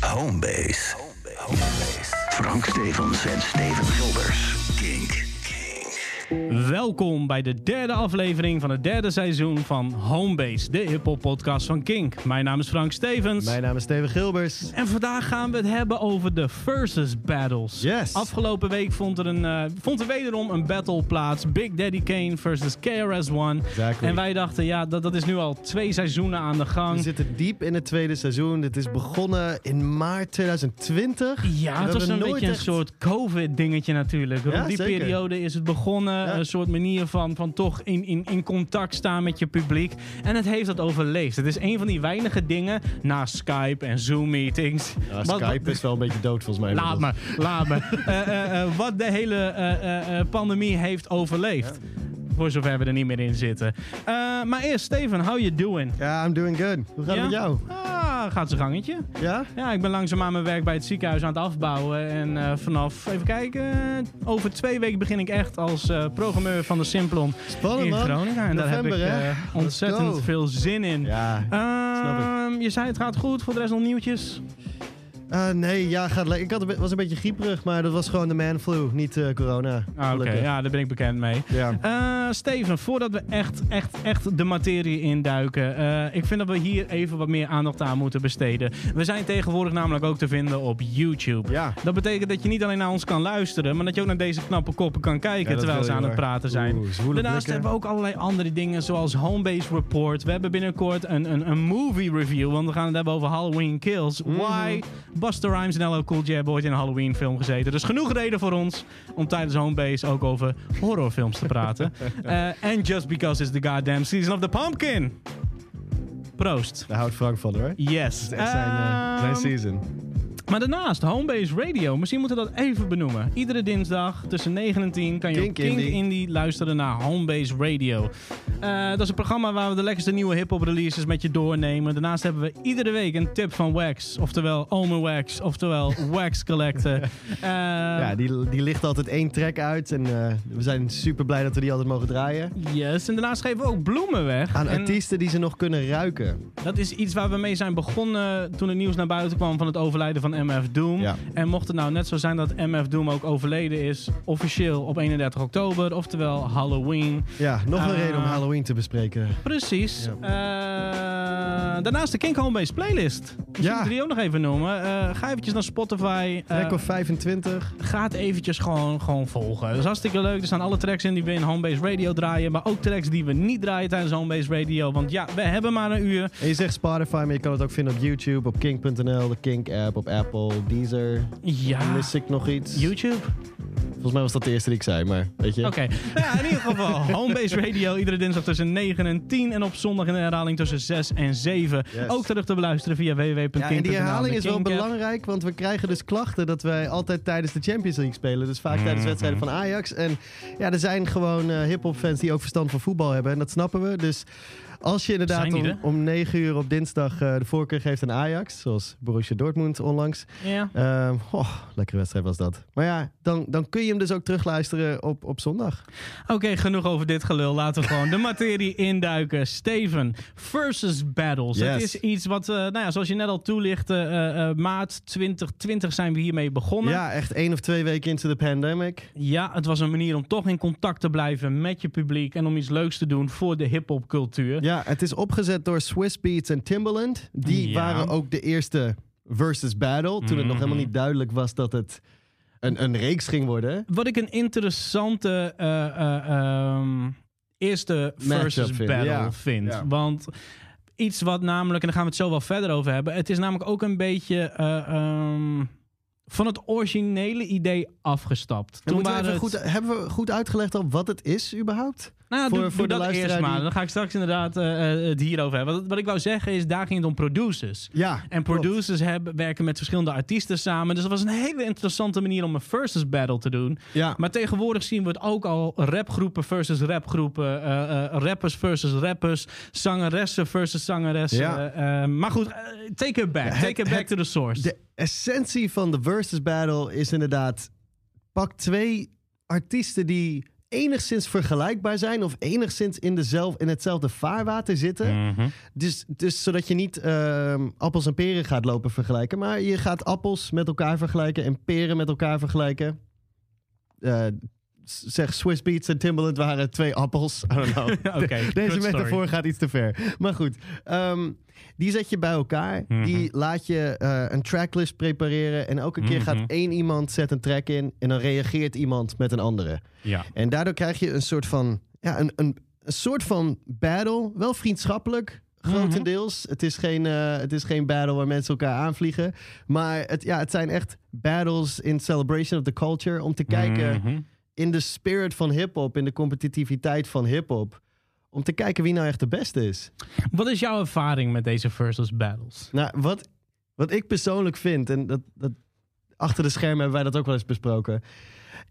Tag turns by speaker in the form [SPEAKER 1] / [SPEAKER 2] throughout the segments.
[SPEAKER 1] Homebase. Frank Stevens en Steven Gilders. Kink.
[SPEAKER 2] Welkom bij de derde aflevering van het derde seizoen van Homebase, de hip-hop podcast van Kink. Mijn naam is Frank Stevens.
[SPEAKER 3] Mijn naam is Steven Gilbers.
[SPEAKER 2] En vandaag gaan we het hebben over de versus battles.
[SPEAKER 3] Yes.
[SPEAKER 2] Afgelopen week vond er, een, eh, vond er wederom een battle plaats. Big Daddy Kane versus KRS-One.
[SPEAKER 3] Exactly.
[SPEAKER 2] En wij dachten, ja, dat, dat is nu al twee seizoenen aan de
[SPEAKER 3] We
[SPEAKER 2] gang.
[SPEAKER 3] zitten diep in het tweede seizoen. Dit is begonnen in maart 2020.
[SPEAKER 2] Ja,
[SPEAKER 3] We
[SPEAKER 2] het was
[SPEAKER 3] hebben
[SPEAKER 2] een
[SPEAKER 3] nooit
[SPEAKER 2] beetje een
[SPEAKER 3] echt-
[SPEAKER 2] soort COVID-dingetje natuurlijk. Rond
[SPEAKER 3] Ja,
[SPEAKER 2] die
[SPEAKER 3] zeker.
[SPEAKER 2] periode is het begonnen. Een soort manier van, van toch in, in, in contact staan met je publiek. En het heeft dat overleefd. Het is een van die weinige dingen na Skype en Zoom-meetings.
[SPEAKER 3] Ja,
[SPEAKER 2] Wat- wat-
[SPEAKER 3] Skype is wel een beetje dood volgens mij.
[SPEAKER 2] Laat me,
[SPEAKER 3] inmiddels.
[SPEAKER 2] laat me. Eh, eh, eh, wat de hele eh, eh, eh, pandemie heeft overleefd. Voor zover we er niet meer in zitten. Eh, maar eerst, Steven, how you doing?
[SPEAKER 3] Ja, I'm doing good. Hoe gaat
[SPEAKER 2] Ja?
[SPEAKER 3] het met jou?
[SPEAKER 2] Ah, gaat zijn gangetje.
[SPEAKER 3] Ja?
[SPEAKER 2] Ja, ik ben langzaamaan mijn werk bij het ziekenhuis aan het afbouwen. En eh, vanaf, even kijken, eh, over twee weken begin ik echt als eh, programmeur van de Simplon
[SPEAKER 3] Spannend
[SPEAKER 2] in
[SPEAKER 3] man.
[SPEAKER 2] Groningen. En daar heb ik
[SPEAKER 3] November, hè?
[SPEAKER 2] eh,
[SPEAKER 3] Let's
[SPEAKER 2] ontzettend
[SPEAKER 3] go.
[SPEAKER 2] veel zin in.
[SPEAKER 3] Ja. snap ik.
[SPEAKER 2] Ehm, je zei het gaat goed, voor de rest nog nieuwtjes.
[SPEAKER 3] Eh, nee, ja, gaat le- ik had, een be- was een beetje grieperig, maar dat was gewoon de man flu, niet eh, corona.
[SPEAKER 2] Ah, Oké,
[SPEAKER 3] Gelukkig.
[SPEAKER 2] ja, daar ben ik bekend mee.
[SPEAKER 3] Ja.
[SPEAKER 2] Eh, Steven, voordat we echt, echt, echt de materie induiken. eh ik vind dat we hier even wat meer aandacht aan moeten besteden. We zijn tegenwoordig namelijk ook te vinden op YouTube.
[SPEAKER 3] Ja.
[SPEAKER 2] Dat betekent dat je niet alleen naar ons kan luisteren, maar dat je ook naar deze knappe koppen kan kijken
[SPEAKER 3] Ja, dat
[SPEAKER 2] terwijl
[SPEAKER 3] wil
[SPEAKER 2] ze
[SPEAKER 3] je,
[SPEAKER 2] aan het
[SPEAKER 3] hoor.
[SPEAKER 2] praten zijn.
[SPEAKER 3] Oeh,
[SPEAKER 2] Daarnaast
[SPEAKER 3] zwoele blikken.
[SPEAKER 2] hebben we ook allerlei andere dingen, zoals Homebase Report. We hebben binnenkort een, een, een movie review, want we gaan het hebben over Halloween Kills.
[SPEAKER 3] Mhm.
[SPEAKER 2] Why? Buster Rhymes en LL Cool J hebben ooit in een Halloween film gezeten. Dus genoeg reden voor ons om tijdens Homebase ook over horrorfilms te praten. En just because it's the goddamn season of the pumpkin. Proost.
[SPEAKER 3] Daar houdt Frank van hoor.
[SPEAKER 2] Yes.
[SPEAKER 3] Het is echt zijn, eh, zijn
[SPEAKER 2] Ehm,
[SPEAKER 3] season.
[SPEAKER 2] maar daarnaast, Homebase Radio. Misschien moeten we dat even benoemen. Iedere dinsdag tussen 9 en 10 kan je
[SPEAKER 3] Kink
[SPEAKER 2] op Kink
[SPEAKER 3] Indie.
[SPEAKER 2] Indie luisteren naar Homebase Radio. Eh, dat is een programma waar we de lekkerste nieuwe hip-hop releases met je doornemen. Daarnaast hebben we iedere week een tip van Wax. Oftewel Omen Wax. Oftewel Wax Eh, Collecten. ehm.
[SPEAKER 3] Ja, die, die ligt altijd één track uit en eh, we zijn super blij dat we die altijd mogen draaien.
[SPEAKER 2] Yes. En daarnaast geven we ook bloemen weg.
[SPEAKER 3] Aan
[SPEAKER 2] En-
[SPEAKER 3] artiesten die ze nog kunnen ruiken.
[SPEAKER 2] Dat is iets waar we mee zijn begonnen toen het nieuws naar buiten kwam van het overlijden van MF Doom.
[SPEAKER 3] Ja.
[SPEAKER 2] En mocht het nou net zo zijn dat MF Doom ook overleden is, officieel op 31 oktober, oftewel Halloween.
[SPEAKER 3] Ja, nog een
[SPEAKER 2] Ah.
[SPEAKER 3] reden om Halloween te bespreken.
[SPEAKER 2] Precies. Eh, daarnaast de Kink Homebase playlist. Misschien
[SPEAKER 3] Ja.
[SPEAKER 2] moeten we die ook nog even noemen. Eh, ga eventjes naar Spotify. Eh,
[SPEAKER 3] Track of 25.
[SPEAKER 2] ga het eventjes gewoon, gewoon volgen. Dat is hartstikke leuk. Er staan alle tracks in die we in Homebase Radio draaien. Maar ook tracks die we niet draaien tijdens Homebase Radio. Want ja, we hebben maar een uur.
[SPEAKER 3] En je zegt Spotify, maar je kan het ook vinden op YouTube, op kink.nl, de Kink-app, op Apple, Deezer.
[SPEAKER 2] Ja,
[SPEAKER 3] Mis ik nog iets?
[SPEAKER 2] YouTube.
[SPEAKER 3] Volgens mij was dat de eerste die ik zei, maar weet je.
[SPEAKER 2] Oké. Nou ja, in ieder geval Homebase Radio iedere dinsdag tussen 9 en 10 en op zondag in de herhaling tussen 6 en 7.
[SPEAKER 3] Yes.
[SPEAKER 2] Ook terug te beluisteren via www.kink.nl.
[SPEAKER 3] Ja, en die herhaling is wel
[SPEAKER 2] Kink app.
[SPEAKER 3] belangrijk, want we krijgen dus klachten dat wij altijd tijdens de Champions League spelen. Dus vaak
[SPEAKER 2] Mhm.
[SPEAKER 3] tijdens wedstrijden van Ajax. En ja, er zijn gewoon eh hip-hop fans die ook verstand van voetbal hebben. En dat snappen we. Dus als je inderdaad
[SPEAKER 2] Zijn die
[SPEAKER 3] om,
[SPEAKER 2] er?
[SPEAKER 3] om 9 uur op dinsdag eh, de voorkeur geeft aan Ajax, zoals Borussia Dortmund onlangs,
[SPEAKER 2] Ja.
[SPEAKER 3] Ehm oh, lekkere wedstrijd was dat. Maar ja, dan, dan kun je hem dus ook terugluisteren op, op zondag.
[SPEAKER 2] Oké, genoeg over dit gelul. Laten we gewoon de materie induiken. Steven, versus battles. Het
[SPEAKER 3] Yes.
[SPEAKER 2] is iets wat, eh, nou ja, zoals je net al toelichtte, eh, eh, maart 2020 zijn we hiermee begonnen.
[SPEAKER 3] Ja, echt één of twee weken into the pandemic.
[SPEAKER 2] Ja, het was een manier om toch in contact te blijven met je publiek en om iets leuks te doen voor de hip-hop cultuur.
[SPEAKER 3] Ja, het is opgezet door Swiss Beats en Timbaland. Die
[SPEAKER 2] Ja.
[SPEAKER 3] waren ook de eerste versus battle. Toen het nog helemaal
[SPEAKER 2] Mhm.
[SPEAKER 3] niet duidelijk was dat het een, een reeks ging worden.
[SPEAKER 2] Wat ik een interessante eh, eh, ehm, eerste
[SPEAKER 3] Matchup
[SPEAKER 2] versus
[SPEAKER 3] vind,
[SPEAKER 2] battle
[SPEAKER 3] ja.
[SPEAKER 2] vind.
[SPEAKER 3] Ja.
[SPEAKER 2] Want iets wat namelijk, en daar gaan we het zo wel verder over hebben. Het is namelijk ook een beetje. eh, ehm, van het originele idee afgestapt.
[SPEAKER 3] Toen moeten we
[SPEAKER 2] waren
[SPEAKER 3] even goed,
[SPEAKER 2] het-
[SPEAKER 3] hebben we goed uitgelegd al wat het is überhaupt?
[SPEAKER 2] Nou, ja,
[SPEAKER 3] voor-
[SPEAKER 2] doe,
[SPEAKER 3] voor
[SPEAKER 2] doe dat
[SPEAKER 3] de luisteraar
[SPEAKER 2] eerst maar.
[SPEAKER 3] die-
[SPEAKER 2] Dan ga ik straks inderdaad eh, eh, het hierover hebben. Wat, wat ik wou zeggen is, daar ging het om producers.
[SPEAKER 3] Ja.
[SPEAKER 2] En producers hebben, werken met verschillende artiesten samen. Dus dat was een hele interessante manier om een versus battle te doen.
[SPEAKER 3] Ja.
[SPEAKER 2] Maar tegenwoordig zien we het ook al rapgroepen versus rapgroepen. eh, eh, rappers versus rappers. Zangeressen versus zangeressen.
[SPEAKER 3] Ja.
[SPEAKER 2] eh, eh, maar goed, eh, take it back.
[SPEAKER 3] Ja, het-
[SPEAKER 2] take it back
[SPEAKER 3] het-
[SPEAKER 2] to the source.
[SPEAKER 3] De essentie van de versus battle is inderdaad... pak twee artiesten die enigszins vergelijkbaar zijn... of enigszins in, dezelf, in hetzelfde vaarwater zitten.
[SPEAKER 2] Mhm.
[SPEAKER 3] Dus, dus zodat je niet ehm, appels en peren gaat lopen vergelijken... maar je gaat appels met elkaar vergelijken en peren met elkaar vergelijken. Eh, s- zeg, Swiss Beats en Timbaland waren twee appels. I don't know.
[SPEAKER 2] Oké,
[SPEAKER 3] De- Deze
[SPEAKER 2] good story.
[SPEAKER 3] metafoor gaat iets te ver. Maar goed, ehm, die zet je bij elkaar.
[SPEAKER 2] Mhm.
[SPEAKER 3] Die laat je eh, een tracklist prepareren. En elke keer
[SPEAKER 2] Mhm.
[SPEAKER 3] gaat één iemand zet een track in. En dan reageert iemand met een andere.
[SPEAKER 2] Ja.
[SPEAKER 3] En daardoor krijg je een soort van, ja, een, een, een soort van battle. Wel vriendschappelijk, grotendeels.
[SPEAKER 2] Mhm.
[SPEAKER 3] het, is geen, eh, het is geen battle waar mensen elkaar aanvliegen. Maar het, ja, het zijn echt battles in celebration of the culture. Om te kijken
[SPEAKER 2] Mhm.
[SPEAKER 3] in de spirit van hip-hop, in de competitiviteit van hip-hop. Om te kijken wie nou echt de beste is.
[SPEAKER 2] Wat is jouw ervaring met deze versus battles?
[SPEAKER 3] Nou, wat, wat ik persoonlijk vind, en dat, dat, achter de schermen hebben wij dat ook wel eens besproken.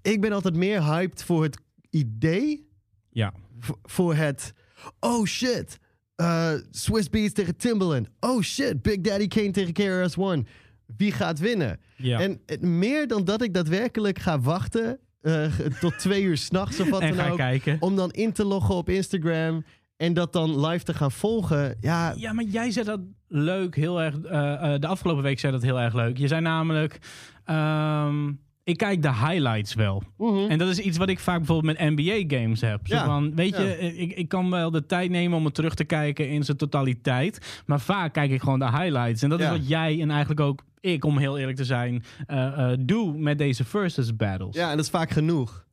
[SPEAKER 3] Ik ben altijd meer hyped voor het idee
[SPEAKER 2] Ja.
[SPEAKER 3] v- voor het. Oh shit. eh, Swiss Beats tegen Timbaland. Oh shit. Big Daddy Kane tegen KRS-One. Wie gaat winnen?
[SPEAKER 2] Ja.
[SPEAKER 3] En het- meer dan dat ik daadwerkelijk ga wachten. eh, tot twee uur s'nachts of wat
[SPEAKER 2] En
[SPEAKER 3] dan
[SPEAKER 2] ga
[SPEAKER 3] ook.
[SPEAKER 2] kijken.
[SPEAKER 3] Om dan in te loggen op Instagram. En dat dan live te gaan volgen. Ja,
[SPEAKER 2] Ja, maar jij zei dat leuk, heel erg. eh, eh, de afgelopen week zei dat heel erg leuk. Je zei namelijk. ehm, ik kijk de highlights wel. En dat is iets wat ik vaak bijvoorbeeld met NBA-games heb. Zo
[SPEAKER 3] Mhm. Ja,
[SPEAKER 2] van, weet
[SPEAKER 3] ja.
[SPEAKER 2] je, eh, ik, ik kan wel de tijd nemen om het terug te kijken in zijn totaliteit. Maar vaak kijk ik gewoon de highlights. En dat
[SPEAKER 3] Ja.
[SPEAKER 2] is wat jij en eigenlijk ook ik, om heel eerlijk te zijn, eh, eh, doe met deze versus battles.
[SPEAKER 3] ja en dat is vaak genoeg.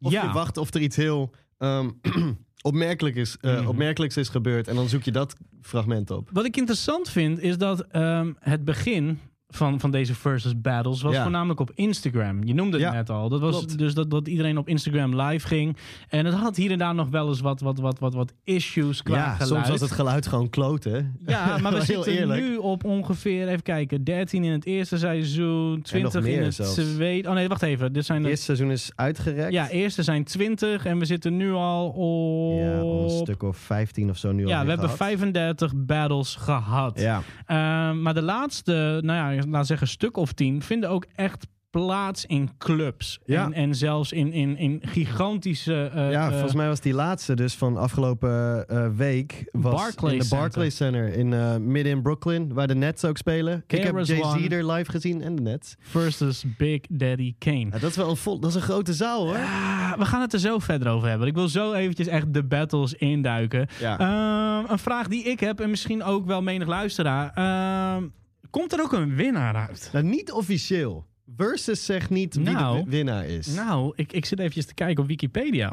[SPEAKER 3] Of
[SPEAKER 2] Ja.
[SPEAKER 3] je wacht of er iets heel ehm, opmerkelijk is, eh,
[SPEAKER 2] Mhm.
[SPEAKER 3] opmerkelijks is gebeurd. En dan zoek je dat fragment op.
[SPEAKER 2] Wat ik interessant vind, is dat ehm, het begin van, van deze versus battles was
[SPEAKER 3] Ja.
[SPEAKER 2] voornamelijk op Instagram. Je noemde het
[SPEAKER 3] Ja,
[SPEAKER 2] net al. Dat was
[SPEAKER 3] klopt.
[SPEAKER 2] dus dat, dat iedereen op Instagram live ging. En het had hier en daar nog wel eens wat, wat, wat, wat, wat issues qua
[SPEAKER 3] Ja,
[SPEAKER 2] geluid.
[SPEAKER 3] soms was het geluid gewoon kloten.
[SPEAKER 2] ja, maar we
[SPEAKER 3] Heel
[SPEAKER 2] zitten
[SPEAKER 3] eerlijk.
[SPEAKER 2] nu op ongeveer, even kijken, 13 in het eerste seizoen, 20 in
[SPEAKER 3] meer
[SPEAKER 2] het
[SPEAKER 3] zelfs.
[SPEAKER 2] tweede. Oh nee, wacht even. Dit zijn
[SPEAKER 3] Het
[SPEAKER 2] de,
[SPEAKER 3] eerste seizoen is uitgerekt.
[SPEAKER 2] ja, eerste zijn 20 en we zitten nu al op...
[SPEAKER 3] Ja, al een stuk of 15 of zo nu
[SPEAKER 2] Ja,
[SPEAKER 3] al
[SPEAKER 2] we hebben
[SPEAKER 3] gehad.
[SPEAKER 2] 35 battles gehad.
[SPEAKER 3] Ja.
[SPEAKER 2] Ehm, maar de laatste, nou ja, laten we zeggen stuk of tien, vinden ook echt plaats in clubs.
[SPEAKER 3] Ja.
[SPEAKER 2] En, en zelfs in, in, in gigantische... eh,
[SPEAKER 3] ja,
[SPEAKER 2] eh,
[SPEAKER 3] volgens mij was die laatste dus van afgelopen eh, week... Was
[SPEAKER 2] Barclays
[SPEAKER 3] in de Barclays Center, in, eh, midden in Brooklyn, waar de Nets ook spelen. Ik heb
[SPEAKER 2] KRS-One.
[SPEAKER 3] Jay-Z er live gezien en de Nets.
[SPEAKER 2] versus Big Daddy Kane.
[SPEAKER 3] Ja, dat is wel een, vol, dat is een grote zaal, hoor.
[SPEAKER 2] Ah, we gaan het er zo verder over hebben. Ik wil zo eventjes echt de battles induiken.
[SPEAKER 3] Ja.
[SPEAKER 2] Ehm, een vraag die ik heb, en misschien ook wel menig luisteraar. ehm, komt er ook een winnaar uit?
[SPEAKER 3] Nou, niet officieel. Versus zegt niet wie de
[SPEAKER 2] Nou.
[SPEAKER 3] wi- winnaar is.
[SPEAKER 2] Nou, ik, ik zit eventjes te kijken op Wikipedia.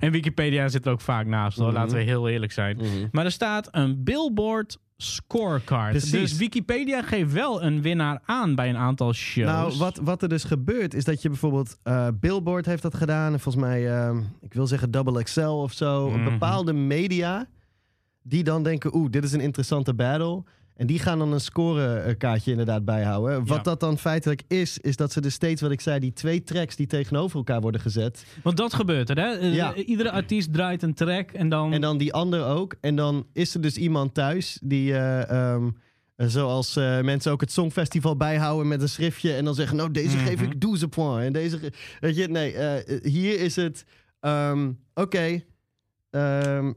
[SPEAKER 2] En Wikipedia zit er ook vaak naast,
[SPEAKER 3] Mhm.
[SPEAKER 2] hoor. laten we heel eerlijk zijn. Maar er staat een Billboard scorecard.
[SPEAKER 3] Precies.
[SPEAKER 2] Dus Wikipedia geeft wel een winnaar aan bij een aantal shows.
[SPEAKER 3] Nou, wat, wat er dus gebeurt is dat je bijvoorbeeld eh, Billboard heeft dat gedaan. En volgens mij, ehm, ik wil zeggen Double XL of zo. Een
[SPEAKER 2] Mhm.
[SPEAKER 3] Bepaalde media die dan denken, oeh, dit is een interessante battle. En die gaan dan een scorekaartje inderdaad bijhouden. Wat
[SPEAKER 2] Ja.
[SPEAKER 3] dat dan feitelijk is, is dat ze dus steeds, wat ik zei, die twee tracks die tegenover elkaar worden gezet.
[SPEAKER 2] Want dat gebeurt er, hè? Eh,
[SPEAKER 3] Ja.
[SPEAKER 2] Iedere artiest draait een track en dan...
[SPEAKER 3] En dan die ander ook. En dan is er dus iemand thuis die, eh, ehm, eh, zoals eh, mensen ook het Songfestival bijhouden met een schriftje. En dan zeggen, nou deze
[SPEAKER 2] Mhm.
[SPEAKER 3] geef ik 12 points. En deze, ge- weet je, nee, eh, hier is het, ehm, oké, ehm,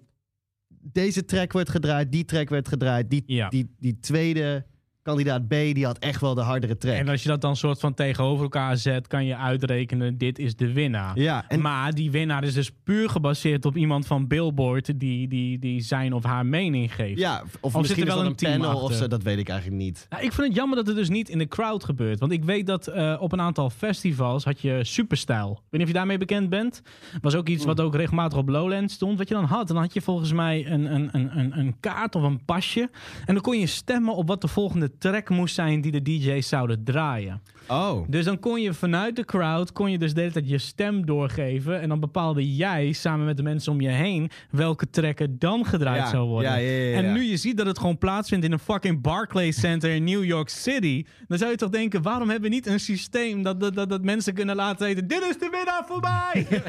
[SPEAKER 3] deze track werd gedraaid, die track werd gedraaid. Die,
[SPEAKER 2] Ja.
[SPEAKER 3] die, die tweede kandidaat B, die had echt wel de hardere track.
[SPEAKER 2] En als je dat dan soort van tegenover elkaar zet, kan je uitrekenen, dit is de winnaar.
[SPEAKER 3] ja, en
[SPEAKER 2] Maar die winnaar is dus puur gebaseerd op iemand van Billboard die, die, die zijn of haar mening geeft.
[SPEAKER 3] ja, of
[SPEAKER 2] er
[SPEAKER 3] misschien
[SPEAKER 2] wel
[SPEAKER 3] wel
[SPEAKER 2] een
[SPEAKER 3] een
[SPEAKER 2] team
[SPEAKER 3] panel of
[SPEAKER 2] achter?
[SPEAKER 3] zo, dat weet ik eigenlijk niet.
[SPEAKER 2] Nou, ik vind het jammer dat het dus niet in de crowd gebeurt. Want ik weet dat eh, op een aantal festivals had je Superstyle. Ik weet niet of je daarmee bekend bent. Was ook iets wat ook regelmatig op Lowlands stond. Wat je dan had. En dan had je volgens mij een, een, een, een, een kaart of een pasje. En dan kon je stemmen op wat de volgende de track moest zijn die de DJ's zouden draaien.
[SPEAKER 4] Oh.
[SPEAKER 2] Dus dan kon je vanuit de crowd, kon je dus de hele tijd je stem doorgeven. En dan bepaalde jij samen met de mensen om je heen welke track er dan gedraaid
[SPEAKER 4] Ja,
[SPEAKER 2] zou worden.
[SPEAKER 4] ja, ja, ja, ja.
[SPEAKER 2] En nu je ziet dat het gewoon plaatsvindt in een fucking Barclays Center in New York City. Dan zou je toch denken, waarom hebben we niet een systeem dat, dat, dat, dat mensen kunnen laten weten, dit is de winnaar voor mij.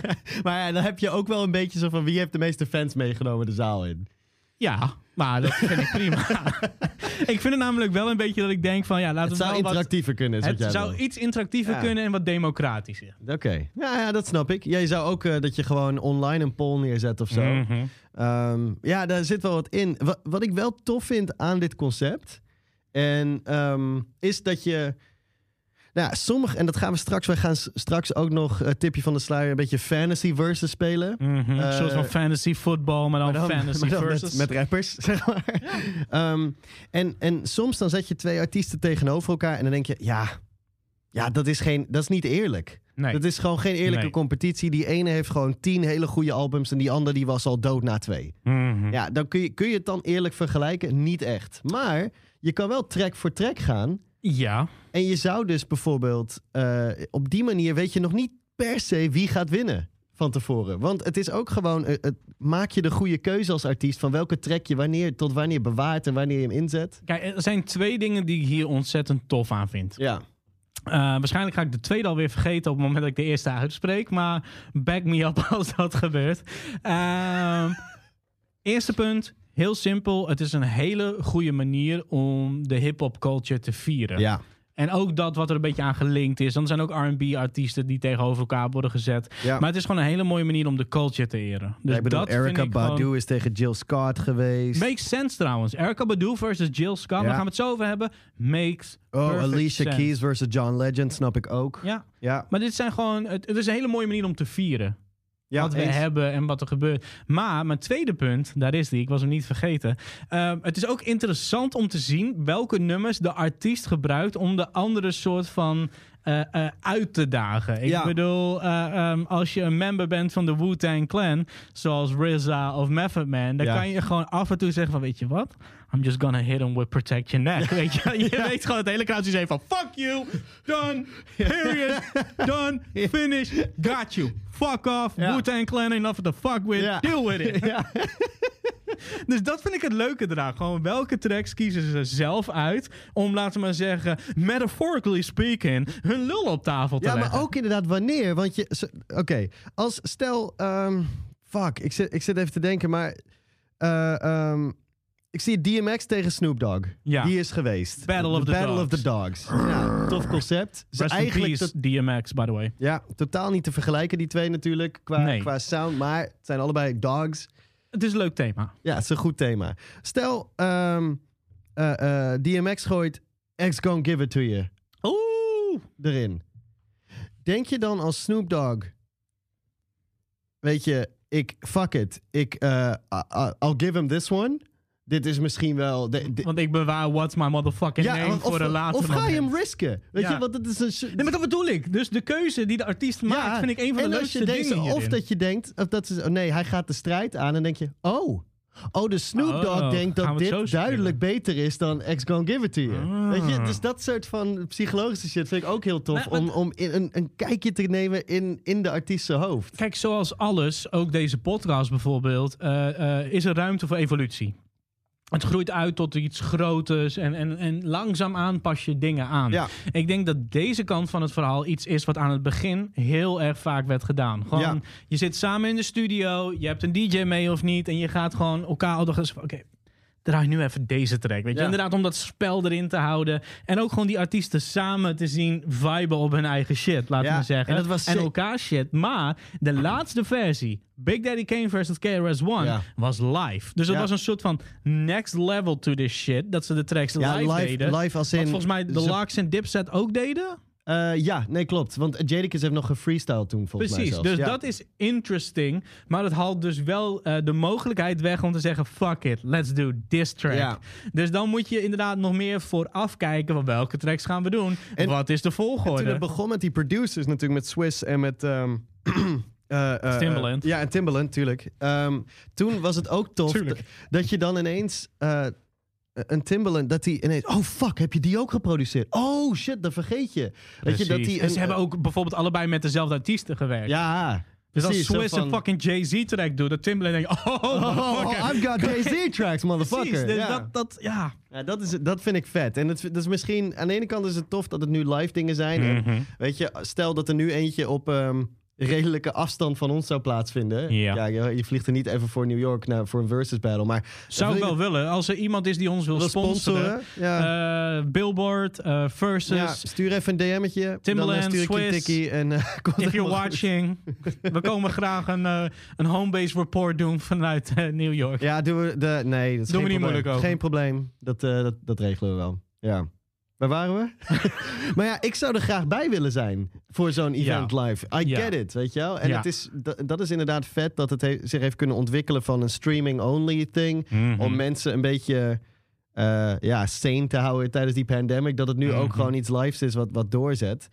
[SPEAKER 3] Maar ja, dan heb je ook wel een beetje zo van wie heeft de meeste fans meegenomen de zaal in.
[SPEAKER 2] ja, maar dat vind ik prima. ik vind het namelijk wel een beetje dat ik denk van, ja, laten
[SPEAKER 3] Het
[SPEAKER 2] we
[SPEAKER 3] zou
[SPEAKER 2] wel wat...
[SPEAKER 3] interactiever kunnen, is wat
[SPEAKER 2] Het
[SPEAKER 3] jij
[SPEAKER 2] zou
[SPEAKER 3] wil.
[SPEAKER 2] iets interactiever
[SPEAKER 4] Ja.
[SPEAKER 2] kunnen en wat democratischer.
[SPEAKER 3] Oké. Ja, ja, dat snap ik. Jij zou ook eh, dat je gewoon online een poll neerzet of zo.
[SPEAKER 2] Mhm.
[SPEAKER 3] Ehm, ja, daar zit wel wat in. Wat, wat ik wel tof vind aan dit concept. En ehm, is dat je. Nou, ja, sommige, en dat gaan we straks. Wij gaan s- straks ook nog een tipje van de sluier. Een beetje fantasy versus spelen.
[SPEAKER 2] Mhm, Een
[SPEAKER 3] Eh,
[SPEAKER 2] soort van fantasy football, maar dan,
[SPEAKER 3] Maar dan-
[SPEAKER 2] fantasy
[SPEAKER 3] maar dan
[SPEAKER 2] versus.
[SPEAKER 3] Met, met rappers, zeg maar. Ehm, en, en soms dan zet je twee artiesten tegenover elkaar. En dan denk je, ja, ja dat, is geen, dat is niet eerlijk.
[SPEAKER 2] nee.
[SPEAKER 3] Dat is gewoon geen eerlijke
[SPEAKER 2] Nee.
[SPEAKER 3] competitie. Die ene heeft gewoon tien hele goede albums. En die andere die was al dood na twee.
[SPEAKER 2] Mhm.
[SPEAKER 3] Ja, dan kun je, kun je het dan eerlijk vergelijken? Niet echt. Maar je kan wel track voor track gaan.
[SPEAKER 2] ja.
[SPEAKER 3] En je zou dus bijvoorbeeld eh, op die manier weet je nog niet per se wie gaat winnen van tevoren. Want het is ook gewoon, eh, het, maak je de goede keuze als artiest van welke track je wanneer, tot wanneer bewaart en wanneer je hem inzet.
[SPEAKER 2] Kijk, er zijn twee dingen die ik hier ontzettend tof aan vind.
[SPEAKER 3] Ja.
[SPEAKER 2] Eh, waarschijnlijk ga ik de tweede alweer vergeten op het moment dat ik de eerste uitspreek. Maar back me up als dat gebeurt. Ehm, eerste punt, heel simpel. Het is een hele goede manier om de hip-hop culture te vieren.
[SPEAKER 3] Ja.
[SPEAKER 2] En ook dat wat er een beetje aan gelinkt is. Dan zijn ook RB-artiesten die tegenover elkaar worden gezet.
[SPEAKER 3] Ja.
[SPEAKER 2] Maar het is gewoon een hele mooie manier om de culture te eren. Dus
[SPEAKER 3] ik bedoel,
[SPEAKER 2] dat vind
[SPEAKER 3] Erika
[SPEAKER 2] ik gewoon-
[SPEAKER 3] Badu is tegen Jill Scott geweest.
[SPEAKER 2] Makes sense trouwens. Erika Badu versus Jill Scott.
[SPEAKER 3] Ja.
[SPEAKER 2] Daar gaan we het zo over hebben. Makes
[SPEAKER 3] oh,
[SPEAKER 2] perfect
[SPEAKER 3] Alicia
[SPEAKER 2] sense.
[SPEAKER 3] Keys versus John Legend, snap ik ook.
[SPEAKER 2] Ja,
[SPEAKER 3] Ja.
[SPEAKER 2] maar dit zijn gewoon... Het, het is een hele mooie manier om te vieren.
[SPEAKER 3] Ja,
[SPEAKER 2] wat we
[SPEAKER 3] eens.
[SPEAKER 2] hebben en wat er gebeurt. Maar mijn tweede punt, daar is die, ik was hem niet vergeten. Ehm, het is ook interessant om te zien welke nummers de artiest gebruikt om de andere soort van eh, eh, uit te dagen. Ik
[SPEAKER 3] Ja.
[SPEAKER 2] bedoel, eh, ehm, als je een member bent van de Wu-Tang Clan, zoals RZA of Method Man, dan
[SPEAKER 3] Ja.
[SPEAKER 2] kan je gewoon af en toe zeggen van, weet je wat? I'm just gonna hit him with protect your neck. Weet je, je weet gewoon, de hele crowd is even van, fuck you, done, period, done, finish, got you, fuck off,
[SPEAKER 3] Ja.
[SPEAKER 2] Wu-Tang Clan ain't nothing to fuck with,
[SPEAKER 3] Ja.
[SPEAKER 2] deal with it.
[SPEAKER 3] Ja.
[SPEAKER 2] Dus dat vind ik het leuke eraan. Gewoon welke tracks kiezen ze zelf uit om, laten we maar zeggen, metaphorically speaking, hun lul op tafel te
[SPEAKER 3] Ja,
[SPEAKER 2] leggen.
[SPEAKER 3] maar ook inderdaad wanneer. Want je. ze- Oké, als stel. ehm, fuck, ik zit, ik zit even te denken, maar. eh, ehm, ik zie DMX tegen Snoop Dogg.
[SPEAKER 2] Ja.
[SPEAKER 3] Die is geweest.
[SPEAKER 2] Battle of the
[SPEAKER 3] Battle
[SPEAKER 2] Dogs.
[SPEAKER 3] of the Dogs. Ja, tof concept. Ze
[SPEAKER 2] Rest in
[SPEAKER 3] eigenlijk
[SPEAKER 2] peace,
[SPEAKER 3] tot-
[SPEAKER 2] DMX, by the way.
[SPEAKER 3] ja, totaal niet te vergelijken, die twee natuurlijk. Qua,
[SPEAKER 2] Nee.
[SPEAKER 3] qua sound, maar het zijn allebei dogs.
[SPEAKER 2] Het is een leuk thema.
[SPEAKER 3] Ja, het is een goed thema. Stel, ehm, eh, eh, DMX gooit X Gonna Give It To You
[SPEAKER 2] Oeh!
[SPEAKER 3] erin. Denk je dan als Snoop Dogg... Weet je, ik... Fuck it. Ik, eh, I- I- I'll give him this one. Dit is misschien wel... de- de-
[SPEAKER 2] Want ik bewaar What's My Motherfucking Name
[SPEAKER 3] want-
[SPEAKER 2] voor de later
[SPEAKER 3] of ga je
[SPEAKER 2] moment.
[SPEAKER 3] hem risken? Weet
[SPEAKER 2] Ja.
[SPEAKER 3] je, want het is een... sh-
[SPEAKER 2] Nee, maar dat bedoel ik. Dus de keuze die de artiest maakt, vind ik een van de
[SPEAKER 3] en als je
[SPEAKER 2] leukste
[SPEAKER 3] denkt-
[SPEAKER 2] dingen
[SPEAKER 3] Of
[SPEAKER 2] hierin.
[SPEAKER 3] dat je denkt... Of dat ze, oh nee, hij gaat de strijd aan en denk je... Oh... Oh, de Snoop Dogg
[SPEAKER 2] Oh,
[SPEAKER 3] denkt
[SPEAKER 2] gaan
[SPEAKER 3] dat
[SPEAKER 2] we het zo
[SPEAKER 3] dit
[SPEAKER 2] spelen?
[SPEAKER 3] duidelijk beter is dan X Gonna Give It To You.
[SPEAKER 2] Ah.
[SPEAKER 3] Weet je? Dus dat soort van psychologische shit vind ik ook heel tof.
[SPEAKER 2] Nee, maar
[SPEAKER 3] om om in, een, een kijkje te nemen in, in de artiest zijn hoofd.
[SPEAKER 2] Kijk, zoals alles, ook deze podcast bijvoorbeeld, eh, eh, is er ruimte voor evolutie. Het groeit uit tot iets groters en, en, en langzaamaan pas je dingen aan.
[SPEAKER 3] Ja.
[SPEAKER 2] Ik denk dat deze kant van het verhaal iets is wat aan het begin heel erg vaak werd gedaan. Gewoon,
[SPEAKER 3] Ja.
[SPEAKER 2] je zit samen in de studio, je hebt een DJ mee of niet, en je gaat gewoon elkaar al oké. Draai nu even deze track. Weet je?
[SPEAKER 3] Ja.
[SPEAKER 2] Inderdaad, om dat spel erin te houden. En ook gewoon die artiesten samen te zien viben op hun eigen shit, laten we
[SPEAKER 3] Ja,
[SPEAKER 2] zeggen.
[SPEAKER 3] en dat was
[SPEAKER 2] en
[SPEAKER 3] sick.
[SPEAKER 2] elkaar shit. Maar de laatste versie, Big Daddy Kane versus KRS-One,
[SPEAKER 3] Ja.
[SPEAKER 2] was live. Dus dat
[SPEAKER 3] Ja.
[SPEAKER 2] was een soort van next level to this shit. Dat ze de tracks
[SPEAKER 3] Ja,
[SPEAKER 2] live,
[SPEAKER 3] live,
[SPEAKER 2] deden.
[SPEAKER 3] live als in...
[SPEAKER 2] Wat volgens mij de
[SPEAKER 3] ze-
[SPEAKER 2] Larks en Dipset ook deden.
[SPEAKER 3] eh, ja, nee, klopt. Want Jadakiss heeft nog gefreestyle toen, volgens mij
[SPEAKER 2] Precies,
[SPEAKER 3] zelfs.
[SPEAKER 2] dus
[SPEAKER 3] Ja.
[SPEAKER 2] dat is interesting. Maar het haalt dus wel eh, de mogelijkheid weg om te zeggen... fuck it, let's do this track.
[SPEAKER 3] Ja.
[SPEAKER 2] Dus dan moet je inderdaad nog meer vooraf kijken... van welke tracks gaan we doen?
[SPEAKER 3] En-
[SPEAKER 2] wat is de
[SPEAKER 3] Toen
[SPEAKER 2] volgorde?
[SPEAKER 3] het begon met die producers natuurlijk, met Swiss en met... ehm, eh, eh, eh,
[SPEAKER 2] Timbaland.
[SPEAKER 3] ja, en Timbaland, tuurlijk. Ehm, toen was het ook tof
[SPEAKER 2] Tuurlijk.
[SPEAKER 3] dat- dat je dan ineens eh, een Timbaland, dat hij ineens... Oh, fuck, heb je die ook geproduceerd? Oh, shit, dat vergeet je. Weet je, dat
[SPEAKER 2] Precies.
[SPEAKER 3] die
[SPEAKER 2] en ze
[SPEAKER 3] een-
[SPEAKER 2] hebben ook bijvoorbeeld allebei met dezelfde artiesten gewerkt.
[SPEAKER 3] Ja,
[SPEAKER 2] dus als
[SPEAKER 3] precies, zo
[SPEAKER 2] Swiss
[SPEAKER 3] van-
[SPEAKER 2] een fucking Jay-Z track doet, dat Timbaland denkt, oh,
[SPEAKER 3] Oh,
[SPEAKER 2] motherfucker.
[SPEAKER 3] I've got Jay-Z tracks, motherfucker.
[SPEAKER 2] Precies, dus
[SPEAKER 3] ja.
[SPEAKER 2] dat, dat, ja.
[SPEAKER 3] Ja, dat, is, dat vind ik vet. En het, dat is misschien, aan de ene kant is het tof dat het nu live dingen zijn. En,
[SPEAKER 2] Mhm.
[SPEAKER 3] weet je, stel dat er nu eentje op ehm, redelijke afstand van ons zou plaatsvinden.
[SPEAKER 2] Ja.
[SPEAKER 3] je, je vliegt er niet even voor New York naar, voor een versus battle. Maar
[SPEAKER 2] Zou ik
[SPEAKER 3] wil
[SPEAKER 2] wel
[SPEAKER 3] je
[SPEAKER 2] willen. Als er iemand is die ons wil
[SPEAKER 3] wel
[SPEAKER 2] sponsoren.
[SPEAKER 3] sponsoren? Ja.
[SPEAKER 2] eh, Billboard, eh, Versus,
[SPEAKER 3] ja, stuur even een DM'tje.
[SPEAKER 2] Timbaland,
[SPEAKER 3] dan eh, stuur ik je een
[SPEAKER 2] Swiss.
[SPEAKER 3] tikkie en eh, komt
[SPEAKER 2] If
[SPEAKER 3] helemaal
[SPEAKER 2] you're
[SPEAKER 3] goed.
[SPEAKER 2] watching, we komen graag een, eh, een homebase report doen vanuit eh, New York.
[SPEAKER 3] Ja, doen we de, nee,
[SPEAKER 2] Doen we
[SPEAKER 3] dat is geen
[SPEAKER 2] niet
[SPEAKER 3] probleem.
[SPEAKER 2] moeilijk over.
[SPEAKER 3] Geen probleem, dat, eh, dat, dat regelen we wel. Ja. Waar waren we? maar ja, ik zou er graag bij willen zijn voor zo'n event live. I
[SPEAKER 2] Ja.
[SPEAKER 3] get it, weet je wel? En
[SPEAKER 2] Ja.
[SPEAKER 3] het is, da- dat is inderdaad vet dat het he- zich heeft kunnen ontwikkelen van een streaming-only thing.
[SPEAKER 2] Mhm.
[SPEAKER 3] Om mensen een beetje eh, ja, sane te houden tijdens die pandemic. Dat het nu ook
[SPEAKER 2] Mhm.
[SPEAKER 3] gewoon iets lives is wat, wat doorzet.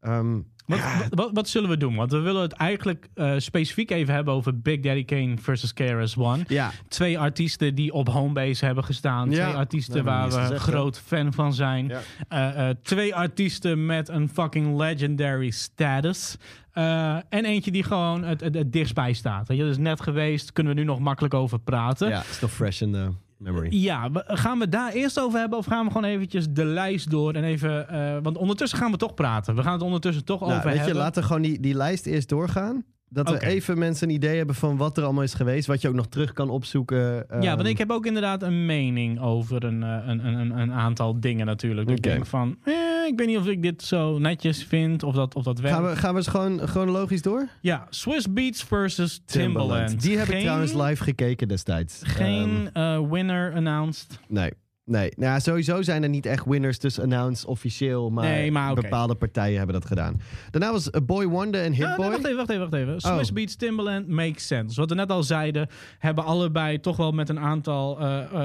[SPEAKER 3] Ehm,
[SPEAKER 2] Wat, wat- wat, wat zullen we doen? Want we willen het eigenlijk eh, specifiek even hebben over Big Daddy Kane versus KRS One.
[SPEAKER 3] ja,
[SPEAKER 2] Twee artiesten die op homebase hebben gestaan.
[SPEAKER 3] Ja.
[SPEAKER 2] Twee artiesten
[SPEAKER 3] Dat hebben we
[SPEAKER 2] waar
[SPEAKER 3] niet
[SPEAKER 2] we
[SPEAKER 3] eens gezegd, hè?
[SPEAKER 2] groot fan van zijn.
[SPEAKER 3] Ja.
[SPEAKER 2] Eh, eh, twee artiesten met een fucking legendary status. Eh, en eentje die gewoon het, het, het dichtstbij staat. Weet je, dat is net geweest. Kunnen we nu nog makkelijk over praten.
[SPEAKER 3] ja, is nog fresh in the memory.
[SPEAKER 2] Ja, we- gaan we daar eerst over hebben of gaan we gewoon eventjes de lijst door en even... eh, want ondertussen gaan we toch praten. We gaan het ondertussen toch
[SPEAKER 3] Nou,
[SPEAKER 2] over
[SPEAKER 3] weet
[SPEAKER 2] hebben.
[SPEAKER 3] je, laten we gewoon die, die lijst eerst doorgaan. Dat
[SPEAKER 2] Oké.
[SPEAKER 3] we even mensen een idee hebben van wat er allemaal is geweest. Wat je ook nog terug kan opzoeken. ehm,
[SPEAKER 2] ja, want ik heb ook inderdaad een mening over een, eh, een, een, een- een aantal dingen natuurlijk. Dus
[SPEAKER 3] Oké.
[SPEAKER 2] Ik denk van, eh, ik weet niet of ik dit zo netjes vind of dat, of dat werkt.
[SPEAKER 3] Gaan we, gaan we eens gewoon chronologisch door?
[SPEAKER 2] Ja, Swiss Beats versus Timbaland.
[SPEAKER 3] Die heb ik
[SPEAKER 2] Geen-
[SPEAKER 3] trouwens live gekeken destijds. Ehm,
[SPEAKER 2] Geen eh, winner announced.
[SPEAKER 3] nee. Nee. Nou, ja, sowieso zijn er niet echt winners dus announced officieel. Maar,
[SPEAKER 2] Nee, maar oké.
[SPEAKER 3] bepaalde partijen hebben dat gedaan. Daarna was eh, Boy Wonder en Hit
[SPEAKER 2] Ja, Nou, nee,
[SPEAKER 3] Boy.
[SPEAKER 2] wacht even, wacht even, wacht even. Swiss
[SPEAKER 3] Oh.
[SPEAKER 2] Beats, Timbaland, Makes Sense. Wat we net al zeiden, hebben allebei toch wel met een aantal... eh, eh,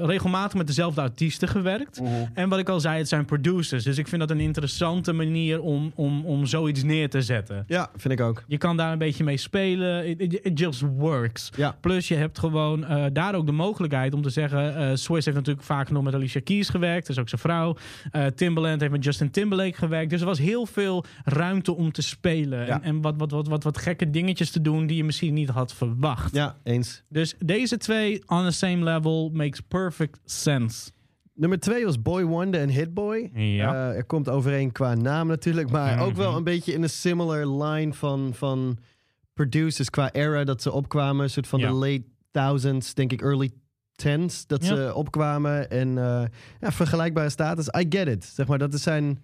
[SPEAKER 2] eh, regelmatig met dezelfde artiesten gewerkt. En wat ik al zei, het zijn producers. Dus ik vind dat een interessante manier om, om, om zoiets neer te zetten.
[SPEAKER 3] Ja, vind ik ook.
[SPEAKER 2] Je kan daar een beetje mee spelen. It, it- it just works.
[SPEAKER 3] Ja.
[SPEAKER 2] Plus je hebt gewoon eh, daar ook de mogelijkheid om te zeggen... eh Swiss heeft natuurlijk vaak nog met Alicia Keys gewerkt. Dat is ook zijn vrouw. Eh, Timbaland heeft met Justin Timberlake gewerkt. Dus er was heel veel ruimte om te spelen.
[SPEAKER 3] Ja.
[SPEAKER 2] En, en wat, wat, wat, wat, wat gekke dingetjes te doen die je misschien niet had verwacht.
[SPEAKER 3] Ja, eens.
[SPEAKER 2] Dus deze twee on the same level makes perfect sense.
[SPEAKER 3] Nummer twee was Boy Wonder en Hit Boy.
[SPEAKER 2] Ja.
[SPEAKER 3] Eh, er komt overeen qua naam natuurlijk, maar ook
[SPEAKER 2] Mhm.
[SPEAKER 3] wel een beetje in een similar line van, van producers qua era dat ze opkwamen. Een soort van
[SPEAKER 2] Ja.
[SPEAKER 3] de late thousands, denk ik early tens, dat
[SPEAKER 2] Ja.
[SPEAKER 3] ze opkwamen. En eh, ja, vergelijkbare status, I get it. Zeg maar, dat is zijn...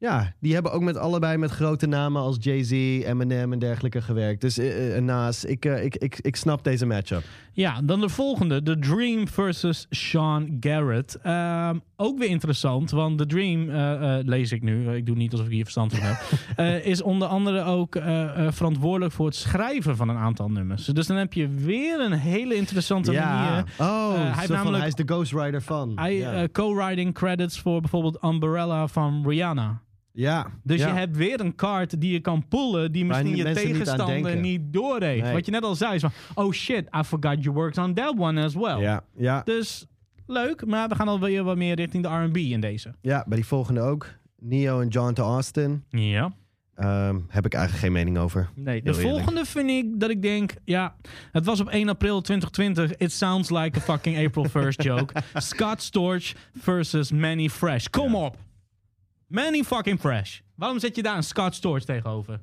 [SPEAKER 3] Ja, die hebben ook met allebei met grote namen als Jay-Z, Eminem en dergelijke gewerkt. Dus eh, eh, naast, ik, eh, ik, ik, ik snap deze matchup.
[SPEAKER 2] Ja, dan de volgende. The Dream versus Sean Garrett. Ehm, ook weer interessant, want The Dream, eh, eh, lees ik nu, eh, ik doe niet alsof ik hier verstand van heb, eh, is onder andere ook eh, eh, verantwoordelijk voor het schrijven van een aantal nummers. Dus dan heb je weer een hele interessante manier.
[SPEAKER 3] Oh,
[SPEAKER 2] Eh, hij heeft
[SPEAKER 3] zo van,
[SPEAKER 2] namelijk-
[SPEAKER 3] hij is de ghostwriter van.
[SPEAKER 2] Hij
[SPEAKER 3] ja.
[SPEAKER 2] eh, co-writing credits voor bijvoorbeeld Umbrella van Rihanna.
[SPEAKER 3] Ja.
[SPEAKER 2] Dus
[SPEAKER 3] ja.
[SPEAKER 2] je hebt weer een kaart die je kan pullen, die misschien
[SPEAKER 3] die
[SPEAKER 2] je
[SPEAKER 3] mensen niet aan
[SPEAKER 2] tegenstander
[SPEAKER 3] denken.
[SPEAKER 2] niet, doorheeft.
[SPEAKER 3] Nee.
[SPEAKER 2] Wat je net al zei, is van, oh shit, I forgot you worked on that one as well.
[SPEAKER 3] Ja, ja,
[SPEAKER 2] Dus leuk, maar we gaan alweer wat meer richting de RB in deze.
[SPEAKER 3] ja, bij die volgende ook. Neo en John to Austin.
[SPEAKER 2] Ja.
[SPEAKER 3] Ehm, heb ik eigenlijk geen mening over.
[SPEAKER 2] Nee, de
[SPEAKER 3] Heel eerlijk.
[SPEAKER 2] volgende vind ik dat ik denk, ja, het was op 1 april 2020. It sounds like a fucking April 1st joke. Scott Storch versus Manny Fresh. Kom op. Manny fucking Fresh. Waarom zet je daar een Scott Storch tegenover?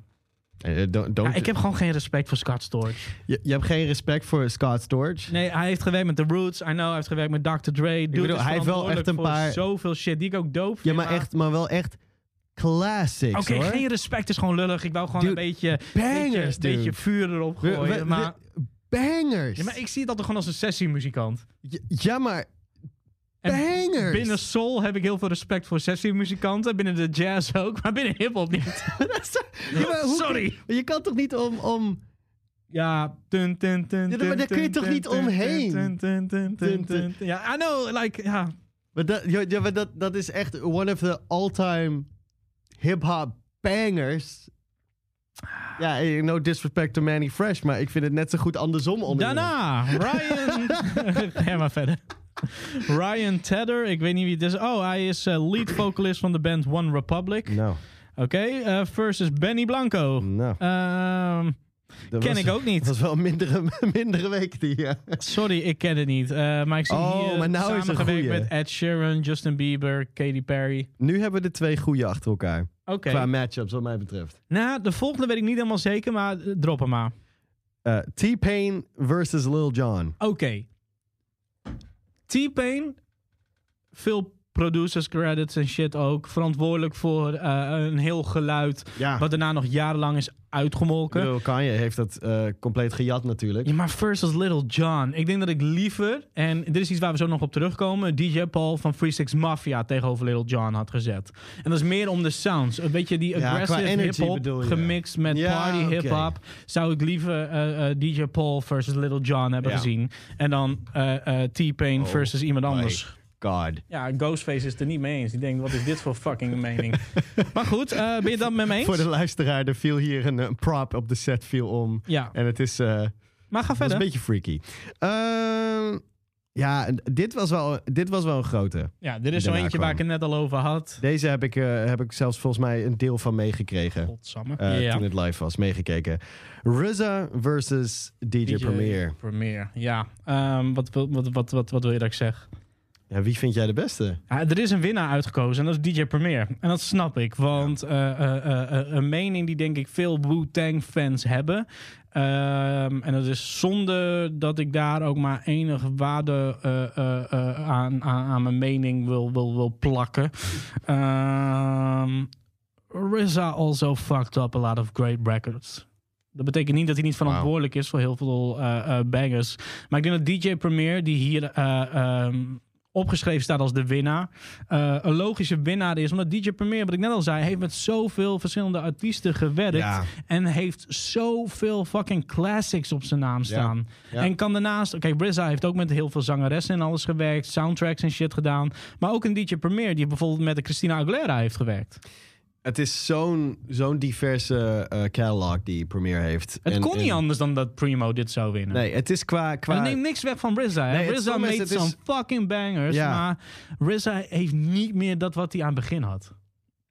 [SPEAKER 3] Eh, eh, don't- don't-
[SPEAKER 2] Ja, ik heb gewoon geen respect voor Scott Storch.
[SPEAKER 3] je, je hebt geen respect voor Scott Storch.
[SPEAKER 2] Nee, hij heeft gewerkt met The Roots. I know, hij heeft gewerkt met Dr. Dre. Dude
[SPEAKER 3] bedoel,
[SPEAKER 2] is
[SPEAKER 3] hij heeft wel echt een
[SPEAKER 2] verantwoordelijk voor
[SPEAKER 3] paar-
[SPEAKER 2] Zoveel shit die ik ook doof
[SPEAKER 3] ja, maar, echt, maar wel echt classics,
[SPEAKER 2] Oké,
[SPEAKER 3] hoor.
[SPEAKER 2] geen respect is gewoon lullig. Ik wou gewoon
[SPEAKER 3] Dude,
[SPEAKER 2] een beetje,
[SPEAKER 3] bangers,
[SPEAKER 2] beetje,
[SPEAKER 3] dude.
[SPEAKER 2] beetje vuur erop
[SPEAKER 3] We-
[SPEAKER 2] gooien.
[SPEAKER 3] we-
[SPEAKER 2] maar,
[SPEAKER 3] we- bangers!
[SPEAKER 2] ja, maar ik zie het altijd gewoon als een sessiemuzikant.
[SPEAKER 3] J- ja, maar
[SPEAKER 2] En
[SPEAKER 3] Bangers!
[SPEAKER 2] Binnen soul heb ik heel veel respect voor sessiemuzikanten. Binnen de jazz ook, maar binnen hiphop niet.
[SPEAKER 3] ja, maar hoe-
[SPEAKER 2] Sorry.
[SPEAKER 3] Je kan toch niet om... om
[SPEAKER 2] Ja, dun, dun, dun,
[SPEAKER 3] Ja, maar daar
[SPEAKER 2] dun,
[SPEAKER 3] kun je
[SPEAKER 2] dun,
[SPEAKER 3] toch
[SPEAKER 2] dun,
[SPEAKER 3] niet
[SPEAKER 2] dun,
[SPEAKER 3] omheen?
[SPEAKER 2] dun, dun, dun, dun,
[SPEAKER 3] Dun, dun.
[SPEAKER 2] dun. Ja, I know, like, ja.
[SPEAKER 3] maar dat, ja, ja, maar dat, dat is echt one of the all-time hip-hop bangers. Ja, eh, no disrespect to Manny Fresh, maar ik vind het net zo goed andersom onder
[SPEAKER 2] Daarna, Ryan. Ga maar verder. Ryan Tedder, ik weet niet wie het is. Oh, hij is eh, lead vocalist van de band One Republic. Oké,
[SPEAKER 3] Nou,
[SPEAKER 2] eh, versus Benny Blanco.
[SPEAKER 3] nou.
[SPEAKER 2] Ehm,
[SPEAKER 3] dat
[SPEAKER 2] ken
[SPEAKER 3] was-
[SPEAKER 2] ik ook
[SPEAKER 3] Dat
[SPEAKER 2] niet.
[SPEAKER 3] was wel een mindere, mindere week die, ja.
[SPEAKER 2] Sorry, ik ken het niet. Eh, maar ik zie
[SPEAKER 3] Oh,
[SPEAKER 2] hier
[SPEAKER 3] maar nou is het een
[SPEAKER 2] samengewerkt
[SPEAKER 3] goeie.
[SPEAKER 2] met Ed Sheeran, Justin Bieber, Katy Perry.
[SPEAKER 3] Nu hebben we de twee goede achter elkaar.
[SPEAKER 2] Oké.
[SPEAKER 3] Qua matchups, wat mij betreft.
[SPEAKER 2] Nou, de volgende weet ik niet helemaal zeker, maar eh, drop hem maar.
[SPEAKER 3] Eh, T-Pain versus Lil Jon.
[SPEAKER 2] Oké. T-Pain, veel producers credits en shit ook, verantwoordelijk voor eh, een heel geluid
[SPEAKER 3] Ja.
[SPEAKER 2] wat daarna nog jarenlang is uitgemolken.
[SPEAKER 3] Lil Kanye heeft dat eh, compleet gejat natuurlijk.
[SPEAKER 2] Ja, maar versus Little John. Ik denk dat ik liever, en dit is iets waar we zo nog op terugkomen, DJ Paul van Free Six Mafia tegenover Little John had gezet. En dat is meer om de sounds. Een beetje die
[SPEAKER 3] qua
[SPEAKER 2] aggressive
[SPEAKER 3] energy
[SPEAKER 2] hip-hop
[SPEAKER 3] bedoel je.
[SPEAKER 2] gemixt met
[SPEAKER 3] Ja,
[SPEAKER 2] party
[SPEAKER 3] oké.
[SPEAKER 2] hip-hop. Zou ik liever eh, eh, DJ Paul versus Little John hebben
[SPEAKER 3] Ja.
[SPEAKER 2] gezien. En dan eh, eh, T-Pain
[SPEAKER 3] Oh
[SPEAKER 2] versus iemand
[SPEAKER 3] my
[SPEAKER 2] anders.
[SPEAKER 3] God.
[SPEAKER 2] Ja, Ghostface is het er niet mee eens. Die denkt, wat is dit voor fucking mening? maar goed, eh, ben je het dan met me eens?
[SPEAKER 3] Voor de luisteraar, er viel hier een, eh, prop op de set viel om.
[SPEAKER 2] Ja,
[SPEAKER 3] En het is, eh,
[SPEAKER 2] maar ga
[SPEAKER 3] was
[SPEAKER 2] verder.
[SPEAKER 3] een beetje freaky. Ehm, ja, en dit was, wel, dit was wel een grote.
[SPEAKER 2] Ja, dit is zo
[SPEAKER 3] Daarna
[SPEAKER 2] eentje waar ik
[SPEAKER 3] kwam.
[SPEAKER 2] het net al over had.
[SPEAKER 3] Deze heb ik, eh, heb ik zelfs volgens mij een deel van meegekregen.
[SPEAKER 2] Godsamme.
[SPEAKER 3] eh,
[SPEAKER 2] ja.
[SPEAKER 3] Toen het live was, meegekeken. RZA versus DJ, Premier.
[SPEAKER 2] Premier, ja. Ehm, wat, wil- wat, wat, wat, wat wil je dat ik zeg?
[SPEAKER 3] Ja, wie vind jij de beste?
[SPEAKER 2] Ah, er is een winnaar uitgekozen en dat is DJ Premier. En dat snap ik, want eh, eh, eh, eh, een mening die denk ik veel Wu-Tang fans hebben. Ehm, en dat is zonde dat ik daar ook maar enige waarde eh, eh, eh, aan, aan, aan mijn mening wil, wil, wil plakken. Ehm RZA also fucked up a lot of great records. Dat betekent niet dat hij niet verantwoordelijk is voor heel veel eh, eh, bangers. Maar ik denk dat DJ Premier, die hier eh, ehm, opgeschreven staat als de winnaar, eh, een logische winnaar is. Omdat DJ Premier, wat ik net al zei, heeft met zoveel verschillende artiesten gewerkt.
[SPEAKER 3] Ja.
[SPEAKER 2] En heeft zoveel fucking classics op zijn naam staan.
[SPEAKER 3] Ja.
[SPEAKER 2] En kan daarnaast... Kijk, Brizza heeft ook met heel veel zangeressen en alles gewerkt. Soundtracks en shit gedaan. Maar ook een DJ Premier die bijvoorbeeld met de Christina Aguilera heeft gewerkt.
[SPEAKER 3] Het is zo'n zo'n diverse eh, catalog die Premier heeft.
[SPEAKER 2] Het
[SPEAKER 3] En-
[SPEAKER 2] kon niet
[SPEAKER 3] en-
[SPEAKER 2] anders dan dat Primo dit zou winnen.
[SPEAKER 3] Nee, het is qua...
[SPEAKER 2] En
[SPEAKER 3] qua
[SPEAKER 2] dat neemt niks weg van RZA. hè.
[SPEAKER 3] Nee, het
[SPEAKER 2] RZA
[SPEAKER 3] stomme is,
[SPEAKER 2] made
[SPEAKER 3] het
[SPEAKER 2] some
[SPEAKER 3] is-
[SPEAKER 2] fucking bangers.
[SPEAKER 3] Ja.
[SPEAKER 2] Maar RZA heeft niet meer dat wat hij aan het begin had.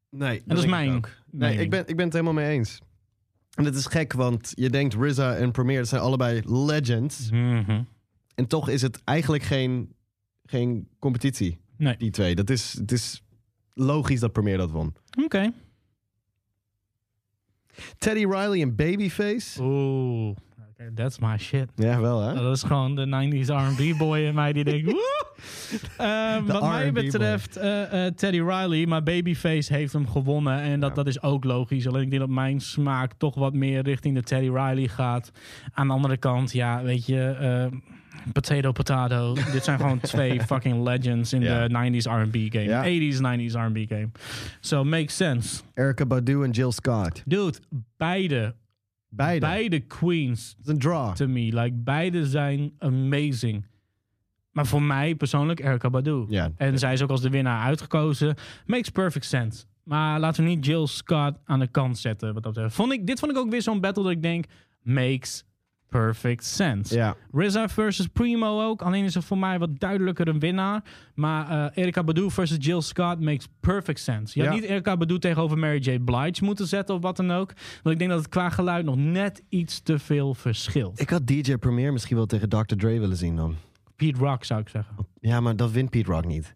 [SPEAKER 3] nee,
[SPEAKER 2] En dat is
[SPEAKER 3] denk ik
[SPEAKER 2] mijn
[SPEAKER 3] ook. Nee, ik ben, ik ben het helemaal mee eens. En dat is gek, want je denkt RZA en Premier dat zijn allebei legends.
[SPEAKER 2] Mhm.
[SPEAKER 3] En toch is het eigenlijk geen, geen competitie,
[SPEAKER 2] Nee.
[SPEAKER 3] die twee. Dat is, het is logisch dat Premier dat won.
[SPEAKER 2] Oké.
[SPEAKER 3] Teddy Riley en Babyface.
[SPEAKER 2] Oeh. Okay, That's my shit.
[SPEAKER 3] Ja, wel hè?
[SPEAKER 2] Nou, dat is gewoon de 90s R&B boy in mij die denkt, woe! Ehm,
[SPEAKER 3] De
[SPEAKER 2] wat mij
[SPEAKER 3] R&B boy.
[SPEAKER 2] betreft eh, eh, Teddy Riley, maar Babyface heeft hem gewonnen. En dat,
[SPEAKER 3] Ja.
[SPEAKER 2] dat is ook logisch. Alleen ik denk dat mijn smaak toch wat meer richting de Teddy Riley gaat. Aan de andere kant, ja, weet je... eh, Potato, potato. Dit zijn gewoon twee fucking legends in
[SPEAKER 3] Ja.
[SPEAKER 2] de 90s R&B game.
[SPEAKER 3] Ja.
[SPEAKER 2] 80s, 90s R&B game. So, makes sense.
[SPEAKER 3] Erica Badu en Jill Scott.
[SPEAKER 2] Dude, beide,
[SPEAKER 3] Beide.
[SPEAKER 2] beide queens
[SPEAKER 3] Het is een draw.
[SPEAKER 2] to me. Like, beide zijn amazing. Maar voor mij persoonlijk Erika Badu.
[SPEAKER 3] Ja.
[SPEAKER 2] En zij is ook als de winnaar uitgekozen. Makes perfect sense. Maar laten we niet Jill Scott aan de kant zetten. Wat dat betreft. Vond ik, dit vond ik ook weer zo'n battle dat ik denk... Makes perfect sense.
[SPEAKER 3] Ja.
[SPEAKER 2] RZA versus Primo ook. Alleen is er voor mij wat duidelijker een winnaar. Maar eh Erika Badu versus Jill Scott makes perfect sense. Je had
[SPEAKER 3] Ja.
[SPEAKER 2] niet Erika Badu tegenover Mary J. Blige moeten zetten of wat dan ook. Want ik denk dat het qua geluid nog net iets te veel verschilt.
[SPEAKER 3] Ik had DJ Premier misschien wel tegen Dr. Dre willen zien dan.
[SPEAKER 2] Pete Rock zou ik zeggen.
[SPEAKER 3] Ja, maar dat wint Pete Rock niet.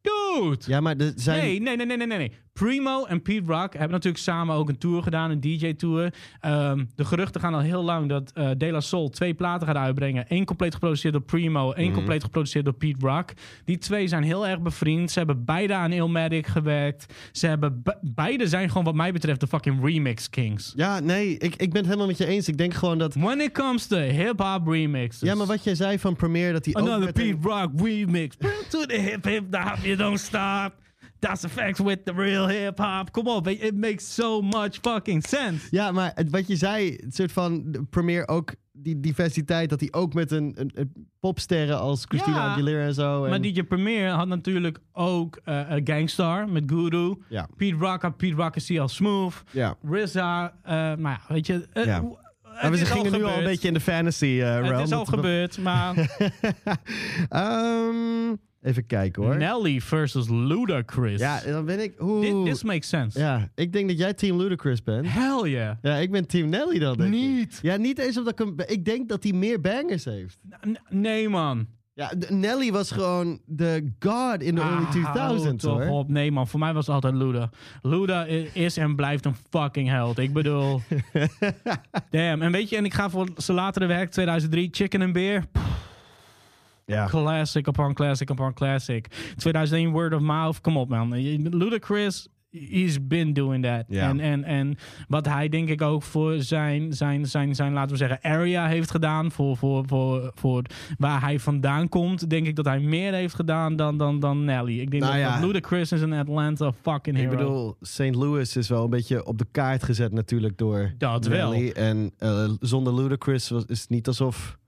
[SPEAKER 2] Dude!
[SPEAKER 3] Ja, maar er zijn...
[SPEAKER 2] Nee, nee, nee, nee, nee, nee, nee. Primo en Pete Rock hebben natuurlijk samen ook een tour gedaan, een DJ-tour. Ehm, de geruchten gaan al heel lang dat eh De La Soul twee platen gaat uitbrengen. Eén compleet geproduceerd door Primo,
[SPEAKER 3] Mhm.
[SPEAKER 2] één compleet geproduceerd door Pete Rock. Die twee zijn heel erg bevriend. Ze hebben beide aan Illmatic gewerkt. Ze hebben be- beide zijn gewoon wat mij betreft de fucking remix kings.
[SPEAKER 3] Ja, nee, ik, ik ben het helemaal met je eens. Ik denk gewoon dat...
[SPEAKER 2] When it comes to hip-hop remixes.
[SPEAKER 3] Ja, maar wat jij zei van Premier, dat hij ook
[SPEAKER 2] Another
[SPEAKER 3] meteen-
[SPEAKER 2] Oh, nou, Pete Rock remix. Bring to the hip hip the hop you don't stop. That's the facts with the real hip hop. Come on, baby. It makes so much fucking sense.
[SPEAKER 3] Ja, maar het- wat je zei, het soort van de Premier ook die diversiteit, dat hij ook met een, een, een popsterren als Christina
[SPEAKER 2] Ja,
[SPEAKER 3] Aguilera en zo. En,
[SPEAKER 2] Maar DJ Premier had natuurlijk ook eh, eh, Gangstar met Guru.
[SPEAKER 3] Ja.
[SPEAKER 2] Pete Rock had Pete Rock en CL Smooth.
[SPEAKER 3] ja.
[SPEAKER 2] RZA. eh, maar ja, weet je. eh,
[SPEAKER 3] Ja.
[SPEAKER 2] w- het
[SPEAKER 3] maar we
[SPEAKER 2] is al
[SPEAKER 3] gingen nu al een
[SPEAKER 2] gebeurd.
[SPEAKER 3] beetje in de fantasy eh realm.
[SPEAKER 2] Het is al
[SPEAKER 3] Dat we-
[SPEAKER 2] gebeurd, maar
[SPEAKER 3] Ehm, even kijken hoor.
[SPEAKER 2] Nelly versus Ludacris.
[SPEAKER 3] Ja, dan ben ik... Oeh.
[SPEAKER 2] Nou. Dit this makes sense.
[SPEAKER 3] Ja, ik denk dat jij Team Ludacris bent.
[SPEAKER 2] Hell yeah.
[SPEAKER 3] Ja, ik ben Team Nelly dan, denk ik.
[SPEAKER 2] Niet.
[SPEAKER 3] Ja, niet eens omdat ik hem... Ik denk dat hij meer bangers heeft.
[SPEAKER 2] N- nee, man.
[SPEAKER 3] Ja, de- Nelly was gewoon de god in de early
[SPEAKER 2] Ah,
[SPEAKER 3] 2000s,
[SPEAKER 2] hou toch
[SPEAKER 3] hoor.
[SPEAKER 2] op. Nee, man. Voor mij was het altijd Luda. Luda i- is en blijft een fucking held. Ik bedoel... damn. En weet je, en ik ga voor zijn latere werk, 2003, Chicken and Beer.
[SPEAKER 3] Ja.
[SPEAKER 2] Classic upon classic upon classic. 2001 Word of Mouth. Kom op, man. Ludacris, he's been doing that.
[SPEAKER 3] Ja.
[SPEAKER 2] En, en, en wat hij denk ik ook voor zijn, zijn, zijn, zijn laten we zeggen, area heeft gedaan. Voor, voor, voor, voor waar hij vandaan komt. Denk ik dat hij meer heeft gedaan dan, dan, dan Nelly. Ik denk
[SPEAKER 3] Nou
[SPEAKER 2] dat,
[SPEAKER 3] ja.
[SPEAKER 2] dat Ludacris is een Atlanta fucking
[SPEAKER 3] Ik
[SPEAKER 2] hero.
[SPEAKER 3] bedoel, St. Louis is wel een beetje op de kaart gezet natuurlijk door
[SPEAKER 2] Dat wel.
[SPEAKER 3] Nelly. En eh, zonder Ludacris was, is het niet alsof...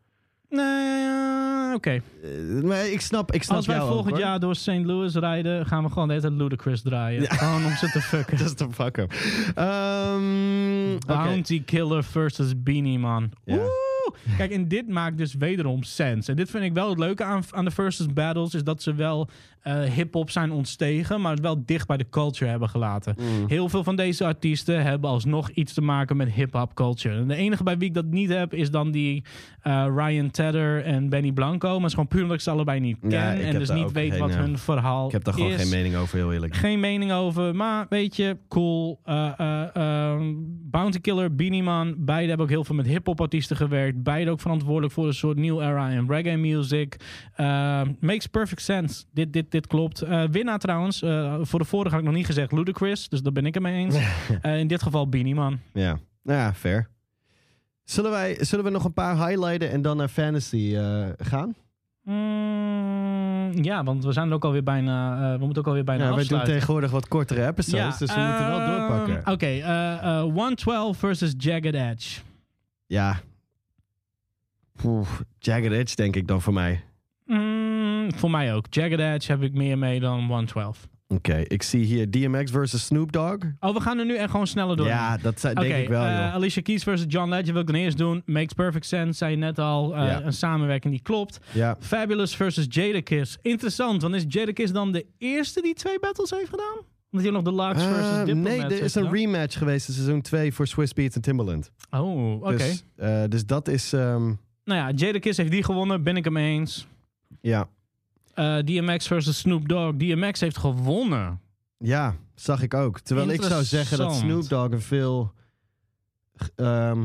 [SPEAKER 2] Nee, oké.
[SPEAKER 3] eh, maar ik snap, ik snap
[SPEAKER 2] Als wij
[SPEAKER 3] jou ook,
[SPEAKER 2] volgend
[SPEAKER 3] hoor.
[SPEAKER 2] jaar door St. Louis rijden, gaan we gewoon de hele tijd Ludacris draaien. Gewoon om ze te fucken.
[SPEAKER 3] Dat is te fucken. Ehm, oké.
[SPEAKER 2] Bounty Killer versus Beanie Man.
[SPEAKER 3] Ja.
[SPEAKER 2] Oeh! Kijk, en dit maakt dus wederom sens. En dit vind ik wel het leuke aan, aan de versus battles... is dat ze wel eh, hip-hop zijn ontstegen... maar het wel dicht bij de culture hebben gelaten.
[SPEAKER 3] Mm.
[SPEAKER 2] Heel veel van deze artiesten hebben alsnog iets te maken met hip-hop culture. En de enige bij wie ik dat niet heb... is dan die eh, Ryan Tedder en Benny Blanco. Maar het is gewoon puur omdat ik ze allebei niet ken...
[SPEAKER 3] Ja, ik
[SPEAKER 2] en
[SPEAKER 3] heb
[SPEAKER 2] dus
[SPEAKER 3] daar
[SPEAKER 2] niet
[SPEAKER 3] ook
[SPEAKER 2] weet
[SPEAKER 3] geen,
[SPEAKER 2] wat
[SPEAKER 3] eh,
[SPEAKER 2] hun verhaal
[SPEAKER 3] Ik heb daar gewoon
[SPEAKER 2] is
[SPEAKER 3] geen mening over, heel eerlijk.
[SPEAKER 2] geen mening over. Maar weet je, cool. Eh, eh, ehm, Bounty Killer, Beanie Man. Beide hebben ook heel veel met hip-hop artiesten gewerkt. Beide ook verantwoordelijk voor een soort new era in reggae music. Eh, makes perfect sense. Dit, dit, dit klopt. Eh, winnaar trouwens. eh, voor de vorige had ik nog niet gezegd Ludacris. Dus daar ben ik het mee eens. Eh, in dit geval Beanie Man.
[SPEAKER 3] Ja, nou ja, fair. Zullen, wij, zullen we nog een paar highlighten en dan naar fantasy eh, gaan?
[SPEAKER 2] Mm, ja, want we zijn er ook alweer bijna. eh, we moeten ook alweer bijna
[SPEAKER 3] Ja, wij doen
[SPEAKER 2] afsluiten.
[SPEAKER 3] tegenwoordig wat kortere episodes, dus we moeten wel
[SPEAKER 2] ehm,
[SPEAKER 3] doorpakken.
[SPEAKER 2] Oké, eh, eh, 112 versus Jagged Edge.
[SPEAKER 3] Ja. Oeh, Jagged Edge denk ik dan voor mij.
[SPEAKER 2] Mm, voor mij ook. Jagged Edge heb ik meer mee dan 112.
[SPEAKER 3] Oké, ik zie hier DMX versus Snoop Dogg.
[SPEAKER 2] Oh, we gaan er nu echt gewoon sneller door.
[SPEAKER 3] Ja, dat zou- denk
[SPEAKER 2] Oké,
[SPEAKER 3] ik wel,
[SPEAKER 2] eh,
[SPEAKER 3] joh.
[SPEAKER 2] Alicia Keys versus John Legend wil ik dan eerst doen. Makes perfect sense, zei je net al. Eh,
[SPEAKER 3] Ja.
[SPEAKER 2] Een samenwerking die klopt.
[SPEAKER 3] Ja.
[SPEAKER 2] Fabulous versus Jadakiss. Interessant, want is Jadakiss dan de eerste die twee battles heeft gedaan? Omdat hij nog de Larks versus
[SPEAKER 3] Eh,
[SPEAKER 2] Diplomat
[SPEAKER 3] nee, er
[SPEAKER 2] heeft
[SPEAKER 3] is een
[SPEAKER 2] gedaan.
[SPEAKER 3] rematch geweest in seizoen 2 voor Swiss Beats en Timbaland.
[SPEAKER 2] Oh, oké.
[SPEAKER 3] Dus, eh, dus dat is... ehm,
[SPEAKER 2] Nou ja, Jadakiss heeft die gewonnen, ben ik hem eens.
[SPEAKER 3] ja.
[SPEAKER 2] Eh, DMX versus Snoop Dogg. DMX heeft gewonnen.
[SPEAKER 3] ja, zag ik ook. Terwijl ik zou zeggen dat
[SPEAKER 2] Interessant.
[SPEAKER 3] Snoop Dogg een veel... g- ehm,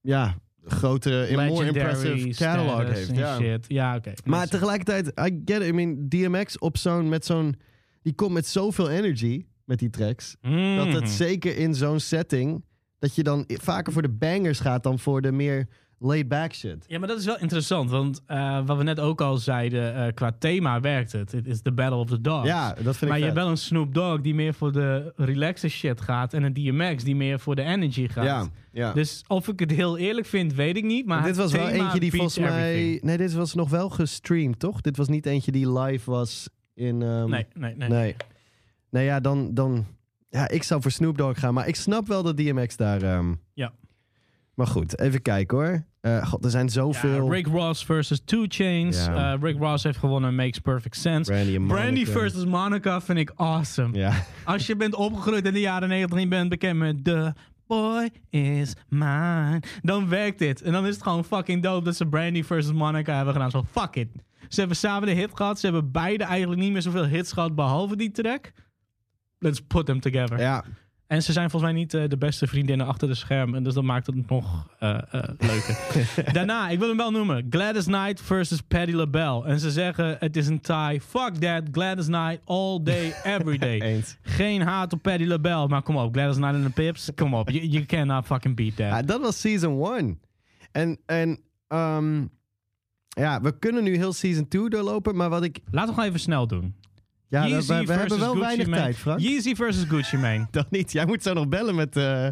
[SPEAKER 3] ja, grotere, in more impressive catalog
[SPEAKER 2] status
[SPEAKER 3] heeft.
[SPEAKER 2] en
[SPEAKER 3] Ja.
[SPEAKER 2] Shit. Ja, oké.
[SPEAKER 3] Maar
[SPEAKER 2] Dus-
[SPEAKER 3] tegelijkertijd, I get it. I mean, DMX op zo'n... Met zo'n die komt met zoveel energy met die tracks. Dat
[SPEAKER 2] Mhm.
[SPEAKER 3] het zeker in zo'n setting. dat je dan i- vaker voor de bangers gaat dan voor de meer laid-back shit.
[SPEAKER 2] Ja, maar dat is wel interessant, want eh, wat we net ook al zeiden, eh, qua thema werkt het. Het is de Battle of the Dogs.
[SPEAKER 3] Ja, dat vind
[SPEAKER 2] maar je
[SPEAKER 3] ik vet.
[SPEAKER 2] hebt wel een Snoop Dogg die meer voor de relaxe shit gaat en een DMX die meer voor de energy gaat.
[SPEAKER 3] Ja, ja.
[SPEAKER 2] Dus of ik het heel eerlijk vind, weet ik niet. Maar
[SPEAKER 3] dit was
[SPEAKER 2] het
[SPEAKER 3] wel
[SPEAKER 2] thema
[SPEAKER 3] eentje die
[SPEAKER 2] beats
[SPEAKER 3] volgens mij.
[SPEAKER 2] everything.
[SPEAKER 3] Nee, dit was nog wel gestreamd, toch? Dit was niet eentje die live was in. ehm,
[SPEAKER 2] Nee, nee, nee.
[SPEAKER 3] nee. Nou ja, dan. dan ja, ik zou voor Snoop Dogg gaan, maar ik snap wel dat DMX daar. ehm,
[SPEAKER 2] Ja.
[SPEAKER 3] Maar goed, even kijken hoor. Eh, God, er zijn
[SPEAKER 2] Ja,
[SPEAKER 3] zoveel.
[SPEAKER 2] Rick Ross versus Two Chains.
[SPEAKER 3] Ja.
[SPEAKER 2] Eh, Rick Ross heeft gewonnen, makes perfect sense.
[SPEAKER 3] Brandy en
[SPEAKER 2] Brandy
[SPEAKER 3] Monica.
[SPEAKER 2] versus Monica vind ik awesome.
[SPEAKER 3] Ja.
[SPEAKER 2] Als je bent opgegroeid in de jaren 90 en je bent bekend met The Boy Is Mine, dan werkt dit. En dan is het gewoon fucking dope dat ze Brandy versus Monica hebben gedaan. Zo, fuck it. Ze hebben samen de hit gehad. Ze hebben beide eigenlijk niet meer zoveel hits gehad behalve die track. Let's put them together.
[SPEAKER 3] ja.
[SPEAKER 2] En ze zijn volgens mij niet eh, de beste vriendinnen achter de schermen. En dus dat maakt het nog eh, eh, leuker. Daarna, ik wil hem wel noemen. Gladys Knight versus Patti LaBelle. En ze zeggen, het is een tie. Fuck that, Gladys Knight all day, every day.
[SPEAKER 3] Eens.
[SPEAKER 2] Geen haat op Paddy LaBelle, maar kom op. Gladys Knight en de Pips, kom op. You, you cannot fucking beat that.
[SPEAKER 3] Ja, dat was season 1. En, en ehm, ja, we kunnen nu heel season 2 doorlopen, maar wat ik...
[SPEAKER 2] Laten we gewoon even snel doen.
[SPEAKER 3] Ja, dat-
[SPEAKER 2] Yeezy
[SPEAKER 3] we, we
[SPEAKER 2] versus
[SPEAKER 3] hebben wel
[SPEAKER 2] Gucci
[SPEAKER 3] weinig
[SPEAKER 2] Mane.
[SPEAKER 3] tijd, Frank.
[SPEAKER 2] Yeezy versus Gucci Mane.
[SPEAKER 3] Dat niet. Jij moet zo nog bellen met... eh,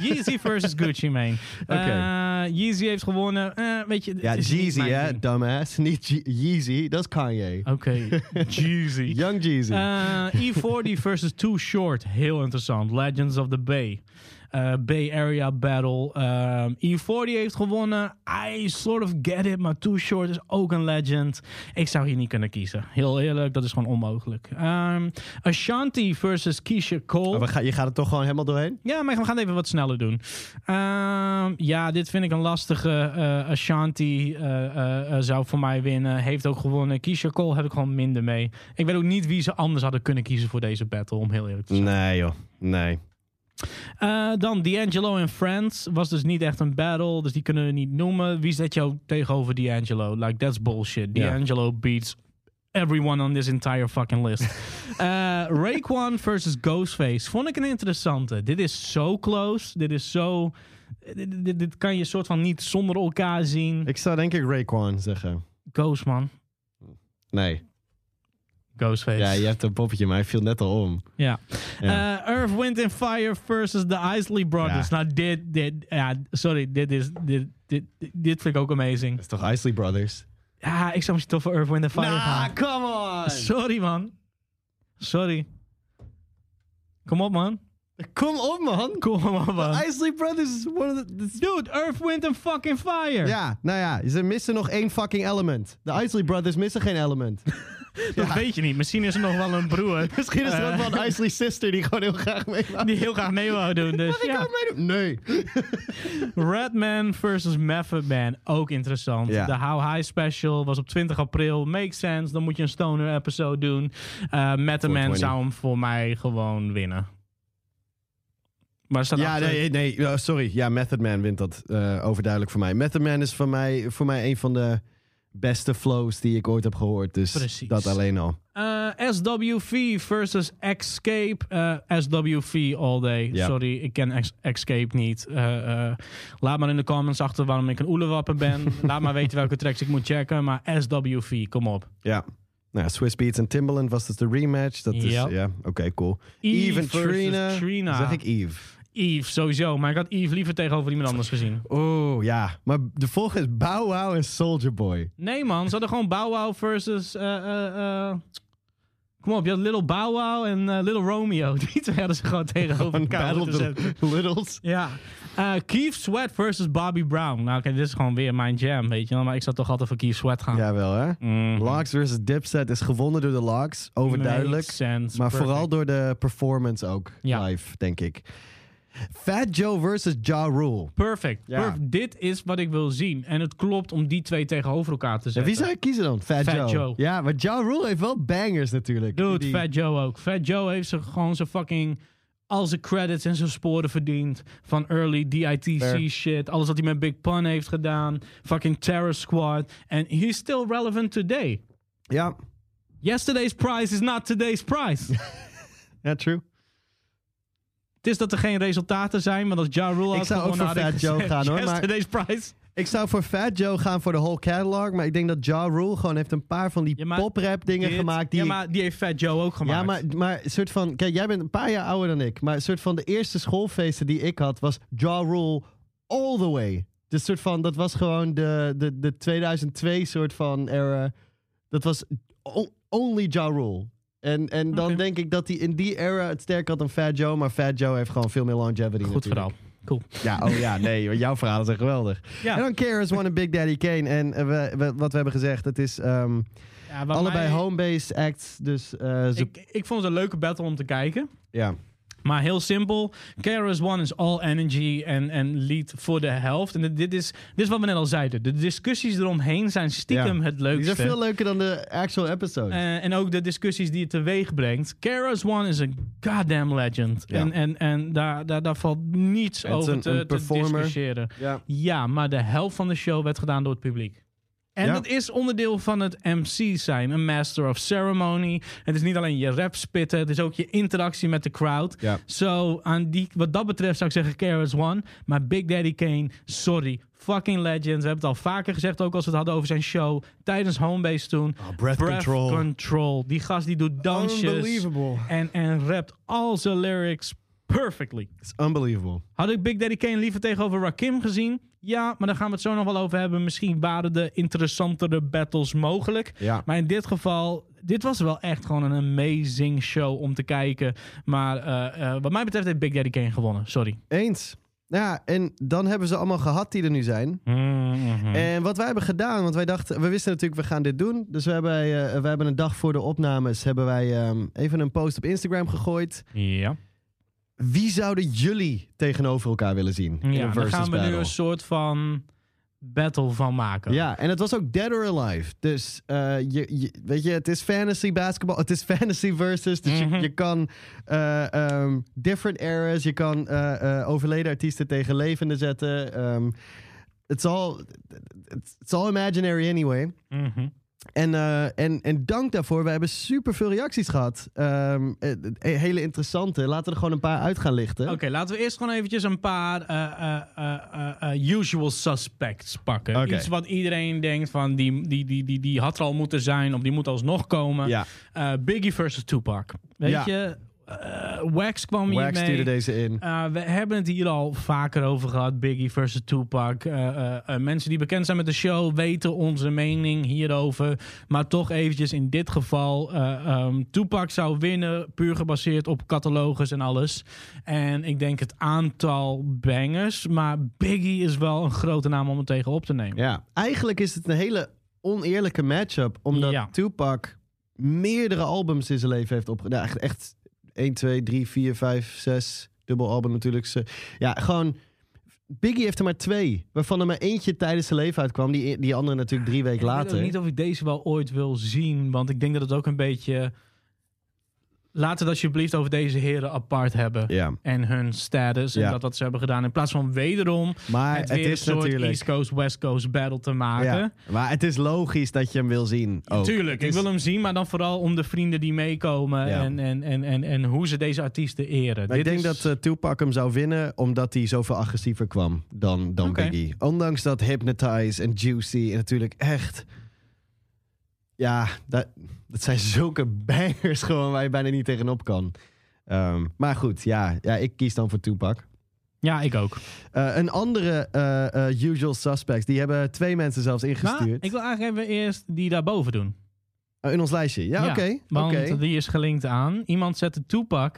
[SPEAKER 2] Yeezy versus Gucci Mane.
[SPEAKER 3] Oké.
[SPEAKER 2] Eh, Yeezy heeft gewonnen. Eh, weet je,
[SPEAKER 3] Ja,
[SPEAKER 2] het is niet
[SPEAKER 3] Jeezy,
[SPEAKER 2] mijn
[SPEAKER 3] hè,
[SPEAKER 2] ding.
[SPEAKER 3] dumbass. Niet Ye- Yeezy, dat is Kanye.
[SPEAKER 2] Oké, Jeezy.
[SPEAKER 3] Young Jeezy.
[SPEAKER 2] Eh, E40 versus Too Short. Heel interessant. Legends of the Bay. Eh, Bay Area Battle. Ehm, E40 heeft gewonnen. I sort of get it, maar Too Short is ook een legend. Ik zou hier niet kunnen kiezen. Heel eerlijk, dat is gewoon onmogelijk. Ehm, Ashanti versus Keisha Cole.
[SPEAKER 3] Maar we ga- je gaat er toch gewoon helemaal doorheen?
[SPEAKER 2] Ja, maar we gaan het even wat sneller doen. Ehm, ja, dit vind ik een lastige. eh, Ashanti eh, eh, eh, zou voor mij winnen. Heeft ook gewonnen. Keisha Cole heb ik gewoon minder mee. Ik weet ook niet wie ze anders hadden kunnen kiezen voor deze battle, om heel eerlijk te zijn.
[SPEAKER 3] Nee, joh. Nee.
[SPEAKER 2] Eh, dan D'Angelo en Friends. Was dus niet echt een battle, dus die kunnen we niet noemen. Wie zet jou tegenover D'Angelo? Like, that's bullshit.
[SPEAKER 3] Ja.
[SPEAKER 2] D'Angelo beats everyone on this entire fucking list. Eh Raekwon versus Ghostface. Vond ik een interessante. Dit is zo close. Dit is zo... Dit, dit- dit kan je soort van niet zonder elkaar zien.
[SPEAKER 3] Ik zou denk ik Raekwon zeggen.
[SPEAKER 2] Ghost, man.
[SPEAKER 3] Nee.
[SPEAKER 2] Ghostface.
[SPEAKER 3] Ja, je hebt een poppetje, maar hij viel net al om.
[SPEAKER 2] Ja.
[SPEAKER 3] Ja.
[SPEAKER 2] Eh, Earth, Wind and Fire versus de Isley Brothers.
[SPEAKER 3] Ja.
[SPEAKER 2] Nou, dit, dit, ja, sorry, dit is, dit, dit, dit vind ik ook amazing.
[SPEAKER 3] Dat is toch Isley Brothers?
[SPEAKER 2] Ja, ik zou misschien toch voor Earth, Wind and Fire
[SPEAKER 3] Nou,
[SPEAKER 2] gaan.
[SPEAKER 3] come on!
[SPEAKER 2] Sorry, man. Sorry. Kom op, man.
[SPEAKER 3] Kom op, man!
[SPEAKER 2] Kom op, man.
[SPEAKER 3] Isley Brothers is one of the... this-
[SPEAKER 2] Dude, Earth, Wind and fucking Fire.
[SPEAKER 3] Ja, nou ja, ze missen nog één fucking element. De Isley Brothers missen geen element.
[SPEAKER 2] Dat weet je niet. Misschien is er nog wel een broer
[SPEAKER 3] Misschien is er ook
[SPEAKER 2] Eh.
[SPEAKER 3] wel een Isley sister die gewoon heel graag mee wou.
[SPEAKER 2] die heel graag mee wou doen. Dus,
[SPEAKER 3] Ik
[SPEAKER 2] ja.
[SPEAKER 3] kan meedoen. Nee.
[SPEAKER 2] Redman versus Method Man. Ook interessant.
[SPEAKER 3] Ja.
[SPEAKER 2] De How High special was op 20 april. Makes sense. Dan moet je een stoner episode doen. Eh Method Man
[SPEAKER 3] 420.
[SPEAKER 2] zou hem voor mij gewoon winnen. Maar staat
[SPEAKER 3] Ja,
[SPEAKER 2] achter-
[SPEAKER 3] nee, nee eh, sorry. Ja, Method Man wint dat eh, overduidelijk voor mij. Method Man is voor mij, voor mij een van de beste flows die ik ooit heb gehoord. Dus
[SPEAKER 2] Precies.
[SPEAKER 3] dat alleen al.
[SPEAKER 2] Eh, SWV versus Escape. Eh, SWV all day.
[SPEAKER 3] Ja.
[SPEAKER 2] Sorry, ik ken Ex- Escape niet. Eh, eh, laat maar in de comments achter waarom ik een oelewapper ben. laat maar weten welke tracks ik moet checken. Maar SWV, kom op.
[SPEAKER 3] Ja. Nou, ja, Swiss Beats en Timbaland was dus de rematch. Dat is,
[SPEAKER 2] Ja.
[SPEAKER 3] ja, oké, cool.
[SPEAKER 2] Eve
[SPEAKER 3] Eve en
[SPEAKER 2] versus
[SPEAKER 3] Trina.
[SPEAKER 2] Trina.
[SPEAKER 3] Zeg ik Eve.
[SPEAKER 2] Eve, sowieso. Maar ik had Eve liever tegenover iemand anders gezien.
[SPEAKER 3] Oh, ja. Maar de volgende is Bow Wow en Soldier Boy.
[SPEAKER 2] Nee, man. Ze hadden gewoon Bow Wow versus... eh, eh, eh, Kom op, je had Little Bow Wow en eh, Little Romeo. Die twee hadden ze gewoon tegenover
[SPEAKER 3] Van
[SPEAKER 2] elkaar
[SPEAKER 3] Battle
[SPEAKER 2] moeten
[SPEAKER 3] of
[SPEAKER 2] zetten.
[SPEAKER 3] the Littles.
[SPEAKER 2] Ja. Eh Keith Sweat versus Bobby Brown. Nou, oké, dit is gewoon weer mijn jam, weet je wel. Maar ik zou toch altijd voor Keith Sweat gaan.
[SPEAKER 3] Jawel, hè?
[SPEAKER 2] Mm.
[SPEAKER 3] Locks versus Dipset is gewonnen door de Locks. Overduidelijk.
[SPEAKER 2] Makes sense.
[SPEAKER 3] Maar
[SPEAKER 2] Perfect.
[SPEAKER 3] vooral door de performance ook.
[SPEAKER 2] Ja.
[SPEAKER 3] Live, denk ik. Fat Joe versus Ja Rule.
[SPEAKER 2] Perfect.
[SPEAKER 3] Ja.
[SPEAKER 2] Perf- Dit is wat ik wil zien. En het klopt om die twee tegenover elkaar te
[SPEAKER 3] Ja,
[SPEAKER 2] zetten.
[SPEAKER 3] wie zou je kiezen dan? Fat,
[SPEAKER 2] Fat
[SPEAKER 3] Joe.
[SPEAKER 2] Joe.
[SPEAKER 3] Ja, maar Ja Rule heeft wel bangers natuurlijk.
[SPEAKER 2] Dude,
[SPEAKER 3] Die-
[SPEAKER 2] Fat Joe ook. Fat Joe heeft ze gewoon zijn fucking... Al zijn credits en zijn sporen verdiend. Van early DITC
[SPEAKER 3] Fair.
[SPEAKER 2] shit. Alles wat hij met Big Pun heeft gedaan. Fucking Terror Squad. En he's still relevant today.
[SPEAKER 3] Ja,
[SPEAKER 2] Yesterday's price is not today's price.
[SPEAKER 3] ja true.
[SPEAKER 2] Het is dat er geen resultaten zijn, want als Ja Rule had
[SPEAKER 3] Ik zou ook
[SPEAKER 2] gewonnen,
[SPEAKER 3] voor
[SPEAKER 2] had ik
[SPEAKER 3] Fat Joe
[SPEAKER 2] gezegd,
[SPEAKER 3] gaan, hoor, maar-
[SPEAKER 2] Yesterday's prize.
[SPEAKER 3] Ik zou voor Fat Joe gaan voor de whole catalog. Maar ik denk dat Ja Rule gewoon heeft een paar van die
[SPEAKER 2] Ja, maar
[SPEAKER 3] poprap dingen
[SPEAKER 2] Dit-
[SPEAKER 3] gemaakt. Die
[SPEAKER 2] ja,
[SPEAKER 3] ik-
[SPEAKER 2] maar die heeft Fat Joe ook gemaakt.
[SPEAKER 3] Ja, maar, maar een soort van... Kijk, jij bent een paar jaar ouder dan ik. Maar een soort van de eerste schoolfeesten die ik had... was Ja Rule all the way. Dus soort van... Dat was gewoon de, de, de 2002 soort van era. Dat was o- only Ja Rule. En, en dan
[SPEAKER 2] Oké.
[SPEAKER 3] denk ik dat hij in die era het sterk had dan Fat Joe. Maar Fat Joe heeft gewoon veel meer longevity
[SPEAKER 2] Goed
[SPEAKER 3] natuurlijk.
[SPEAKER 2] verhaal. Cool.
[SPEAKER 3] Ja, oh ja, nee. want Jouw verhalen zijn geweldig.
[SPEAKER 2] Ja.
[SPEAKER 3] En dan Keras One en Big Daddy Kane. En eh, we, we- wat we hebben gezegd, het is ehm,
[SPEAKER 2] Ja, wat
[SPEAKER 3] allebei
[SPEAKER 2] mij-
[SPEAKER 3] home-based acts. Dus eh, ze-
[SPEAKER 2] Ik, ik vond het een leuke battle om te kijken.
[SPEAKER 3] ja.
[SPEAKER 2] Maar heel simpel. Keras One is all energy en, en lead voor de helft. En dit- dit is, dit is wat we net al zeiden. De discussies eromheen zijn stiekem
[SPEAKER 3] Ja.
[SPEAKER 2] het
[SPEAKER 3] Die
[SPEAKER 2] leukste.
[SPEAKER 3] zijn veel leuker dan de actual episode.
[SPEAKER 2] Eh, en ook de discussies die het teweeg brengt. Keras One is een goddamn legend.
[SPEAKER 3] Ja.
[SPEAKER 2] En, en, en daar, daar, daar valt niets
[SPEAKER 3] Het is
[SPEAKER 2] over
[SPEAKER 3] een-
[SPEAKER 2] te,
[SPEAKER 3] een
[SPEAKER 2] te
[SPEAKER 3] performer.
[SPEAKER 2] discussiëren.
[SPEAKER 3] ja.
[SPEAKER 2] Ja, maar de helft van de show werd gedaan door het publiek. En
[SPEAKER 3] Ja.
[SPEAKER 2] dat is onderdeel van het MC zijn, een master of ceremony. Het is niet alleen je rap spitten, het is ook je interactie met de crowd.
[SPEAKER 3] Ja.
[SPEAKER 2] Zo, aan die, wat dat betreft zou ik zeggen Keras One. Maar Big Daddy Kane, sorry, fucking legend. We hebben het al vaker gezegd, ook als we het hadden over zijn show tijdens Homebase toen.
[SPEAKER 3] Oh, breath, control.
[SPEAKER 2] Control. Die gast die doet dansjes
[SPEAKER 3] Unbelievable.
[SPEAKER 2] en, en rapt al zijn lyrics perfectly.
[SPEAKER 3] It's unbelievable.
[SPEAKER 2] Had ik Big Daddy Kane liever tegenover Rakim gezien? Ja, maar daar gaan we het zo nog wel over hebben. Misschien waren de interessantere battles mogelijk.
[SPEAKER 3] Ja.
[SPEAKER 2] Maar in dit geval, dit was wel echt gewoon een amazing show om te kijken. Maar eh, eh, wat mij betreft heeft Big Daddy Kane gewonnen. Sorry.
[SPEAKER 3] Eens. Ja, en dan hebben ze allemaal gehad die er nu zijn.
[SPEAKER 2] Mhm. Eh,
[SPEAKER 3] En wat wij hebben gedaan, want wij dachten, we wisten natuurlijk, we gaan dit doen. Dus we hebben, eh, we hebben een dag voor de opnames, hebben wij ehm, even een post op Instagram gegooid.
[SPEAKER 2] Ja.
[SPEAKER 3] Wie zouden jullie tegenover elkaar willen zien in
[SPEAKER 2] ja
[SPEAKER 3] een
[SPEAKER 2] daar
[SPEAKER 3] versus
[SPEAKER 2] gaan we
[SPEAKER 3] battle?
[SPEAKER 2] nu een soort van battle van maken.
[SPEAKER 3] Ja, en het was ook Dead or Alive. Dus eh, je, je- weet je, het is fantasy basketball. Het is fantasy versus. Dus je-
[SPEAKER 2] Mhm.
[SPEAKER 3] je, kan eh, ehm, different eras. Je kan eh, eh, overleden artiesten tegen levende zetten. ehm it's, all, it's all imaginary anyway.
[SPEAKER 2] Mhm.
[SPEAKER 3] En, eh, en, en dank daarvoor. We hebben super veel reacties gehad. Ehm, eh, eh, hele interessante. Laten we er gewoon een paar uit gaan lichten.
[SPEAKER 2] Oké, laten we eerst gewoon eventjes een paar eh, eh, eh, eh, eh, usual suspects pakken.
[SPEAKER 3] Oké.
[SPEAKER 2] Iets wat iedereen denkt van die, die, die, die, die had er al moeten zijn of die moet alsnog komen.
[SPEAKER 3] Ja,
[SPEAKER 2] Eh, Biggie versus Tupac. Weet
[SPEAKER 3] Ja.
[SPEAKER 2] je, eh, Wax kwam hier
[SPEAKER 3] Wax
[SPEAKER 2] mee.
[SPEAKER 3] stuurde deze in.
[SPEAKER 2] Eh, we hebben het hier al vaker over gehad, Biggie versus Tupac. Eh, eh, eh, mensen die bekend zijn met de show weten onze mening hierover. Maar toch eventjes in dit geval, eh ehm, Tupac zou winnen, puur gebaseerd op catalogus en alles. En ik denk het aantal bangers, maar Biggie is wel een grote naam om het tegen op te nemen.
[SPEAKER 3] Ja, eigenlijk is het een hele oneerlijke matchup. Omdat
[SPEAKER 2] Ja.
[SPEAKER 3] Tupac meerdere albums in zijn leven heeft opgedaan. echt, echt 1, 2, 3, 4, 5, 6. Dubbel album natuurlijk. Ze- Ja, gewoon... Biggie heeft er maar twee. Waarvan er maar eentje tijdens zijn leven uitkwam. Die, die andere natuurlijk drie weken
[SPEAKER 2] Ik weet
[SPEAKER 3] later.
[SPEAKER 2] ook niet of ik deze wel ooit wil zien, want ik denk dat het ook een beetje... Laten we het alsjeblieft over deze heren apart hebben.
[SPEAKER 3] Ja,
[SPEAKER 2] en hun status en
[SPEAKER 3] Ja.
[SPEAKER 2] dat wat ze hebben gedaan. In plaats van wederom
[SPEAKER 3] maar
[SPEAKER 2] het
[SPEAKER 3] het,
[SPEAKER 2] weer een
[SPEAKER 3] is
[SPEAKER 2] soort
[SPEAKER 3] natuurlijk...
[SPEAKER 2] East Coast, West Coast battle te
[SPEAKER 3] Ja,
[SPEAKER 2] maken.
[SPEAKER 3] maar het is logisch dat je hem wil zien. ook.
[SPEAKER 2] Tuurlijk, ik
[SPEAKER 3] Het is-
[SPEAKER 2] wil hem zien, maar dan vooral om de vrienden die meekomen
[SPEAKER 3] Ja.
[SPEAKER 2] en, en, en, en, en hoe ze deze artiesten eren.
[SPEAKER 3] Maar ik denk
[SPEAKER 2] is-
[SPEAKER 3] dat eh, Tupac hem zou winnen omdat hij zoveel agressiever kwam dan, dan
[SPEAKER 2] Oké.
[SPEAKER 3] Biggie. Ondanks dat Hypnotize en Juicy en natuurlijk echt... Ja, dat, dat zijn zulke bangers gewoon waar je bijna niet tegenop kan. Ehm, maar goed, ja, ja, ik kies dan voor Tupac.
[SPEAKER 2] Ja, ik ook.
[SPEAKER 3] Eh, een andere eh, eh, Usual Suspects, die hebben twee mensen zelfs
[SPEAKER 2] Maar
[SPEAKER 3] ingestuurd.
[SPEAKER 2] ik wil eigenlijk even eerst die daarboven doen.
[SPEAKER 3] Eh, in ons lijstje, ja,
[SPEAKER 2] Ja,
[SPEAKER 3] oké.
[SPEAKER 2] Want
[SPEAKER 3] oké.
[SPEAKER 2] die is gelinkt aan. Iemand zette Tupac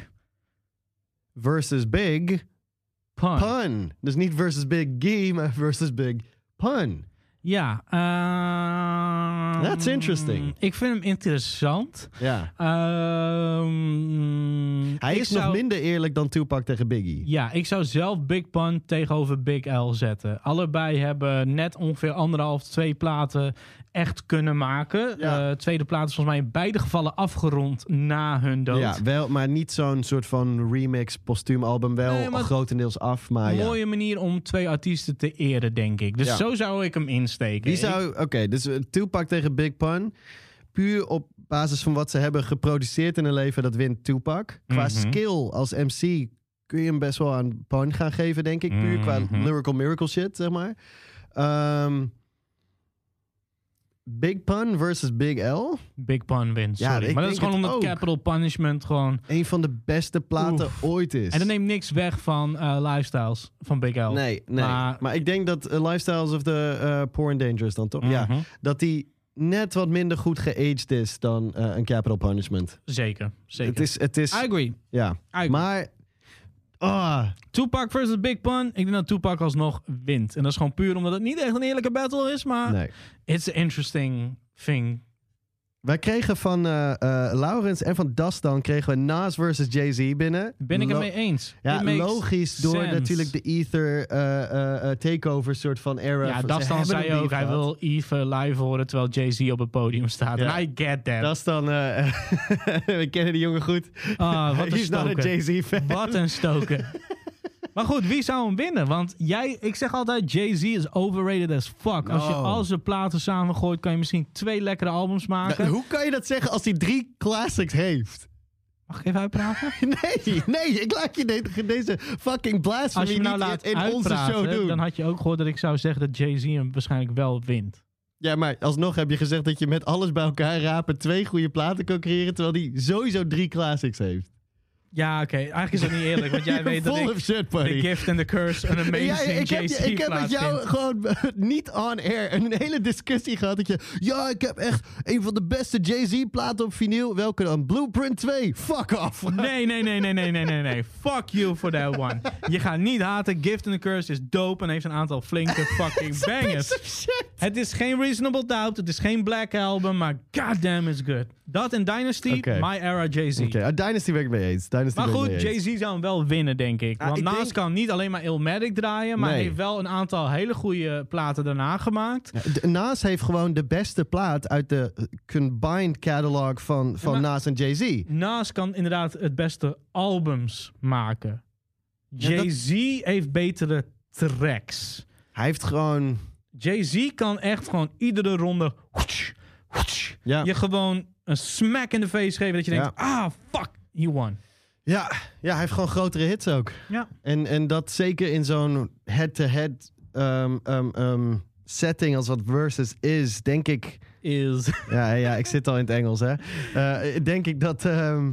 [SPEAKER 3] Versus Big
[SPEAKER 2] Pun.
[SPEAKER 3] Pun. Dus niet versus Big Gee, maar versus Big Pun.
[SPEAKER 2] Ja. ehm,
[SPEAKER 3] That's interesting.
[SPEAKER 2] Ik vind hem interessant.
[SPEAKER 3] Ja.
[SPEAKER 2] Ehm,
[SPEAKER 3] Hij
[SPEAKER 2] ik
[SPEAKER 3] is nog
[SPEAKER 2] zou-
[SPEAKER 3] minder eerlijk dan Tupac tegen Biggie.
[SPEAKER 2] Ja, ik zou zelf Big Pun tegenover Big L zetten. Allebei hebben net ongeveer anderhalf, twee platen echt kunnen maken.
[SPEAKER 3] Ja.
[SPEAKER 2] Eh, tweede plaat is volgens mij in beide gevallen afgerond na hun dood.
[SPEAKER 3] Ja, wel, maar niet zo'n soort van remix postuum album. Wel
[SPEAKER 2] Nee, maar-
[SPEAKER 3] grotendeels af, maar nou ja.
[SPEAKER 2] Mooie manier om twee artiesten te eren, denk ik. Dus
[SPEAKER 3] Ja.
[SPEAKER 2] zo zou ik hem insteken.
[SPEAKER 3] Wie zou... Oké, dus eh, Tupac tegen Big Pun. Puur op basis van wat ze hebben geproduceerd in hun leven, dat wint Tupac. Qua
[SPEAKER 2] Mhm.
[SPEAKER 3] skill als MC kun je hem best wel aan Pun gaan geven, denk ik. Puur qua
[SPEAKER 2] Mhm.
[SPEAKER 3] lyrical miracle shit, zeg maar. Ehm, Big Pun versus Big L.
[SPEAKER 2] Big Pun wint,
[SPEAKER 3] Ja,
[SPEAKER 2] sorry.
[SPEAKER 3] ik
[SPEAKER 2] maar dat is
[SPEAKER 3] denk
[SPEAKER 2] gewoon
[SPEAKER 3] het
[SPEAKER 2] omdat
[SPEAKER 3] ook.
[SPEAKER 2] Capital Punishment gewoon...
[SPEAKER 3] Een van de beste platen ooit is.
[SPEAKER 2] En dat neemt niks weg van eh, Lifestyles van Big L.
[SPEAKER 3] Nee, nee.
[SPEAKER 2] Oh, Maar-
[SPEAKER 3] Maar, ik denk dat eh, Lifestyles of the eh, Poor and Dangerous dan toch? Ja.
[SPEAKER 2] Mhm.
[SPEAKER 3] Dat die net wat minder goed geaged is dan eh, een Capital Punishment.
[SPEAKER 2] Zeker, zeker.
[SPEAKER 3] Het is, het is,
[SPEAKER 2] I agree. I
[SPEAKER 3] ja.
[SPEAKER 2] agree.
[SPEAKER 3] Maar, ah,
[SPEAKER 2] Tupac versus Big Pun. Ik denk dat Tupac alsnog wint. En dat is gewoon puur omdat het niet echt een eerlijke battle is, maar
[SPEAKER 3] nee.
[SPEAKER 2] it's an interesting thing.
[SPEAKER 3] Wij kregen van eh, eh, Laurens en van Das dan kregen we Nas versus Jay-Z binnen.
[SPEAKER 2] Ben ik het
[SPEAKER 3] Lo-
[SPEAKER 2] mee eens? It
[SPEAKER 3] Ja,
[SPEAKER 2] makes
[SPEAKER 3] logisch door
[SPEAKER 2] sense.
[SPEAKER 3] natuurlijk de Ether eh, eh, eh, takeover soort van era.
[SPEAKER 2] Ja,
[SPEAKER 3] Ze
[SPEAKER 2] Das dan
[SPEAKER 3] hebben
[SPEAKER 2] zei
[SPEAKER 3] een beef
[SPEAKER 2] ook, hij
[SPEAKER 3] gehad.
[SPEAKER 2] wil Eve live horen terwijl Jay-Z op het podium staat.
[SPEAKER 3] Ja.
[SPEAKER 2] En I get that.
[SPEAKER 3] Das dan, eh, we kennen die jongen goed.
[SPEAKER 2] Ah, wat een
[SPEAKER 3] He's not a
[SPEAKER 2] stoker.
[SPEAKER 3] Jay-Z fan.
[SPEAKER 2] Wat een stoker. maar goed, wie zou hem winnen? Want jij, ik zeg altijd, Jay-Z is overrated as fuck. Als je
[SPEAKER 3] No.
[SPEAKER 2] al zijn platen samengooit, kan je misschien twee lekkere albums maken.
[SPEAKER 3] Nou, hoe kan je dat zeggen als hij drie classics heeft?
[SPEAKER 2] Mag ik even uitpraten?
[SPEAKER 3] Nee, nee, ik laat je de- deze fucking blasphemy
[SPEAKER 2] Als je me nou
[SPEAKER 3] niet
[SPEAKER 2] laat
[SPEAKER 3] in, in onze
[SPEAKER 2] uitpraten,
[SPEAKER 3] show doen.
[SPEAKER 2] dan had je ook gehoord dat ik zou zeggen dat Jay-Z hem waarschijnlijk wel wint.
[SPEAKER 3] Ja, maar alsnog heb je gezegd dat je met alles bij elkaar rapen twee goede platen kan creëren, terwijl hij sowieso drie classics heeft.
[SPEAKER 2] Ja, oké. Eigenlijk is dat niet eerlijk, want jij weet dat
[SPEAKER 3] Full
[SPEAKER 2] ik
[SPEAKER 3] of shit,
[SPEAKER 2] The
[SPEAKER 3] buddy.
[SPEAKER 2] Gift and the Curse een amazing
[SPEAKER 3] Ja, ik, heb,
[SPEAKER 2] JC
[SPEAKER 3] ik heb met jou
[SPEAKER 2] plaatsvindt.
[SPEAKER 3] gewoon niet on air een hele discussie gehad. Dat je, ja, ik heb echt een van de beste Jay-Z-platen op vinyl. Welke dan? Blueprint 2. Fuck off.
[SPEAKER 2] Nee, nee, nee, nee, nee, nee, nee, nee. Fuck you for that one. Je gaat niet haten. Gift and the Curse is dope en heeft een aantal flinke fucking bangers.
[SPEAKER 3] Shit.
[SPEAKER 2] Het is geen Reasonable Doubt, het is geen Black Album, maar goddamn is good. Dat en Dynasty,
[SPEAKER 3] Oké.
[SPEAKER 2] my era Jay-Z.
[SPEAKER 3] Oké, ah, Dynasty ben ik mee eens. Dynasty
[SPEAKER 2] Maar
[SPEAKER 3] ben ik
[SPEAKER 2] goed,
[SPEAKER 3] mee eens.
[SPEAKER 2] Jay-Z zou hem wel winnen, denk ik.
[SPEAKER 3] Ah,
[SPEAKER 2] Want
[SPEAKER 3] ik
[SPEAKER 2] Nas
[SPEAKER 3] denk-
[SPEAKER 2] kan niet alleen maar Illmatic draaien, maar
[SPEAKER 3] Nee.
[SPEAKER 2] hij heeft wel een aantal hele goede platen daarna gemaakt.
[SPEAKER 3] D- Nas heeft gewoon de beste plaat uit de eh, combined catalog van, van
[SPEAKER 2] Ja, maar-
[SPEAKER 3] Nas en Jay-Z.
[SPEAKER 2] Nas kan inderdaad het beste albums maken.
[SPEAKER 3] Ja, dat-
[SPEAKER 2] Jay-Z heeft betere tracks.
[SPEAKER 3] Hij heeft gewoon...
[SPEAKER 2] Jay-Z kan echt gewoon iedere ronde hoetsch, hoetsch,
[SPEAKER 3] Ja.
[SPEAKER 2] je gewoon een smack in de face geven dat je
[SPEAKER 3] Ja.
[SPEAKER 2] denkt, ah, fuck, he won.
[SPEAKER 3] Ja, ja, hij heeft gewoon grotere hits ook.
[SPEAKER 2] Ja.
[SPEAKER 3] En, en dat zeker in zo'n head-to-head ehm, ehm, ehm, setting als wat Versus is, denk ik...
[SPEAKER 2] Is.
[SPEAKER 3] Ja, ja, ik zit al in het Engels, hè. Eh, denk ik dat ehm,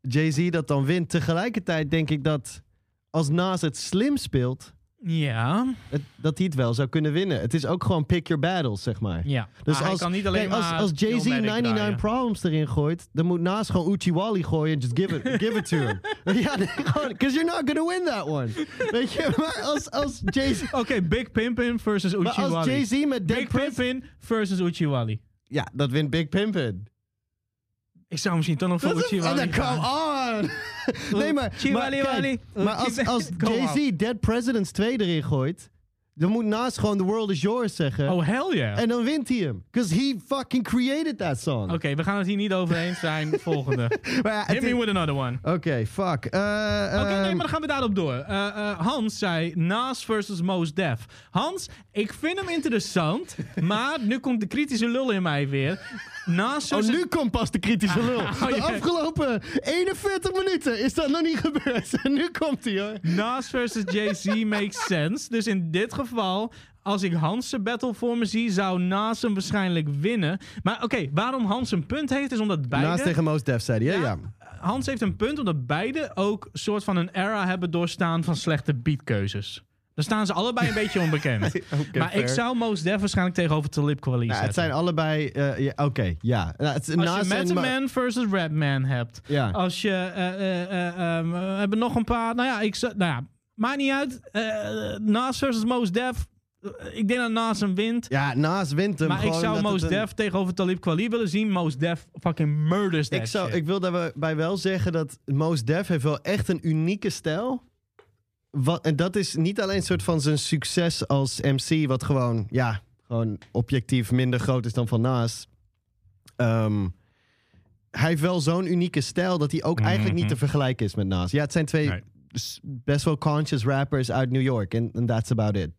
[SPEAKER 3] Jay-Z dat dan wint. Tegelijkertijd denk ik dat als Nas het slim speelt,
[SPEAKER 2] Ja,
[SPEAKER 3] het- dat hij het wel zou kunnen winnen. Het is ook gewoon pick your battles, zeg maar.
[SPEAKER 2] ja.
[SPEAKER 3] Dus
[SPEAKER 2] Maar hij
[SPEAKER 3] als,
[SPEAKER 2] kan niet alleen
[SPEAKER 3] kijk, als,
[SPEAKER 2] maar
[SPEAKER 3] als Jay-Z
[SPEAKER 2] Illmatic
[SPEAKER 3] 99
[SPEAKER 2] draaien.
[SPEAKER 3] Problems erin gooit, dan moet Nas gewoon Uchiwali gooien en just give it, give it to him. ja, nee, gewoon, because you're not gonna win that one. Weet je, maar als, als Jay-Z...
[SPEAKER 2] Oké, Big Pimpin versus
[SPEAKER 3] Maar als
[SPEAKER 2] Uchiwali.
[SPEAKER 3] Jay-Z met Dead
[SPEAKER 2] Big Pimpin versus Uchiwali.
[SPEAKER 3] Ja, dat wint Big Pimpin.
[SPEAKER 2] Ik zou misschien toch nog voor
[SPEAKER 3] Dat is- oh,
[SPEAKER 2] Uchiwali
[SPEAKER 3] dan
[SPEAKER 2] gaan.
[SPEAKER 3] come on! nee, maar, maar,
[SPEAKER 2] Chiwali,
[SPEAKER 3] kijk,
[SPEAKER 2] wali.
[SPEAKER 3] maar als, als
[SPEAKER 2] Come on.
[SPEAKER 3] Jay-Z Dead Presidents 2 erin gooit, dan moet Nas gewoon The World Is Yours zeggen.
[SPEAKER 2] Oh, hell yeah.
[SPEAKER 3] En dan wint hij hem. Because he fucking created that song.
[SPEAKER 2] Oké, we gaan het hier niet over eens zijn. Volgende.
[SPEAKER 3] Maar ja, het
[SPEAKER 2] Hit
[SPEAKER 3] is-
[SPEAKER 2] me with another one.
[SPEAKER 3] Oké, fuck.
[SPEAKER 2] Oké,
[SPEAKER 3] Eh,
[SPEAKER 2] nee,
[SPEAKER 3] ehm,
[SPEAKER 2] maar dan gaan we daarop door. Eh, eh, Hans zei Nas versus Mos Def. Hans, ik vind hem interessant, maar nu komt de kritische lul in mij weer. Nas
[SPEAKER 3] Oh,
[SPEAKER 2] versus...
[SPEAKER 3] nu komt pas de kritische lul. De
[SPEAKER 2] Ah, oh, ja.
[SPEAKER 3] afgelopen 41 minuten is dat nog niet gebeurd. En nu komt hij hoor.
[SPEAKER 2] Nas versus Jay-Z makes sense. Dus in dit geval, als ik Hans' battle voor me zie, zou Nas hem waarschijnlijk winnen. Maar oké, waarom Hans een punt heeft, is omdat beide...
[SPEAKER 3] Naast tegen Most Def zei hij, hè? ja.
[SPEAKER 2] Hans heeft een punt omdat beide ook soort van een era hebben doorstaan van slechte beatkeuzes. Daar staan ze allebei een beetje onbekend. maar ik
[SPEAKER 3] fair.
[SPEAKER 2] zou Mos Def waarschijnlijk tegenover Talib Kweli
[SPEAKER 3] Nou, het
[SPEAKER 2] zetten.
[SPEAKER 3] zijn allebei... eh, ja, Oké, ja. Nou, het is
[SPEAKER 2] Als
[SPEAKER 3] Nas
[SPEAKER 2] je
[SPEAKER 3] en
[SPEAKER 2] Method
[SPEAKER 3] Ma-
[SPEAKER 2] Man versus Red Man hebt.
[SPEAKER 3] Ja.
[SPEAKER 2] Als je... eh, eh, eh, ehm, we hebben nog een paar... Nou ja, ik, zou- nou ja maakt niet uit. Eh, Nas versus Mos Def. Eh, Ik denk dat Nas hem wint.
[SPEAKER 3] ja, Nas wint hem
[SPEAKER 2] maar ik
[SPEAKER 3] gewoon
[SPEAKER 2] zou
[SPEAKER 3] omdat
[SPEAKER 2] Mos
[SPEAKER 3] het een-
[SPEAKER 2] Def tegenover Talib Kweli willen zien. Mos Def fucking murders that
[SPEAKER 3] Ik, zou,
[SPEAKER 2] shit.
[SPEAKER 3] ik wil daarbij wel zeggen dat Most Def heeft wel echt een unieke stijl. Wat, en dat is niet alleen een soort van zijn succes als MC, wat gewoon, ja, gewoon objectief minder groot is dan van Nas. Ehm, hij heeft wel zo'n unieke stijl dat hij ook eigenlijk niet te vergelijken is met Nas. Ja, het zijn twee
[SPEAKER 2] Mhm. Nee.
[SPEAKER 3] s- best wel conscious rappers uit New York. En en that's about it.
[SPEAKER 2] Ja, Nou,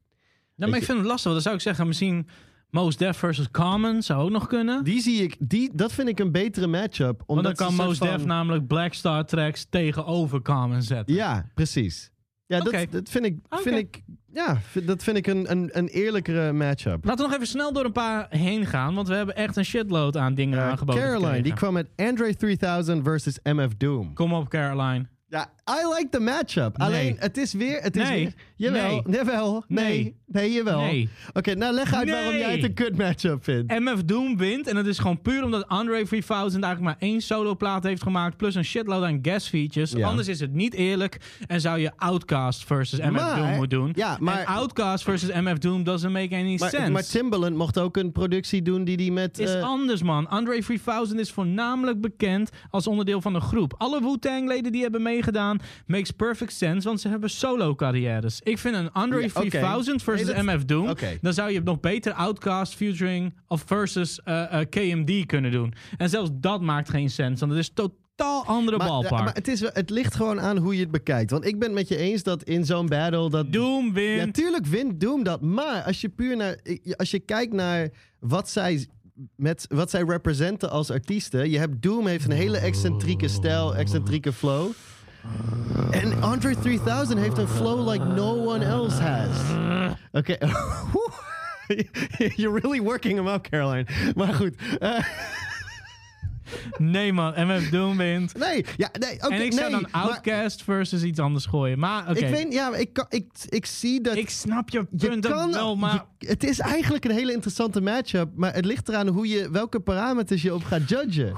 [SPEAKER 2] maar
[SPEAKER 3] Weet
[SPEAKER 2] ik vind het lastig. want Dan zou ik zeggen, misschien Mos Def versus Common zou ook nog kunnen.
[SPEAKER 3] Die zie ik, die, dat vind ik een betere matchup.
[SPEAKER 2] Want
[SPEAKER 3] Omdat
[SPEAKER 2] dan kan
[SPEAKER 3] ze een
[SPEAKER 2] Mos
[SPEAKER 3] soort
[SPEAKER 2] Def
[SPEAKER 3] van-
[SPEAKER 2] namelijk Black Star tracks tegenover Common zetten.
[SPEAKER 3] Ja, precies. Ja,
[SPEAKER 2] Oké.
[SPEAKER 3] dat, dat vind ik, vind
[SPEAKER 2] Oké.
[SPEAKER 3] ik, ja, vind- dat vind ik een, een, een eerlijkere matchup.
[SPEAKER 2] Laten we nog even snel door een paar heen gaan, want we hebben echt een shitload aan dingen
[SPEAKER 3] Eh,
[SPEAKER 2] aangeboden.
[SPEAKER 3] Caroline,
[SPEAKER 2] gekregen.
[SPEAKER 3] die kwam met Andre 3000 versus MF Doom.
[SPEAKER 2] Kom op, Caroline.
[SPEAKER 3] Ja, I like the matchup.
[SPEAKER 2] Nee.
[SPEAKER 3] Alleen, het is weer, het is
[SPEAKER 2] Nee.
[SPEAKER 3] weer, jawel,
[SPEAKER 2] Nee.
[SPEAKER 3] jawel, nee,
[SPEAKER 2] Nee.
[SPEAKER 3] nee, jawel.
[SPEAKER 2] Nee.
[SPEAKER 3] Oké, nou leg uit waarom
[SPEAKER 2] Nee.
[SPEAKER 3] jij het een kut matchup vindt.
[SPEAKER 2] MF Doom wint en dat is gewoon puur omdat Andre 3000 eigenlijk maar één soloplaat heeft gemaakt, plus een shitload aan guest features.
[SPEAKER 3] Ja.
[SPEAKER 2] Anders is het niet eerlijk en zou je Outcast versus MF
[SPEAKER 3] Maar-
[SPEAKER 2] Doom moeten doen.
[SPEAKER 3] ja, maar-
[SPEAKER 2] en Outcast versus MF Doom doesn't make any sense.
[SPEAKER 3] Maar, maar Timbaland mocht ook een productie doen die die met...
[SPEAKER 2] is
[SPEAKER 3] eh,
[SPEAKER 2] anders, man. Andre 3000 is voornamelijk bekend als onderdeel van een groep. Alle Wu-Tang-leden die hebben meegedaan, makes perfect sense, want ze hebben solo-carrières. Ik vind een Andre
[SPEAKER 3] Ja, oké.
[SPEAKER 2] 3000 versus
[SPEAKER 3] Nee, dat-
[SPEAKER 2] MF Doom,
[SPEAKER 3] oké.
[SPEAKER 2] dan zou je nog beter Outcast, Futuring of versus eh, eh, KMD kunnen doen. En zelfs dat maakt geen sens, want het is totaal andere
[SPEAKER 3] maar,
[SPEAKER 2] balpark.
[SPEAKER 3] maar het, is, wel- het ligt gewoon aan hoe je het bekijkt. Want ik ben het met je eens dat in zo'n battle... Dat
[SPEAKER 2] Doom wint.
[SPEAKER 3] Ja, tuurlijk wint Doom dat. Maar als je puur naar. Als je kijkt naar wat zij. Met wat zij representen als artiesten. Je hebt Doom heeft een hele excentrieke stijl, excentrieke flow. En Andre 3000 heeft een flow like no one else has. Oké. You're really working him up, Caroline. Maar goed. eh,
[SPEAKER 2] Nee man, MF Doom wint.
[SPEAKER 3] Nee, ja, nee, oké,
[SPEAKER 2] en ik zou
[SPEAKER 3] nee,
[SPEAKER 2] dan
[SPEAKER 3] maar
[SPEAKER 2] Outcast versus iets anders gooien. Maar oké,
[SPEAKER 3] Ik weet, ja, maar ik, kan- ik, ik zie dat...
[SPEAKER 2] ik snap je
[SPEAKER 3] je
[SPEAKER 2] punt ook
[SPEAKER 3] kan,
[SPEAKER 2] wel, maar...
[SPEAKER 3] je- het is eigenlijk een hele interessante matchup, maar het ligt eraan hoe je, welke parameters je op gaat judgen.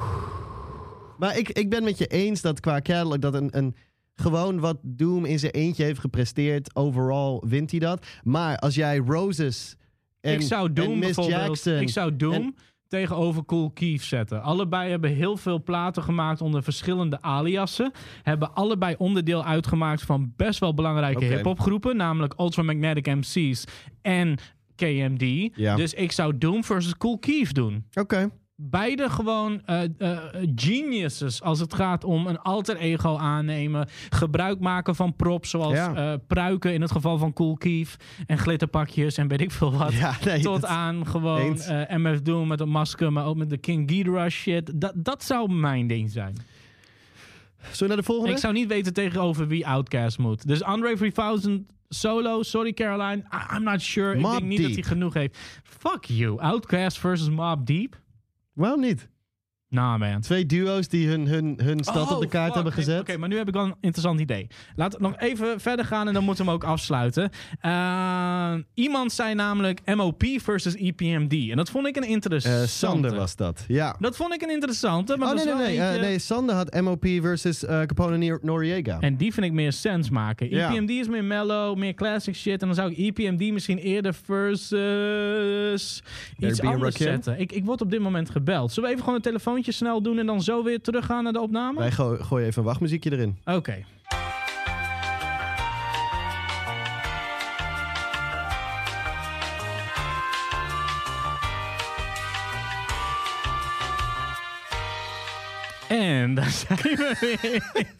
[SPEAKER 3] Maar ik, ik ben met je eens dat qua Cadillac dat een, een gewoon wat Doom in zijn eentje heeft gepresteerd, overal wint hij dat. Maar als jij Roses en,
[SPEAKER 2] ik zou
[SPEAKER 3] en
[SPEAKER 2] Doom
[SPEAKER 3] Miss
[SPEAKER 2] bijvoorbeeld.
[SPEAKER 3] Jackson,
[SPEAKER 2] Ik zou Doom
[SPEAKER 3] en-
[SPEAKER 2] tegenover Cool Keef zetten. Allebei hebben heel veel platen gemaakt onder verschillende aliassen. Hebben allebei onderdeel uitgemaakt van best wel belangrijke
[SPEAKER 3] Oké.
[SPEAKER 2] hip-hopgroepen. Namelijk Ultramagnetic MC's en KMD.
[SPEAKER 3] Ja.
[SPEAKER 2] Dus ik zou Doom versus Cool Keef doen.
[SPEAKER 3] oké,
[SPEAKER 2] Beide gewoon eh, eh, geniuses als het gaat om een alter ego aannemen. Gebruik maken van props zoals
[SPEAKER 3] Ja.
[SPEAKER 2] eh, pruiken in het geval van Cool Keef. En glitterpakjes en weet ik veel wat.
[SPEAKER 3] ja, nee,
[SPEAKER 2] Tot
[SPEAKER 3] dat-
[SPEAKER 2] aan gewoon
[SPEAKER 3] Eens.
[SPEAKER 2] eh, MF Doom met een masker, maar ook met de King Ghidorah shit. Dat, dat zou mijn ding zijn.
[SPEAKER 3] Zullen we naar de volgende?
[SPEAKER 2] Ik zou niet weten tegenover wie Outcast moet. Dus Andre 3000 solo, sorry Caroline, I- I'm not sure.
[SPEAKER 3] Mobb
[SPEAKER 2] Ik denk niet dat hij
[SPEAKER 3] Deep.
[SPEAKER 2] genoeg heeft. Fuck you, Outcast versus Mob Deep?
[SPEAKER 3] Waarom niet?
[SPEAKER 2] Nah man.
[SPEAKER 3] Twee duo's die hun, hun, hun stad op de
[SPEAKER 2] Oh,
[SPEAKER 3] kaart
[SPEAKER 2] fuck.
[SPEAKER 3] hebben
[SPEAKER 2] Nee,
[SPEAKER 3] gezet.
[SPEAKER 2] Oké, maar nu heb ik wel een interessant idee. Laten we nog even verder gaan en dan moeten we hem ook afsluiten. Eh, iemand zei namelijk MOP versus E EPMD. En dat vond ik een
[SPEAKER 3] Eh,
[SPEAKER 2] interessante.
[SPEAKER 3] Sander was dat, ja.
[SPEAKER 2] Dat vond ik een interessante. Maar
[SPEAKER 3] Oh nee,
[SPEAKER 2] dat
[SPEAKER 3] nee,
[SPEAKER 2] is wel
[SPEAKER 3] nee.
[SPEAKER 2] eentje-
[SPEAKER 3] eh, nee, Sander had MOP versus eh, Capone Nier- Noriega.
[SPEAKER 2] En die vind ik meer sens maken. E
[SPEAKER 3] Ja.
[SPEAKER 2] EPMD is meer mellow, meer classic shit. En dan zou ik E EPMD misschien eerder versus iets
[SPEAKER 3] be a
[SPEAKER 2] anders
[SPEAKER 3] Rakim.
[SPEAKER 2] zetten. Ik, ik word op dit moment gebeld. Zullen we even gewoon een telefoontje snel doen en dan zo weer teruggaan naar de opname?
[SPEAKER 3] Wij go- gooien even een wachtmuziekje erin.
[SPEAKER 2] Oké. En daar zijn we weer.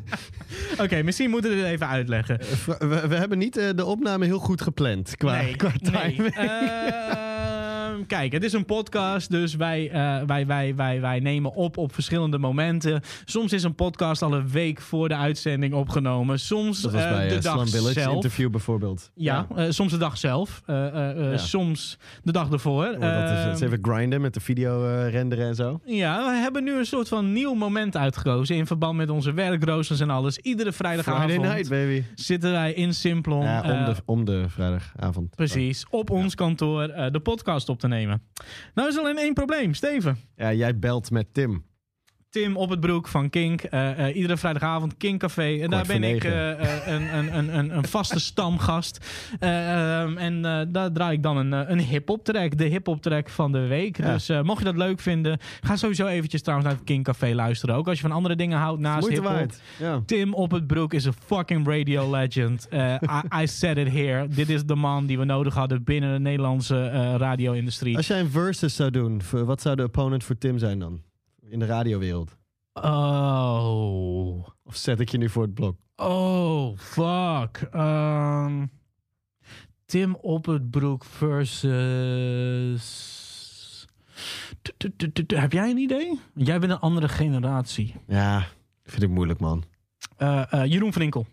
[SPEAKER 2] Oké, misschien moeten we dit even uitleggen.
[SPEAKER 3] Eh, Fra- We, we hebben niet eh, de opname heel goed gepland qua, qua timing.
[SPEAKER 2] nee. Ehm, kijk, het is een podcast, dus wij, eh, wij, wij, wij, wij nemen op op verschillende momenten. Soms is een podcast al een week voor de uitzending opgenomen. Soms
[SPEAKER 3] Dat was
[SPEAKER 2] eh,
[SPEAKER 3] bij
[SPEAKER 2] de
[SPEAKER 3] eh,
[SPEAKER 2] dag
[SPEAKER 3] Slam Village
[SPEAKER 2] zelf.
[SPEAKER 3] interview bijvoorbeeld. Oh,
[SPEAKER 2] Ja, eh, soms de dag zelf. eh, eh, eh,
[SPEAKER 3] Ja.
[SPEAKER 2] Soms de dag ervoor.
[SPEAKER 3] Oh, dat is, dat is
[SPEAKER 2] Ehm,
[SPEAKER 3] even grinden met de video eh, renderen en zo.
[SPEAKER 2] ja, we hebben nu een soort van nieuw moment uitgekozen in verband met onze werkroosters en alles. Iedere vrijdagavond
[SPEAKER 3] Friday night, baby.
[SPEAKER 2] zitten wij in Simplon.
[SPEAKER 3] Ja,
[SPEAKER 2] eh,
[SPEAKER 3] om, de, om de vrijdagavond.
[SPEAKER 2] Precies, op ons kantoor eh, de podcast op te nemen. Nou is alleen één probleem, Steven.
[SPEAKER 3] Ja, jij belt met Tim.
[SPEAKER 2] Tim op het broek van Kink. eh, eh, iedere vrijdagavond Kink Café. En daar
[SPEAKER 3] voor
[SPEAKER 2] ben ik
[SPEAKER 3] negen.
[SPEAKER 2] eh, eh, een, een, een, een, een vaste stamgast. Eh, ehm, en eh, daar draai ik dan een, eh, een hip-hop track. De hip-hop track van de week.
[SPEAKER 3] Ja.
[SPEAKER 2] Dus eh, mocht je dat leuk vinden, ga sowieso eventjes trouwens naar het Kink Café luisteren. Ook als je van andere dingen houdt naast
[SPEAKER 3] Moeite
[SPEAKER 2] hip-hop.
[SPEAKER 3] waard. Ja.
[SPEAKER 2] Tim op het broek is een fucking radio legend. Eh, I, I said it here. Dit is de man die we nodig hadden binnen de Nederlandse eh, radio-industrie.
[SPEAKER 3] Als jij een versus zou doen, voor- wat zou de opponent voor Tim zijn dan? In de radiowereld.
[SPEAKER 2] Oh.
[SPEAKER 3] Of zet ik je nu voor het blok?
[SPEAKER 2] Oh, fuck. Ehm, Tim op het broek versus... Tu- tu- tu- tu- tu- Heb jij een idee? Jij bent een andere generatie.
[SPEAKER 3] Ja, vind ik moeilijk, man.
[SPEAKER 2] Eh, eh, Jeroen van Inkel.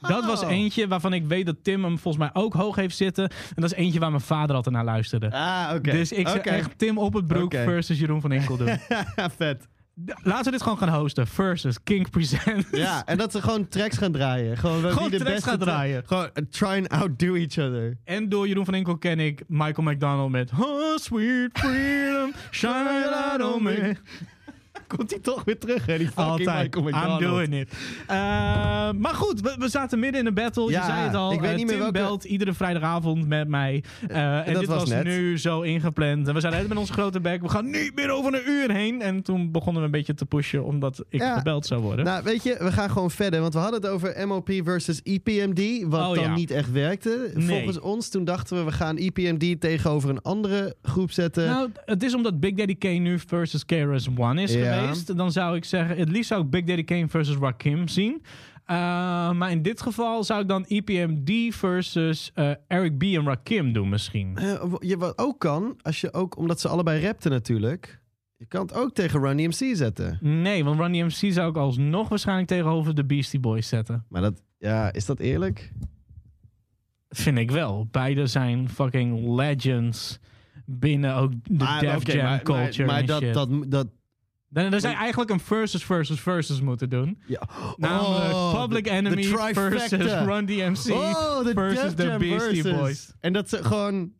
[SPEAKER 2] Dat was
[SPEAKER 3] Oh.
[SPEAKER 2] eentje waarvan ik weet dat Tim hem volgens mij ook hoog heeft zitten. En dat is eentje waar mijn vader altijd naar luisterde.
[SPEAKER 3] Ah, oké.
[SPEAKER 2] Dus ik zou
[SPEAKER 3] Oké.
[SPEAKER 2] echt Tim op het broek
[SPEAKER 3] Oké.
[SPEAKER 2] versus Jeroen van Inkel doen.
[SPEAKER 3] Vet.
[SPEAKER 2] D- Laten we dit gewoon gaan hosten. Versus King Presents.
[SPEAKER 3] Ja, en dat ze gewoon tracks gaan draaien. Gewoon, wie
[SPEAKER 2] Gewoon
[SPEAKER 3] de
[SPEAKER 2] tracks
[SPEAKER 3] beste
[SPEAKER 2] gaan
[SPEAKER 3] tra-
[SPEAKER 2] draaien.
[SPEAKER 3] Gewoon eh, try and outdo each other.
[SPEAKER 2] En door Jeroen van Enkel ken ik Michael McDonald met Oh, sweet freedom, shine out on me.
[SPEAKER 3] Komt hij toch weer terug, hè? Die fucking
[SPEAKER 2] Altijd,
[SPEAKER 3] Michael
[SPEAKER 2] I'm
[SPEAKER 3] McDonald.
[SPEAKER 2] doing it. Eh, maar goed, we, we zaten midden in een battle. Je
[SPEAKER 3] Ja,
[SPEAKER 2] zei het al,
[SPEAKER 3] ik weet
[SPEAKER 2] eh,
[SPEAKER 3] niet meer
[SPEAKER 2] Tim
[SPEAKER 3] welke-
[SPEAKER 2] belt iedere vrijdagavond met mij. Eh, en
[SPEAKER 3] dat
[SPEAKER 2] dit was,
[SPEAKER 3] was net.
[SPEAKER 2] nu zo ingepland. En we zeiden met onze grote bek, we gaan niet meer over een uur heen. En toen begonnen we een beetje te pushen, omdat ik
[SPEAKER 3] Ja.
[SPEAKER 2] gebeld zou worden.
[SPEAKER 3] Nou, weet je, we gaan gewoon verder. Want we hadden het over MOP versus E EPMD. Wat
[SPEAKER 2] Oh,
[SPEAKER 3] dan
[SPEAKER 2] ja.
[SPEAKER 3] niet echt werkte.
[SPEAKER 2] Nee.
[SPEAKER 3] Volgens ons, toen dachten we, we gaan E EPMD tegenover een andere groep zetten.
[SPEAKER 2] Nou, het is omdat Big Daddy Kane nu versus KRS-One is
[SPEAKER 3] Ja.
[SPEAKER 2] geweest. Dan zou ik zeggen, het liefst zou ik Big Daddy Kane versus Rakim zien. Uh, maar in dit geval zou ik dan E EPMD versus eh, Eric B. en Rakim doen misschien.
[SPEAKER 3] Eh, w- je, wat ook kan, als je ook, omdat ze allebei rapten natuurlijk. Je kan het ook tegen Run DMC zetten.
[SPEAKER 2] Nee, want Run DMC zou ik alsnog waarschijnlijk tegenover de Beastie Boys zetten.
[SPEAKER 3] Maar dat, ja, is dat eerlijk?
[SPEAKER 2] Vind ik wel. Beide zijn fucking legends binnen ook de
[SPEAKER 3] Maar,
[SPEAKER 2] Def
[SPEAKER 3] oké,
[SPEAKER 2] Jam
[SPEAKER 3] maar- maar-
[SPEAKER 2] culture
[SPEAKER 3] Maar,
[SPEAKER 2] en
[SPEAKER 3] dat,
[SPEAKER 2] shit.
[SPEAKER 3] dat, dat,
[SPEAKER 2] Dan, dan zou je eigenlijk een versus versus versus moeten doen.
[SPEAKER 3] Ja.
[SPEAKER 2] Namelijk
[SPEAKER 3] Oh,
[SPEAKER 2] Public
[SPEAKER 3] de-
[SPEAKER 2] Enemy
[SPEAKER 3] de trifecta.
[SPEAKER 2] versus Run DMC
[SPEAKER 3] Oh, de
[SPEAKER 2] versus
[SPEAKER 3] Def
[SPEAKER 2] de
[SPEAKER 3] Jam
[SPEAKER 2] Beastie
[SPEAKER 3] versus.
[SPEAKER 2] Boys.
[SPEAKER 3] En dat ze gewoon...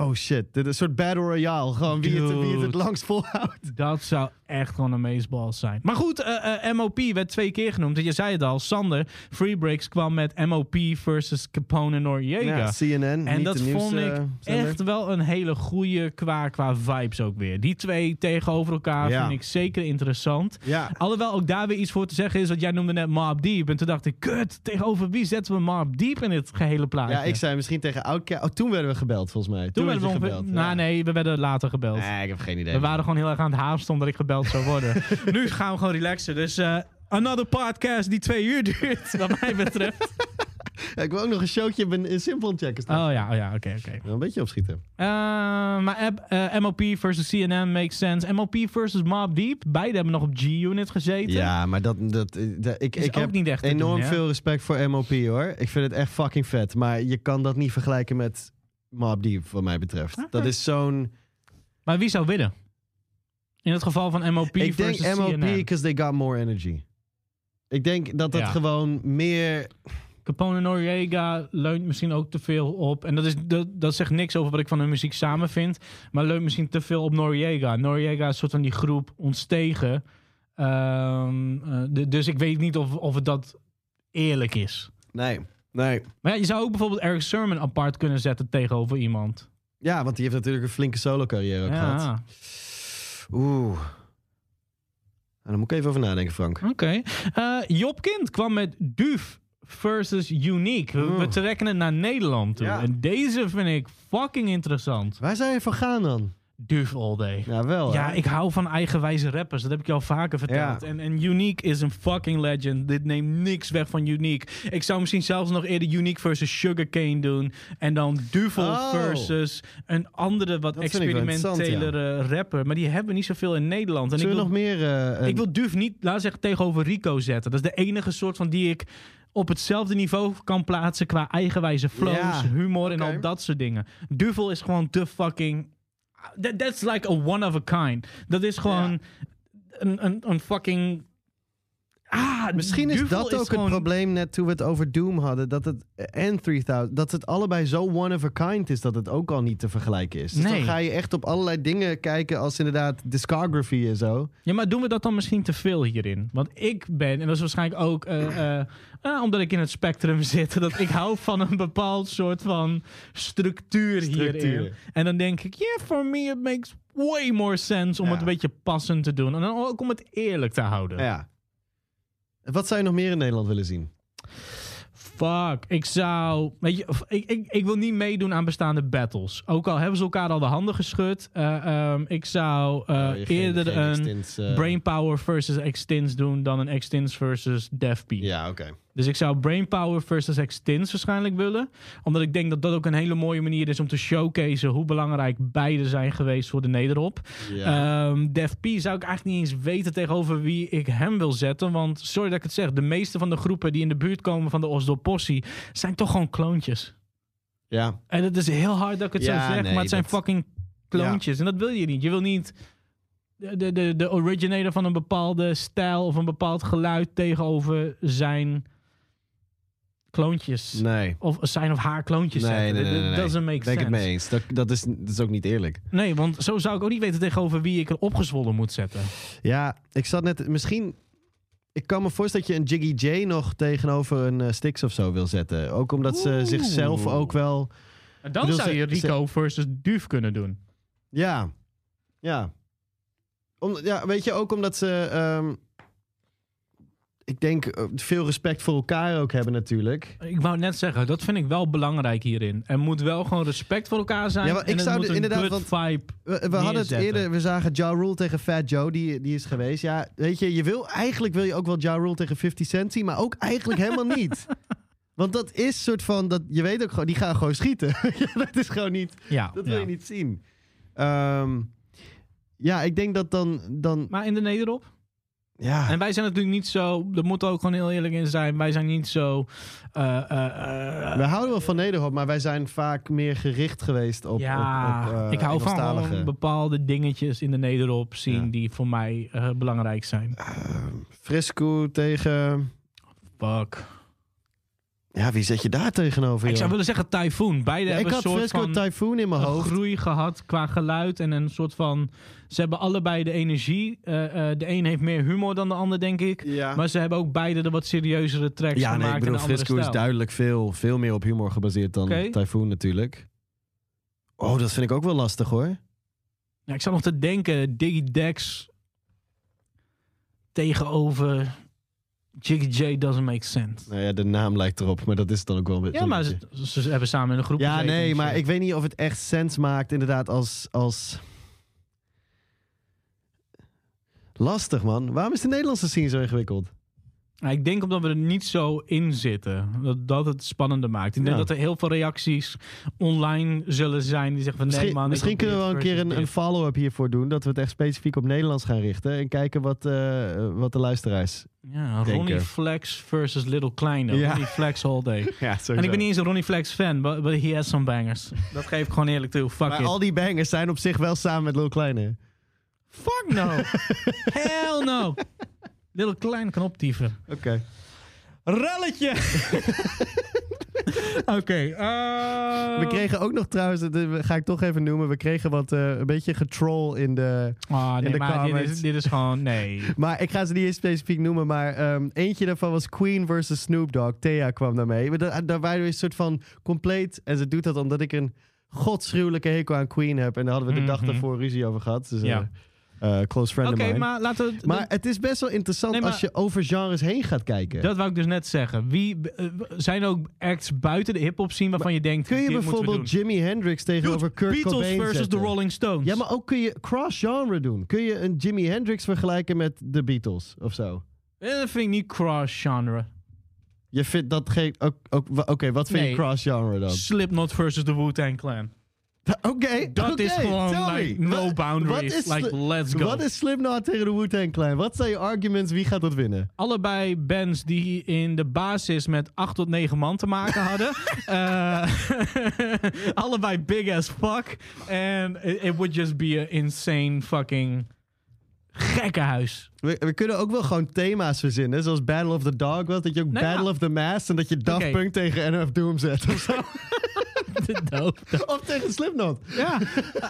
[SPEAKER 3] Oh shit, dit is een soort battle royale. Gewoon wie het, wie het het
[SPEAKER 2] Dude.
[SPEAKER 3] langst volhoudt.
[SPEAKER 2] Dat zou echt gewoon een meesbal zijn. Maar goed, eh, eh, MOP werd twee keer genoemd. Je zei het al, Sander Freebricks kwam met MOP versus Capone Noriega.
[SPEAKER 3] Ja, CNN,
[SPEAKER 2] En
[SPEAKER 3] niet
[SPEAKER 2] dat
[SPEAKER 3] de nieuws,
[SPEAKER 2] vond ik
[SPEAKER 3] eh, zender.
[SPEAKER 2] echt wel een hele goede qua, qua vibes ook weer. Die twee tegenover elkaar
[SPEAKER 3] Ja.
[SPEAKER 2] vind ik zeker interessant.
[SPEAKER 3] Ja.
[SPEAKER 2] Alhoewel ook daar weer iets voor te zeggen is, want jij noemde net Mob Deep. En toen dacht ik, kut, tegenover wie zetten we Mob Deep in dit gehele plaatje?
[SPEAKER 3] Ja, ik zei misschien tegen Outka. Oh, toen werden we gebeld, volgens mij. Toen,
[SPEAKER 2] Toen
[SPEAKER 3] werd
[SPEAKER 2] werden we
[SPEAKER 3] je
[SPEAKER 2] ongeveer-
[SPEAKER 3] gebeld.
[SPEAKER 2] Nou
[SPEAKER 3] ja.
[SPEAKER 2] nee, we werden later gebeld.
[SPEAKER 3] Nee, ik heb geen idee.
[SPEAKER 2] We waren gewoon heel erg aan het haasten omdat ik gebeld zou worden. nu gaan we gewoon relaxen. Dus eh, another podcast die twee uur duurt, wat mij betreft.
[SPEAKER 3] Ja, ik wil ook nog een showtje in, in Simple checken staan.
[SPEAKER 2] Oh ja, oh ja, oké, oké.
[SPEAKER 3] Wel Een beetje opschieten.
[SPEAKER 2] Eh, maar app- eh, MOP versus CNN makes sense. MOP versus Mob Deep. Beide hebben nog op G-Unit gezeten.
[SPEAKER 3] Ja, maar dat, dat, eh, dat- ik,
[SPEAKER 2] Is
[SPEAKER 3] ik
[SPEAKER 2] ook
[SPEAKER 3] heb
[SPEAKER 2] niet echt te
[SPEAKER 3] enorm
[SPEAKER 2] doen, hè?
[SPEAKER 3] veel respect voor MOP hoor. Ik vind het echt fucking vet. Maar je kan dat niet vergelijken met Mob Deep, wat mij betreft. Dat is zo'n.
[SPEAKER 2] Maar wie zou winnen? In het geval van MOP
[SPEAKER 3] Ik denk
[SPEAKER 2] versus
[SPEAKER 3] MOP
[SPEAKER 2] CNN.
[SPEAKER 3] because they got more energy. Ik denk dat dat
[SPEAKER 2] Ja.
[SPEAKER 3] gewoon meer.
[SPEAKER 2] Capone Noriega leunt misschien ook te veel op. En dat, is, dat, dat zegt niks over wat ik van hun muziek samen vind. Maar leunt misschien te veel op Noriega. Noriega is een soort van die groep ontstegen. Ehm, eh, d- dus ik weet niet of, of het dat eerlijk is.
[SPEAKER 3] Nee, nee.
[SPEAKER 2] Maar ja, je zou ook bijvoorbeeld Eric Sermon apart kunnen zetten tegenover iemand.
[SPEAKER 3] Ja, want die heeft natuurlijk een flinke solo-carrière ook gehad.
[SPEAKER 2] Ja,
[SPEAKER 3] Oeh. Nou, daar moet ik even over nadenken, Frank.
[SPEAKER 2] oké. Eh, Job Kind kwam met Duf versus Unique. We, we
[SPEAKER 3] Oeh.
[SPEAKER 2] trekken het naar Nederland toe.
[SPEAKER 3] Ja.
[SPEAKER 2] En deze vind ik fucking interessant.
[SPEAKER 3] Waar zou je voor gaan dan?
[SPEAKER 2] Duf all day.
[SPEAKER 3] Ja, wel. hè?
[SPEAKER 2] Ja, ik hou van eigenwijze rappers. Dat heb ik je al vaker verteld.
[SPEAKER 3] Ja.
[SPEAKER 2] En, en Unique is een fucking legend. Dit neemt niks weg van Unique. Ik zou misschien zelfs nog eerder Unique versus Sugarcane doen. En dan Duvel
[SPEAKER 3] Oh.
[SPEAKER 2] versus een andere wat
[SPEAKER 3] Dat vind ik wel interessant,
[SPEAKER 2] experimentelere rapper. Maar die hebben we niet zoveel in Nederland. En ik
[SPEAKER 3] Zullen we
[SPEAKER 2] wil,
[SPEAKER 3] nog meer... eh, een-
[SPEAKER 2] ik wil Duf niet, laat zeggen, tegenover Rico zetten. Dat is de enige soort van die ik op hetzelfde niveau kan plaatsen qua eigenwijze flows,
[SPEAKER 3] Ja.
[SPEAKER 2] humor en
[SPEAKER 3] Oké.
[SPEAKER 2] al dat soort dingen. Duvel is gewoon de fucking... That- that's like a one of a kind. Dat is gewoon een, een, een fucking... Ah,
[SPEAKER 3] Misschien is
[SPEAKER 2] Duvel
[SPEAKER 3] dat ook
[SPEAKER 2] gewoon-
[SPEAKER 3] het probleem net toen we het over Doom hadden. Dat het, eh, en 3000, dat het allebei zo one of a kind is dat het ook al niet te vergelijken is. Dus
[SPEAKER 2] Nee.
[SPEAKER 3] dan ga je echt op allerlei dingen kijken als inderdaad discography en zo.
[SPEAKER 2] Ja, maar doen we dat dan misschien te veel hierin? Want ik ben, en dat is waarschijnlijk ook eh, eh, eh, omdat ik in het spectrum zit, dat ik hou van een bepaald soort van structuur, hierin.
[SPEAKER 3] Structuur.
[SPEAKER 2] En dan denk ik, yeah, for me it makes way more sense om
[SPEAKER 3] Ja.
[SPEAKER 2] het een beetje passend te doen. En dan ook om het eerlijk te houden.
[SPEAKER 3] Ja. Wat zou je nog meer in Nederland willen zien?
[SPEAKER 2] Fuck, ik zou. Weet je, f- ik, ik, ik wil niet meedoen aan bestaande battles. Ook al hebben ze elkaar al de handen geschud. eh, ehm, ik zou eh,
[SPEAKER 3] Oh, je geen-
[SPEAKER 2] eerder
[SPEAKER 3] geen
[SPEAKER 2] een
[SPEAKER 3] extins, eh,
[SPEAKER 2] Brainpower versus Extins doen dan een Extins versus Defbeat.
[SPEAKER 3] Ja, oké.
[SPEAKER 2] Dus ik zou Brainpower versus Extins waarschijnlijk willen. Omdat ik denk dat dat ook een hele mooie manier is om te showcase hoe belangrijk beide zijn geweest voor de nederop.
[SPEAKER 3] Ja.
[SPEAKER 2] Ehm, Def P zou ik eigenlijk niet eens weten tegenover wie ik hem wil zetten. Want sorry dat ik het zeg, de meeste van de groepen die in de buurt komen van de Osdorp Possie zijn toch gewoon kloontjes.
[SPEAKER 3] ja.
[SPEAKER 2] En het is heel hard dat ik het
[SPEAKER 3] Ja,
[SPEAKER 2] zo zeg,
[SPEAKER 3] nee,
[SPEAKER 2] maar het zijn
[SPEAKER 3] dat-
[SPEAKER 2] fucking kloontjes. En dat wil je niet. Je wil niet de, de- de, de originator van een bepaalde stijl of een bepaald geluid tegenover zijn kloontjes.
[SPEAKER 3] Nee.
[SPEAKER 2] Of zijn of haar kloontjes
[SPEAKER 3] Nee, nee,
[SPEAKER 2] zetten.
[SPEAKER 3] nee,
[SPEAKER 2] Dat- dat
[SPEAKER 3] nee, nee.
[SPEAKER 2] doesn't make
[SPEAKER 3] Ben ik het
[SPEAKER 2] sense.
[SPEAKER 3] mee eens. Dat, dat, is, dat is ook niet eerlijk.
[SPEAKER 2] Nee, want zo zou ik ook niet weten tegenover wie ik er opgezwollen moet zetten.
[SPEAKER 3] Ja, ik zat net. Misschien. Ik kan me voorstellen dat je een Jiggy J nog tegenover een eh, Styx of zo wil zetten. Ook omdat ze
[SPEAKER 2] Oeh.
[SPEAKER 3] zichzelf ook wel.
[SPEAKER 2] En dan
[SPEAKER 3] bedoel,
[SPEAKER 2] zou
[SPEAKER 3] ze-
[SPEAKER 2] je Rico versus Duuf kunnen doen.
[SPEAKER 3] Ja. Ja. Om, ja, weet je, ook omdat ze. ehm, ik denk eh, veel respect voor elkaar ook hebben, natuurlijk.
[SPEAKER 2] Ik wou net zeggen, dat vind ik wel belangrijk hierin. Er moet wel gewoon respect voor elkaar zijn.
[SPEAKER 3] Ja, maar ik
[SPEAKER 2] en het
[SPEAKER 3] zou
[SPEAKER 2] moet
[SPEAKER 3] de-
[SPEAKER 2] een
[SPEAKER 3] inderdaad,
[SPEAKER 2] good vibe.
[SPEAKER 3] We, we hadden het
[SPEAKER 2] Neerzetten.
[SPEAKER 3] eerder, we zagen Ja Rule tegen Fat Joe, die, die is geweest. Ja, weet je, je wil, eigenlijk wil je ook wel Ja Rule tegen 50 Cent zien, maar ook eigenlijk helemaal niet. Want dat is soort van, dat, je weet ook gewoon, die gaan gewoon schieten. Ja, dat is gewoon niet,
[SPEAKER 2] Ja,
[SPEAKER 3] dat
[SPEAKER 2] ja.
[SPEAKER 3] wil je niet zien. Ehm, ja, ik denk dat dan, dan
[SPEAKER 2] Maar in de nederop?
[SPEAKER 3] Ja.
[SPEAKER 2] En wij zijn natuurlijk niet zo, daar moeten we ook gewoon heel eerlijk in zijn. Wij zijn niet zo. eh, eh, eh,
[SPEAKER 3] We houden wel van Nederhop, maar wij zijn vaak meer gericht geweest op.
[SPEAKER 2] ja,
[SPEAKER 3] op, op, eh,
[SPEAKER 2] ik hou van
[SPEAKER 3] Engelstalige.
[SPEAKER 2] gewoon bepaalde dingetjes in de nederop zien
[SPEAKER 3] Ja.
[SPEAKER 2] die voor mij eh, belangrijk zijn.
[SPEAKER 3] Ehm, Frisco tegen.
[SPEAKER 2] Fuck.
[SPEAKER 3] Ja, wie zet je daar tegenover?
[SPEAKER 2] Ik
[SPEAKER 3] joh?
[SPEAKER 2] zou willen zeggen Typhoon. Beide
[SPEAKER 3] ik
[SPEAKER 2] hebben
[SPEAKER 3] had
[SPEAKER 2] een soort
[SPEAKER 3] Frisco
[SPEAKER 2] van
[SPEAKER 3] Typhoon in mijn
[SPEAKER 2] een
[SPEAKER 3] hoofd.
[SPEAKER 2] groei gehad qua geluid en een soort van. Ze hebben allebei de energie. Eh, eh, de een heeft meer humor dan de ander, denk ik.
[SPEAKER 3] Ja,
[SPEAKER 2] Maar ze hebben ook beide de wat serieuzere tracks
[SPEAKER 3] ja nee,
[SPEAKER 2] gemaakt
[SPEAKER 3] ik bedoel,
[SPEAKER 2] in een andere
[SPEAKER 3] Frisco is
[SPEAKER 2] stijl.
[SPEAKER 3] duidelijk veel, veel meer op humor gebaseerd dan
[SPEAKER 2] Oké.
[SPEAKER 3] Typhoon natuurlijk. Oh, dat vind ik ook wel lastig hoor.
[SPEAKER 2] Ja, ik zat nog te denken, Diggy Dex tegenover Jiggy J doesn't make sense.
[SPEAKER 3] Nou ja, de naam lijkt erop, maar dat is dan ook wel een beetje.
[SPEAKER 2] Ja, maar ze, ze hebben samen in een groep
[SPEAKER 3] Ja,
[SPEAKER 2] gezeten en
[SPEAKER 3] nee,
[SPEAKER 2] shit.
[SPEAKER 3] maar ik weet niet of het echt sens maakt, inderdaad, als. als... Lastig, man. Waarom is de Nederlandse scene zo ingewikkeld?
[SPEAKER 2] Ja, ik denk omdat we er niet zo in zitten. Dat, dat het spannender maakt. Ik denk
[SPEAKER 3] Ja.
[SPEAKER 2] dat er heel veel reacties online zullen zijn die zeggen van
[SPEAKER 3] Misschien,
[SPEAKER 2] nee man... ik
[SPEAKER 3] misschien
[SPEAKER 2] wil
[SPEAKER 3] kunnen
[SPEAKER 2] dit
[SPEAKER 3] we wel een keer
[SPEAKER 2] versus
[SPEAKER 3] een, een
[SPEAKER 2] dit.
[SPEAKER 3] follow-up hiervoor doen. Dat we het echt specifiek op Nederlands gaan richten. En kijken wat, eh, wat de luisteraars.
[SPEAKER 2] Ja, Ronnie
[SPEAKER 3] denken.
[SPEAKER 2] Flex versus Little Kleine.
[SPEAKER 3] Ja.
[SPEAKER 2] Ronnie Flex all day.
[SPEAKER 3] Ja,
[SPEAKER 2] En ik ben niet eens een Ronnie Flex fan, but, but he has some bangers. Dat geef ik gewoon eerlijk toe. Fuck
[SPEAKER 3] Maar
[SPEAKER 2] it.
[SPEAKER 3] al die bangers zijn op zich wel samen met Lil Kleine.
[SPEAKER 2] Fuck no. Hell no. Little klein kan optieven.
[SPEAKER 3] Oké.
[SPEAKER 2] Relletje. Oké. eh,
[SPEAKER 3] We kregen ook nog trouwens, dat eh, ga ik toch even noemen. We kregen wat eh, een beetje getrol in de.
[SPEAKER 2] Ah, nee,
[SPEAKER 3] de
[SPEAKER 2] maar dit is,
[SPEAKER 3] comments.
[SPEAKER 2] dit is gewoon... Nee.
[SPEAKER 3] Maar ik ga ze niet eens specifiek noemen. Maar ehm, eentje daarvan was Queen versus Snoop Dogg. Thea kwam daarmee. Maar da- Daar waren we een soort van compleet. En ze doet dat omdat ik een godschuwelijke hekel aan Queen heb. En daar hadden we de dag
[SPEAKER 2] Mhm.
[SPEAKER 3] daarvoor ruzie over gehad. Dus, eh,
[SPEAKER 2] Ja.
[SPEAKER 3] eh, close friend
[SPEAKER 2] Oké,
[SPEAKER 3] of mine.
[SPEAKER 2] maar laten we...
[SPEAKER 3] Maar het is best wel interessant
[SPEAKER 2] Nee, maar-
[SPEAKER 3] als je over genres heen gaat kijken.
[SPEAKER 2] dat wou ik dus net zeggen. Wie, eh, zijn er ook acts buiten de hip-hop scene waarvan je denkt...
[SPEAKER 3] Kun je
[SPEAKER 2] dit moeten we
[SPEAKER 3] bijvoorbeeld
[SPEAKER 2] doen?
[SPEAKER 3] Jimi Hendrix tegenover
[SPEAKER 2] Dude,
[SPEAKER 3] Kurt
[SPEAKER 2] Beatles
[SPEAKER 3] Cobain
[SPEAKER 2] versus
[SPEAKER 3] zetten?
[SPEAKER 2] de Rolling Stones.
[SPEAKER 3] Ja, maar ook kun je cross-genre doen. Kun je een Jimi Hendrix vergelijken met de Beatles of zo?
[SPEAKER 2] Eh, Dat vind ik niet cross-genre.
[SPEAKER 3] Je vindt dat geen... ook- ook- wa- Oké, wat vind
[SPEAKER 2] Nee.
[SPEAKER 3] je cross-genre dan?
[SPEAKER 2] Slipknot versus de Wu-Tang Clan.
[SPEAKER 3] Oké,
[SPEAKER 2] Dat
[SPEAKER 3] oké,
[SPEAKER 2] is
[SPEAKER 3] tell
[SPEAKER 2] gewoon
[SPEAKER 3] me.
[SPEAKER 2] like, no
[SPEAKER 3] Wat-
[SPEAKER 2] boundaries.
[SPEAKER 3] wat is
[SPEAKER 2] like,
[SPEAKER 3] sli-
[SPEAKER 2] let's go.
[SPEAKER 3] Wat is Slipknot tegen de Wu-Tang Clan? Wat zijn je arguments? Wie gaat dat winnen?
[SPEAKER 2] allebei bands die in de basis met 8 tot 9 man te maken hadden. Eh, allebei big as fuck. En it, it would just be an insane fucking gekkenhuis.
[SPEAKER 3] We, we kunnen ook wel gewoon thema's verzinnen. Zoals Battle of the Dog was. Dat je ook
[SPEAKER 2] Nou ja.
[SPEAKER 3] Battle of the Mass en dat je Daft
[SPEAKER 2] Oké.
[SPEAKER 3] Punk tegen NF Doom zet. Of, zo.
[SPEAKER 2] De dood.
[SPEAKER 3] of tegen Slipknot.
[SPEAKER 2] Ja,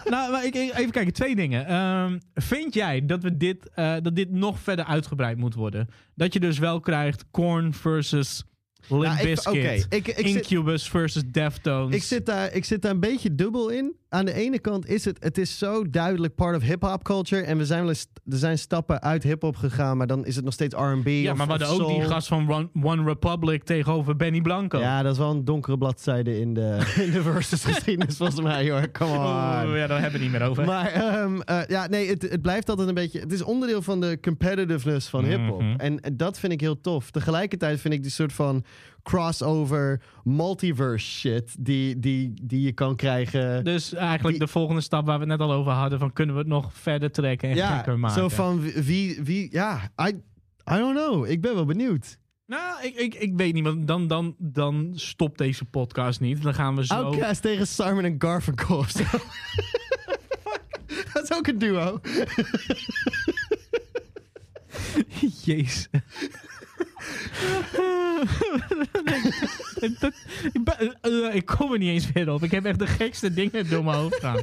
[SPEAKER 2] nou, maar ik, ik- even kijken. Twee dingen. Ehm, vind jij dat, we dit, eh, dat dit nog verder uitgebreid moet worden? Dat je dus wel krijgt Korn versus Limp
[SPEAKER 3] Nou, ik-
[SPEAKER 2] Bizkit.
[SPEAKER 3] oké, ik- ik zit-
[SPEAKER 2] Incubus versus Deftones.
[SPEAKER 3] Ik zit, daar, ik zit daar een beetje dubbel in. Aan de ene kant is het, het is zo duidelijk part of hip-hop culture. En we zijn wel eens, er zijn stappen uit hip-hop gegaan, maar dan is het nog steeds RB.
[SPEAKER 2] Ja, maar we hadden ook die gast van One, One Republic tegenover Benny Blanco.
[SPEAKER 3] Ja, dat is wel een donkere bladzijde in de, in de versus geschiedenis, volgens mij, hoor. Come on.
[SPEAKER 2] Oh, ja, daar hebben we het niet meer over.
[SPEAKER 3] Maar ehm, eh, ja, nee, het, het blijft altijd een beetje. Het is onderdeel van de competitiveness van hip-hop.
[SPEAKER 2] Mhm.
[SPEAKER 3] En eh, dat vind ik heel tof. Tegelijkertijd vind ik die soort van crossover, multiverse shit die, die, die je kan krijgen.
[SPEAKER 2] dus eigenlijk
[SPEAKER 3] die-
[SPEAKER 2] de volgende stap waar we het net al over hadden: van kunnen we het nog verder trekken en
[SPEAKER 3] ja,
[SPEAKER 2] gekker maken?
[SPEAKER 3] zo van wie- wie, wie ja, I, I don't know. Ik ben wel benieuwd.
[SPEAKER 2] Nou, ik, ik, ik weet niet, want dan, dan, dan stopt deze podcast niet. Dan gaan we zo.
[SPEAKER 3] Outkast tegen Simon en Garfunkel of zo. Dat is ook een duo.
[SPEAKER 2] Jezus. Dat- ik ben- eh, ik kom er niet eens meer op. Ik heb echt de gekste dingen door mijn hoofd gaan.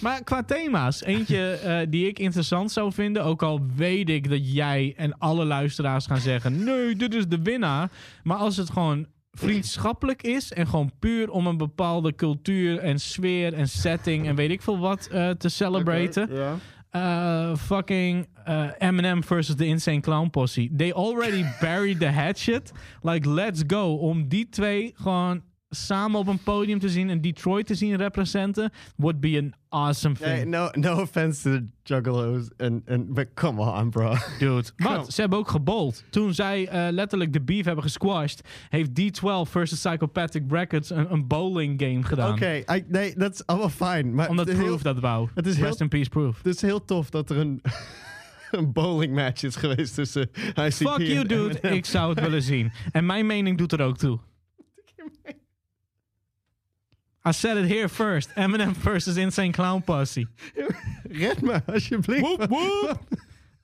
[SPEAKER 2] Maar qua thema's, eentje eh, die ik interessant zou vinden, ook al weet ik dat jij en alle luisteraars gaan zeggen: nee, dit is de winnaar. Maar als het gewoon vriendschappelijk is en gewoon puur om een bepaalde cultuur en sfeer en setting en weet ik veel wat eh, te celebraten.
[SPEAKER 3] Ja.
[SPEAKER 2] Uh, fucking uh, Eminem versus de Insane Clown Posse. They already buried the hatchet. Like, let's go. Om die twee gewoon samen op een podium te zien en Detroit te zien representen, would be an awesome thing.
[SPEAKER 3] Nee, no, no offense to the Juggalos. En, en, but come on, bro.
[SPEAKER 2] Dude.
[SPEAKER 3] Kom.
[SPEAKER 2] Maar ze hebben ook gebold. Toen zij eh, letterlijk de beef hebben gesquashed, heeft D12 versus Psychopathic Brackets een, een bowling game gedaan.
[SPEAKER 3] Oké, I- nee, dat is allemaal fijn. Maar
[SPEAKER 2] Omdat
[SPEAKER 3] het is heel-
[SPEAKER 2] Proof dat wou.
[SPEAKER 3] het is
[SPEAKER 2] Rest
[SPEAKER 3] heel-
[SPEAKER 2] in peace, Proof.
[SPEAKER 3] Het is heel tof dat er een. een bowlingmatch is geweest tussen ICP
[SPEAKER 2] Fuck
[SPEAKER 3] en
[SPEAKER 2] you, dude.
[SPEAKER 3] Eminem.
[SPEAKER 2] Ik zou het willen zien. En mijn mening doet er ook toe. I said it here first. Eminem versus Insane Clown Posse.
[SPEAKER 3] Red me, alsjeblieft.
[SPEAKER 2] Woep, woep.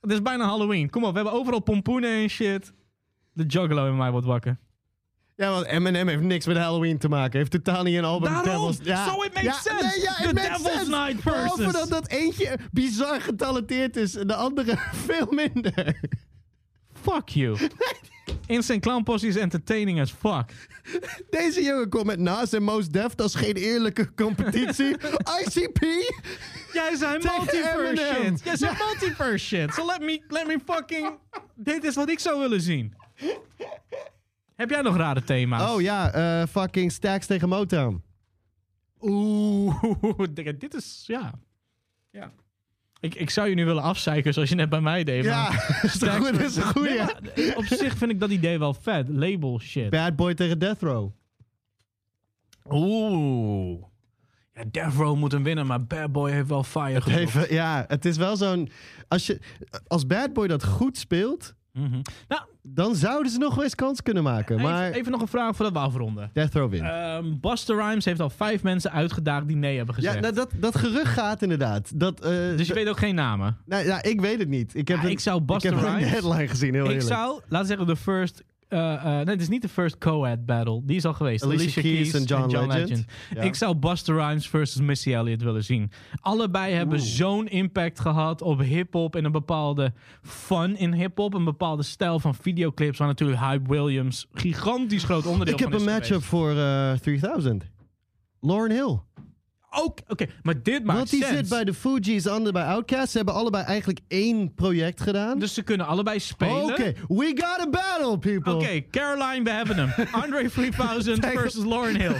[SPEAKER 2] Het is bijna Halloween. Kom op, we hebben overal pompoenen en shit. De juggalo in mij wordt wakker.
[SPEAKER 3] Ja, want Eminem heeft niks met Halloween te maken. Heeft totaal niet een album.
[SPEAKER 2] Daarom!
[SPEAKER 3] Devils. Ja.
[SPEAKER 2] So it makes
[SPEAKER 3] ja,
[SPEAKER 2] sense!
[SPEAKER 3] Nee, ja, it
[SPEAKER 2] The
[SPEAKER 3] makes
[SPEAKER 2] Devil's
[SPEAKER 3] sense.
[SPEAKER 2] Night
[SPEAKER 3] Behalve
[SPEAKER 2] versus.
[SPEAKER 3] dat dat eentje bizar getalenteerd is en de andere veel minder.
[SPEAKER 2] Fuck you. Insane Clown Posse is entertaining as fuck.
[SPEAKER 3] Deze jongen komt met Nas en Most Def. Dat is geen eerlijke competitie. ICP?
[SPEAKER 2] Jij zijn
[SPEAKER 3] Tegen
[SPEAKER 2] multiverse
[SPEAKER 3] Eminem.
[SPEAKER 2] shit. Jij zijn multiverse shit. So let me, let me fucking... Dit is wat ik zou willen zien. Heb jij nog rare thema's?
[SPEAKER 3] Oh ja, eh, fucking Stax tegen Motown.
[SPEAKER 2] Oeh, dit is... Ja. Ja. Ik, ik zou je nu willen afzeiken zoals je net bij mij deed.
[SPEAKER 3] Ja,
[SPEAKER 2] maar-
[SPEAKER 3] dat is een goeie, dat is een goeie.
[SPEAKER 2] Nee, maar eh, op zich vind ik dat idee wel vet. Label shit.
[SPEAKER 3] Bad Boy tegen Death Row.
[SPEAKER 2] Oeh. Ja, Death Row moet hem winnen, maar Bad Boy heeft wel fire gevoeld.
[SPEAKER 3] Even, ja, het is wel zo'n... Als, je, als Bad Boy dat goed speelt,
[SPEAKER 2] Mhm. Nou,
[SPEAKER 3] dan zouden ze nog wel eens kans kunnen maken.
[SPEAKER 2] even,
[SPEAKER 3] Maar
[SPEAKER 2] even nog een vraag voordat we afronden.
[SPEAKER 3] Death Row wint.
[SPEAKER 2] Ehm Buster Rhymes heeft al vijf mensen uitgedaagd die nee hebben gezegd.
[SPEAKER 3] Ja, nou, dat, dat gerucht gaat inderdaad. Dat, eh,
[SPEAKER 2] dus je
[SPEAKER 3] d-
[SPEAKER 2] weet ook geen namen.
[SPEAKER 3] nou, ja, ik weet het niet. Ik heb,
[SPEAKER 2] Ja,
[SPEAKER 3] een,
[SPEAKER 2] ik zou
[SPEAKER 3] ik
[SPEAKER 2] Buster
[SPEAKER 3] heb een
[SPEAKER 2] Rhymes...
[SPEAKER 3] headline gezien, heel
[SPEAKER 2] Ik
[SPEAKER 3] eerlijk.
[SPEAKER 2] zou, laten we zeggen, de first... eh, eh, nee, het is niet de first co-ed battle. Die is al geweest.
[SPEAKER 3] Alicia Keys en John Legend. Ja.
[SPEAKER 2] Ik zou Buster Rhymes versus Missy Elliott willen zien. Allebei hebben zo'n impact gehad op hip-hop en een bepaalde fun in hip-hop. Een bepaalde stijl van videoclips, waar natuurlijk Hype Williams gigantisch groot onderdeel
[SPEAKER 3] Ik heb
[SPEAKER 2] van
[SPEAKER 3] een
[SPEAKER 2] is
[SPEAKER 3] matchup
[SPEAKER 2] geweest.
[SPEAKER 3] voor eh, 3000. Lauren Hill.
[SPEAKER 2] Ook, oké, maar dit maakt
[SPEAKER 3] Want die
[SPEAKER 2] sens.
[SPEAKER 3] zit bij de Fugees, de ander bij Outkast. Ze hebben allebei eigenlijk één project gedaan. Oh,
[SPEAKER 2] Dus ze kunnen allebei spelen.
[SPEAKER 3] Oké, we got a battle, people.
[SPEAKER 2] Oké, Caroline, we hebben hem. Andre 3000 versus Lauren Hill.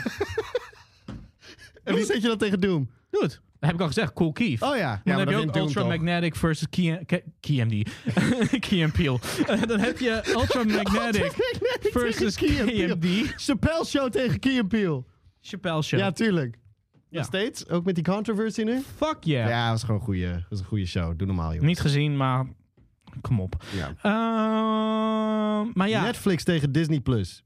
[SPEAKER 3] En wie zet je dan tegen Doom?
[SPEAKER 2] Goed. Dat heb ik al gezegd, Cool Keith.
[SPEAKER 3] Oh ja, ja,
[SPEAKER 2] Dan
[SPEAKER 3] maar
[SPEAKER 2] heb
[SPEAKER 3] dat
[SPEAKER 2] je ook
[SPEAKER 3] wint Doom
[SPEAKER 2] Ultra
[SPEAKER 3] toch?
[SPEAKER 2] Magnetic versus Key, Ke- Key MD. Key and Peele. Eh, dan heb je Ultra Magnetic
[SPEAKER 3] Magnetic
[SPEAKER 2] versus
[SPEAKER 3] tegen Key and
[SPEAKER 2] KMD.
[SPEAKER 3] Chappelle Show tegen Key and Peele.
[SPEAKER 2] Chappelle Show.
[SPEAKER 3] Ja, tuurlijk.
[SPEAKER 2] Ja.
[SPEAKER 3] Nog steeds? Ook met die controversy nu?
[SPEAKER 2] Fuck yeah.
[SPEAKER 3] Ja, dat was gewoon een goede, dat was een goede show. Doe normaal, joh.
[SPEAKER 2] Niet gezien, maar kom op.
[SPEAKER 3] Ja.
[SPEAKER 2] Ehm, maar ja,
[SPEAKER 3] Netflix tegen Disney+. Plus.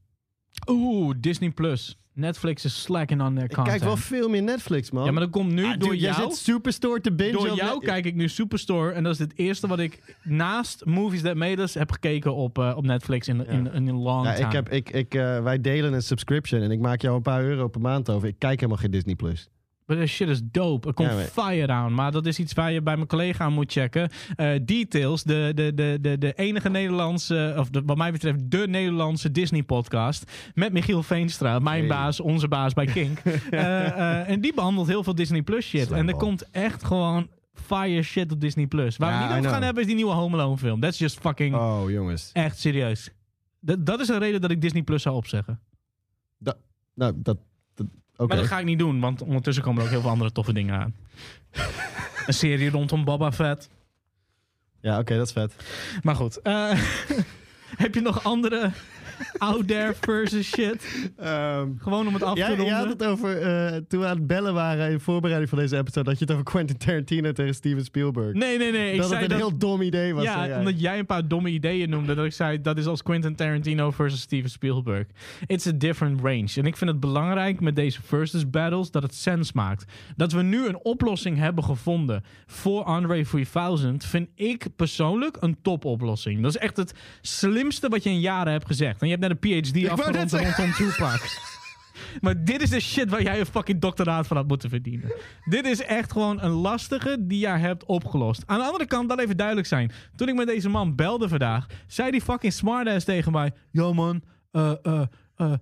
[SPEAKER 2] oeh, Disney+. Plus. Netflix is slacking on their
[SPEAKER 3] Ik
[SPEAKER 2] content.
[SPEAKER 3] kijk wel veel meer Netflix, man.
[SPEAKER 2] ja, maar dat komt nu
[SPEAKER 3] Ah,
[SPEAKER 2] door
[SPEAKER 3] dude, Jij
[SPEAKER 2] jou.
[SPEAKER 3] zit Superstore te bingen.
[SPEAKER 2] Door
[SPEAKER 3] op
[SPEAKER 2] jou
[SPEAKER 3] Net-
[SPEAKER 2] kijk ik nu Superstore. En dat is het eerste wat ik naast Movies That Made Us heb gekeken op, eh, op Netflix in, in, in, een long
[SPEAKER 3] Ja,
[SPEAKER 2] time.
[SPEAKER 3] ik heb, ik, ik, eh, wij delen een subscription en ik maak jou een paar euro per maand over. Ik kijk helemaal geen Disney+. Plus.
[SPEAKER 2] But that shit is dope. Er komt
[SPEAKER 3] Ja, maar-
[SPEAKER 2] fire aan. Maar dat is iets waar je bij mijn collega aan moet checken. Eh, Details, de, de, de, de, de enige Nederlandse, of de, wat mij betreft de Nederlandse Disney-podcast. Met Michiel Veenstra, mijn
[SPEAKER 3] Hey.
[SPEAKER 2] baas, onze baas bij Kink. Eh, eh, en die behandelt heel veel Disney Plus shit.
[SPEAKER 3] Slim
[SPEAKER 2] en er
[SPEAKER 3] man.
[SPEAKER 2] komt echt gewoon fire shit op Disney Plus. Waar
[SPEAKER 3] Ja,
[SPEAKER 2] we
[SPEAKER 3] I
[SPEAKER 2] niet over
[SPEAKER 3] know.
[SPEAKER 2] gaan hebben is die nieuwe Home Alone film. That's just fucking
[SPEAKER 3] Oh, jongens.
[SPEAKER 2] echt serieus. Dat dat is een reden dat ik Disney Plus zou opzeggen.
[SPEAKER 3] Da- nou, dat... dat Oké.
[SPEAKER 2] Maar dat ga ik niet doen, want ondertussen komen er ook heel veel andere toffe dingen aan. een serie rondom Boba Fett.
[SPEAKER 3] Ja, oké, dat is vet.
[SPEAKER 2] Maar goed. eh, heb je nog andere out there versus shit?
[SPEAKER 3] Ehm,
[SPEAKER 2] Gewoon om het af te
[SPEAKER 3] jij,
[SPEAKER 2] ronden.
[SPEAKER 3] jij had het over, eh, toen we aan het bellen waren in voorbereiding van deze episode, dat je het over Quentin Tarantino tegen Steven Spielberg.
[SPEAKER 2] Nee, nee, nee. Ik
[SPEAKER 3] dat het
[SPEAKER 2] zei
[SPEAKER 3] een
[SPEAKER 2] dat...
[SPEAKER 3] heel dom idee was.
[SPEAKER 2] ja,
[SPEAKER 3] zei jij.
[SPEAKER 2] omdat jij een paar domme ideeën noemde. Dat ik zei, dat is als Quentin Tarantino versus Steven Spielberg. It's a different range. En ik vind het belangrijk met deze versus battles dat het sens maakt. Dat we nu een oplossing hebben gevonden voor Andre 3000... vind ik persoonlijk een topoplossing. Dat is echt het slimste wat je in jaren hebt gezegd. En je hebt net een PhD
[SPEAKER 3] wou net
[SPEAKER 2] afgerond
[SPEAKER 3] zeggen.
[SPEAKER 2] rondom Tupac. Maar dit is de shit waar jij een fucking doctoraat van had moeten verdienen. dit is echt gewoon een lastige die jij hebt opgelost. Aan de andere kant, dat even duidelijk zijn. Toen ik met deze man belde vandaag, zei die fucking smartass tegen mij... Yo man, eh, eh, eh,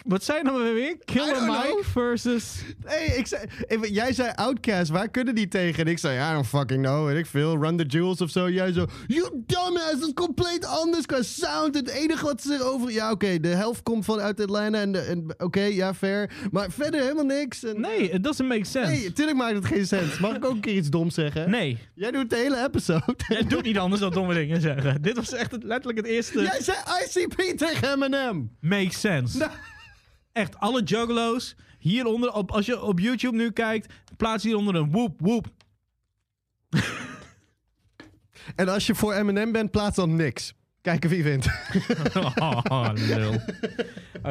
[SPEAKER 2] Wat zei je nou weer?
[SPEAKER 3] I
[SPEAKER 2] Killer
[SPEAKER 3] don't
[SPEAKER 2] Mike
[SPEAKER 3] know.
[SPEAKER 2] versus...
[SPEAKER 3] Nee, ik zei, ik- jij zei Outcast, waar kunnen die tegen? En ik zei, ja, I don't fucking know, weet ik veel. Run the Jewels of zo. Jij zo, you dumbass, dat is compleet anders qua sound. Het enige wat ze erover... Ja, oké, de helft komt vanuit Atlanta en... de- en oké, ja, fair. Maar verder helemaal niks. En,
[SPEAKER 2] Nee, it doesn't make sense.
[SPEAKER 3] Nee,
[SPEAKER 2] Nee.
[SPEAKER 3] tuurlijk maakt het geen sens. Mag ik ook een keer iets doms zeggen? Jij doet de hele episode.
[SPEAKER 2] Jij doet niet anders dan domme dingen zeggen. Dit was echt het- letterlijk het eerste...
[SPEAKER 3] Jij zei ICP tegen Eminem.
[SPEAKER 2] Makes sense. Echt, alle juggalos hieronder, op, als je op YouTube nu kijkt, plaats hieronder een woep woep.
[SPEAKER 3] En als je voor Eminem bent, plaats dan niks. Kijken wie wint.
[SPEAKER 2] Oh, lul.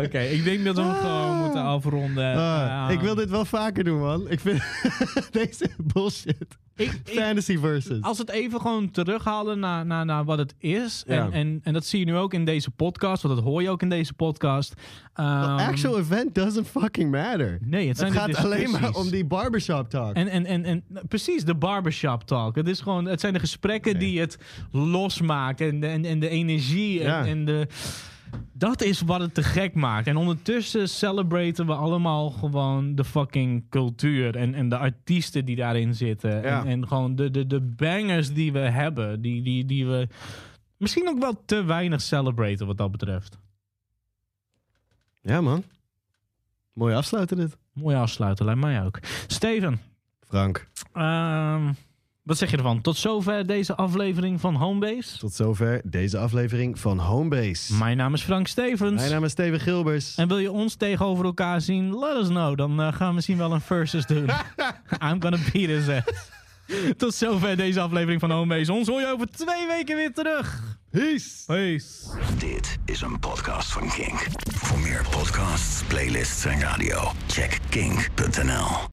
[SPEAKER 2] Oké, ik denk dat we hem gewoon moeten afronden.
[SPEAKER 3] Ah,
[SPEAKER 2] Ja.
[SPEAKER 3] ik wil dit wel vaker doen, man. Ik vind deze bullshit.
[SPEAKER 2] Ik- ik-
[SPEAKER 3] Fantasy versus.
[SPEAKER 2] als we het even gewoon terughalen naar, naar, naar wat het is.
[SPEAKER 3] Ja.
[SPEAKER 2] En, en, en dat zie je nu ook in deze podcast, want dat hoor je ook in deze podcast. Ehm,
[SPEAKER 3] The actual event doesn't fucking matter.
[SPEAKER 2] Nee, het zijn
[SPEAKER 3] Het
[SPEAKER 2] de
[SPEAKER 3] gaat alleen maar
[SPEAKER 2] discussies.
[SPEAKER 3] om die barbershop talk.
[SPEAKER 2] En, en, en, en nou, precies, de barbershop talk. Het, is gewoon, het zijn de gesprekken die het losmaakt. En, de- en, en de energie. En,
[SPEAKER 3] Ja.
[SPEAKER 2] en de, dat is wat het te gek maakt. En ondertussen celebraten we allemaal gewoon de fucking cultuur. En, en de artiesten die daarin zitten.
[SPEAKER 3] Ja.
[SPEAKER 2] En, en gewoon de, de, de bangers die we hebben. Die, die, die we misschien ook wel te weinig celebraten wat dat betreft.
[SPEAKER 3] Ja, man. Mooi afsluiten dit.
[SPEAKER 2] Mooi afsluiten, lijkt mij ook. Steven,
[SPEAKER 3] Frank,
[SPEAKER 2] Ehm, wat zeg je ervan? Tot zover deze aflevering van Homebase.
[SPEAKER 3] tot zover deze aflevering van Homebase.
[SPEAKER 2] Mijn naam is Frank Stevens.
[SPEAKER 3] Mijn naam is Steven Gilbers.
[SPEAKER 2] En wil je ons tegenover elkaar zien? Let us know. Dan eh, gaan we misschien wel een versus doen. I'm gonna beat his ass. Tot zover deze aflevering van Homebase. Ons hoor je over twee weken weer terug.
[SPEAKER 3] Peace!
[SPEAKER 2] Peace.
[SPEAKER 1] Dit is een podcast van Kink. Voor meer podcasts, playlists en radio, check kink.nl.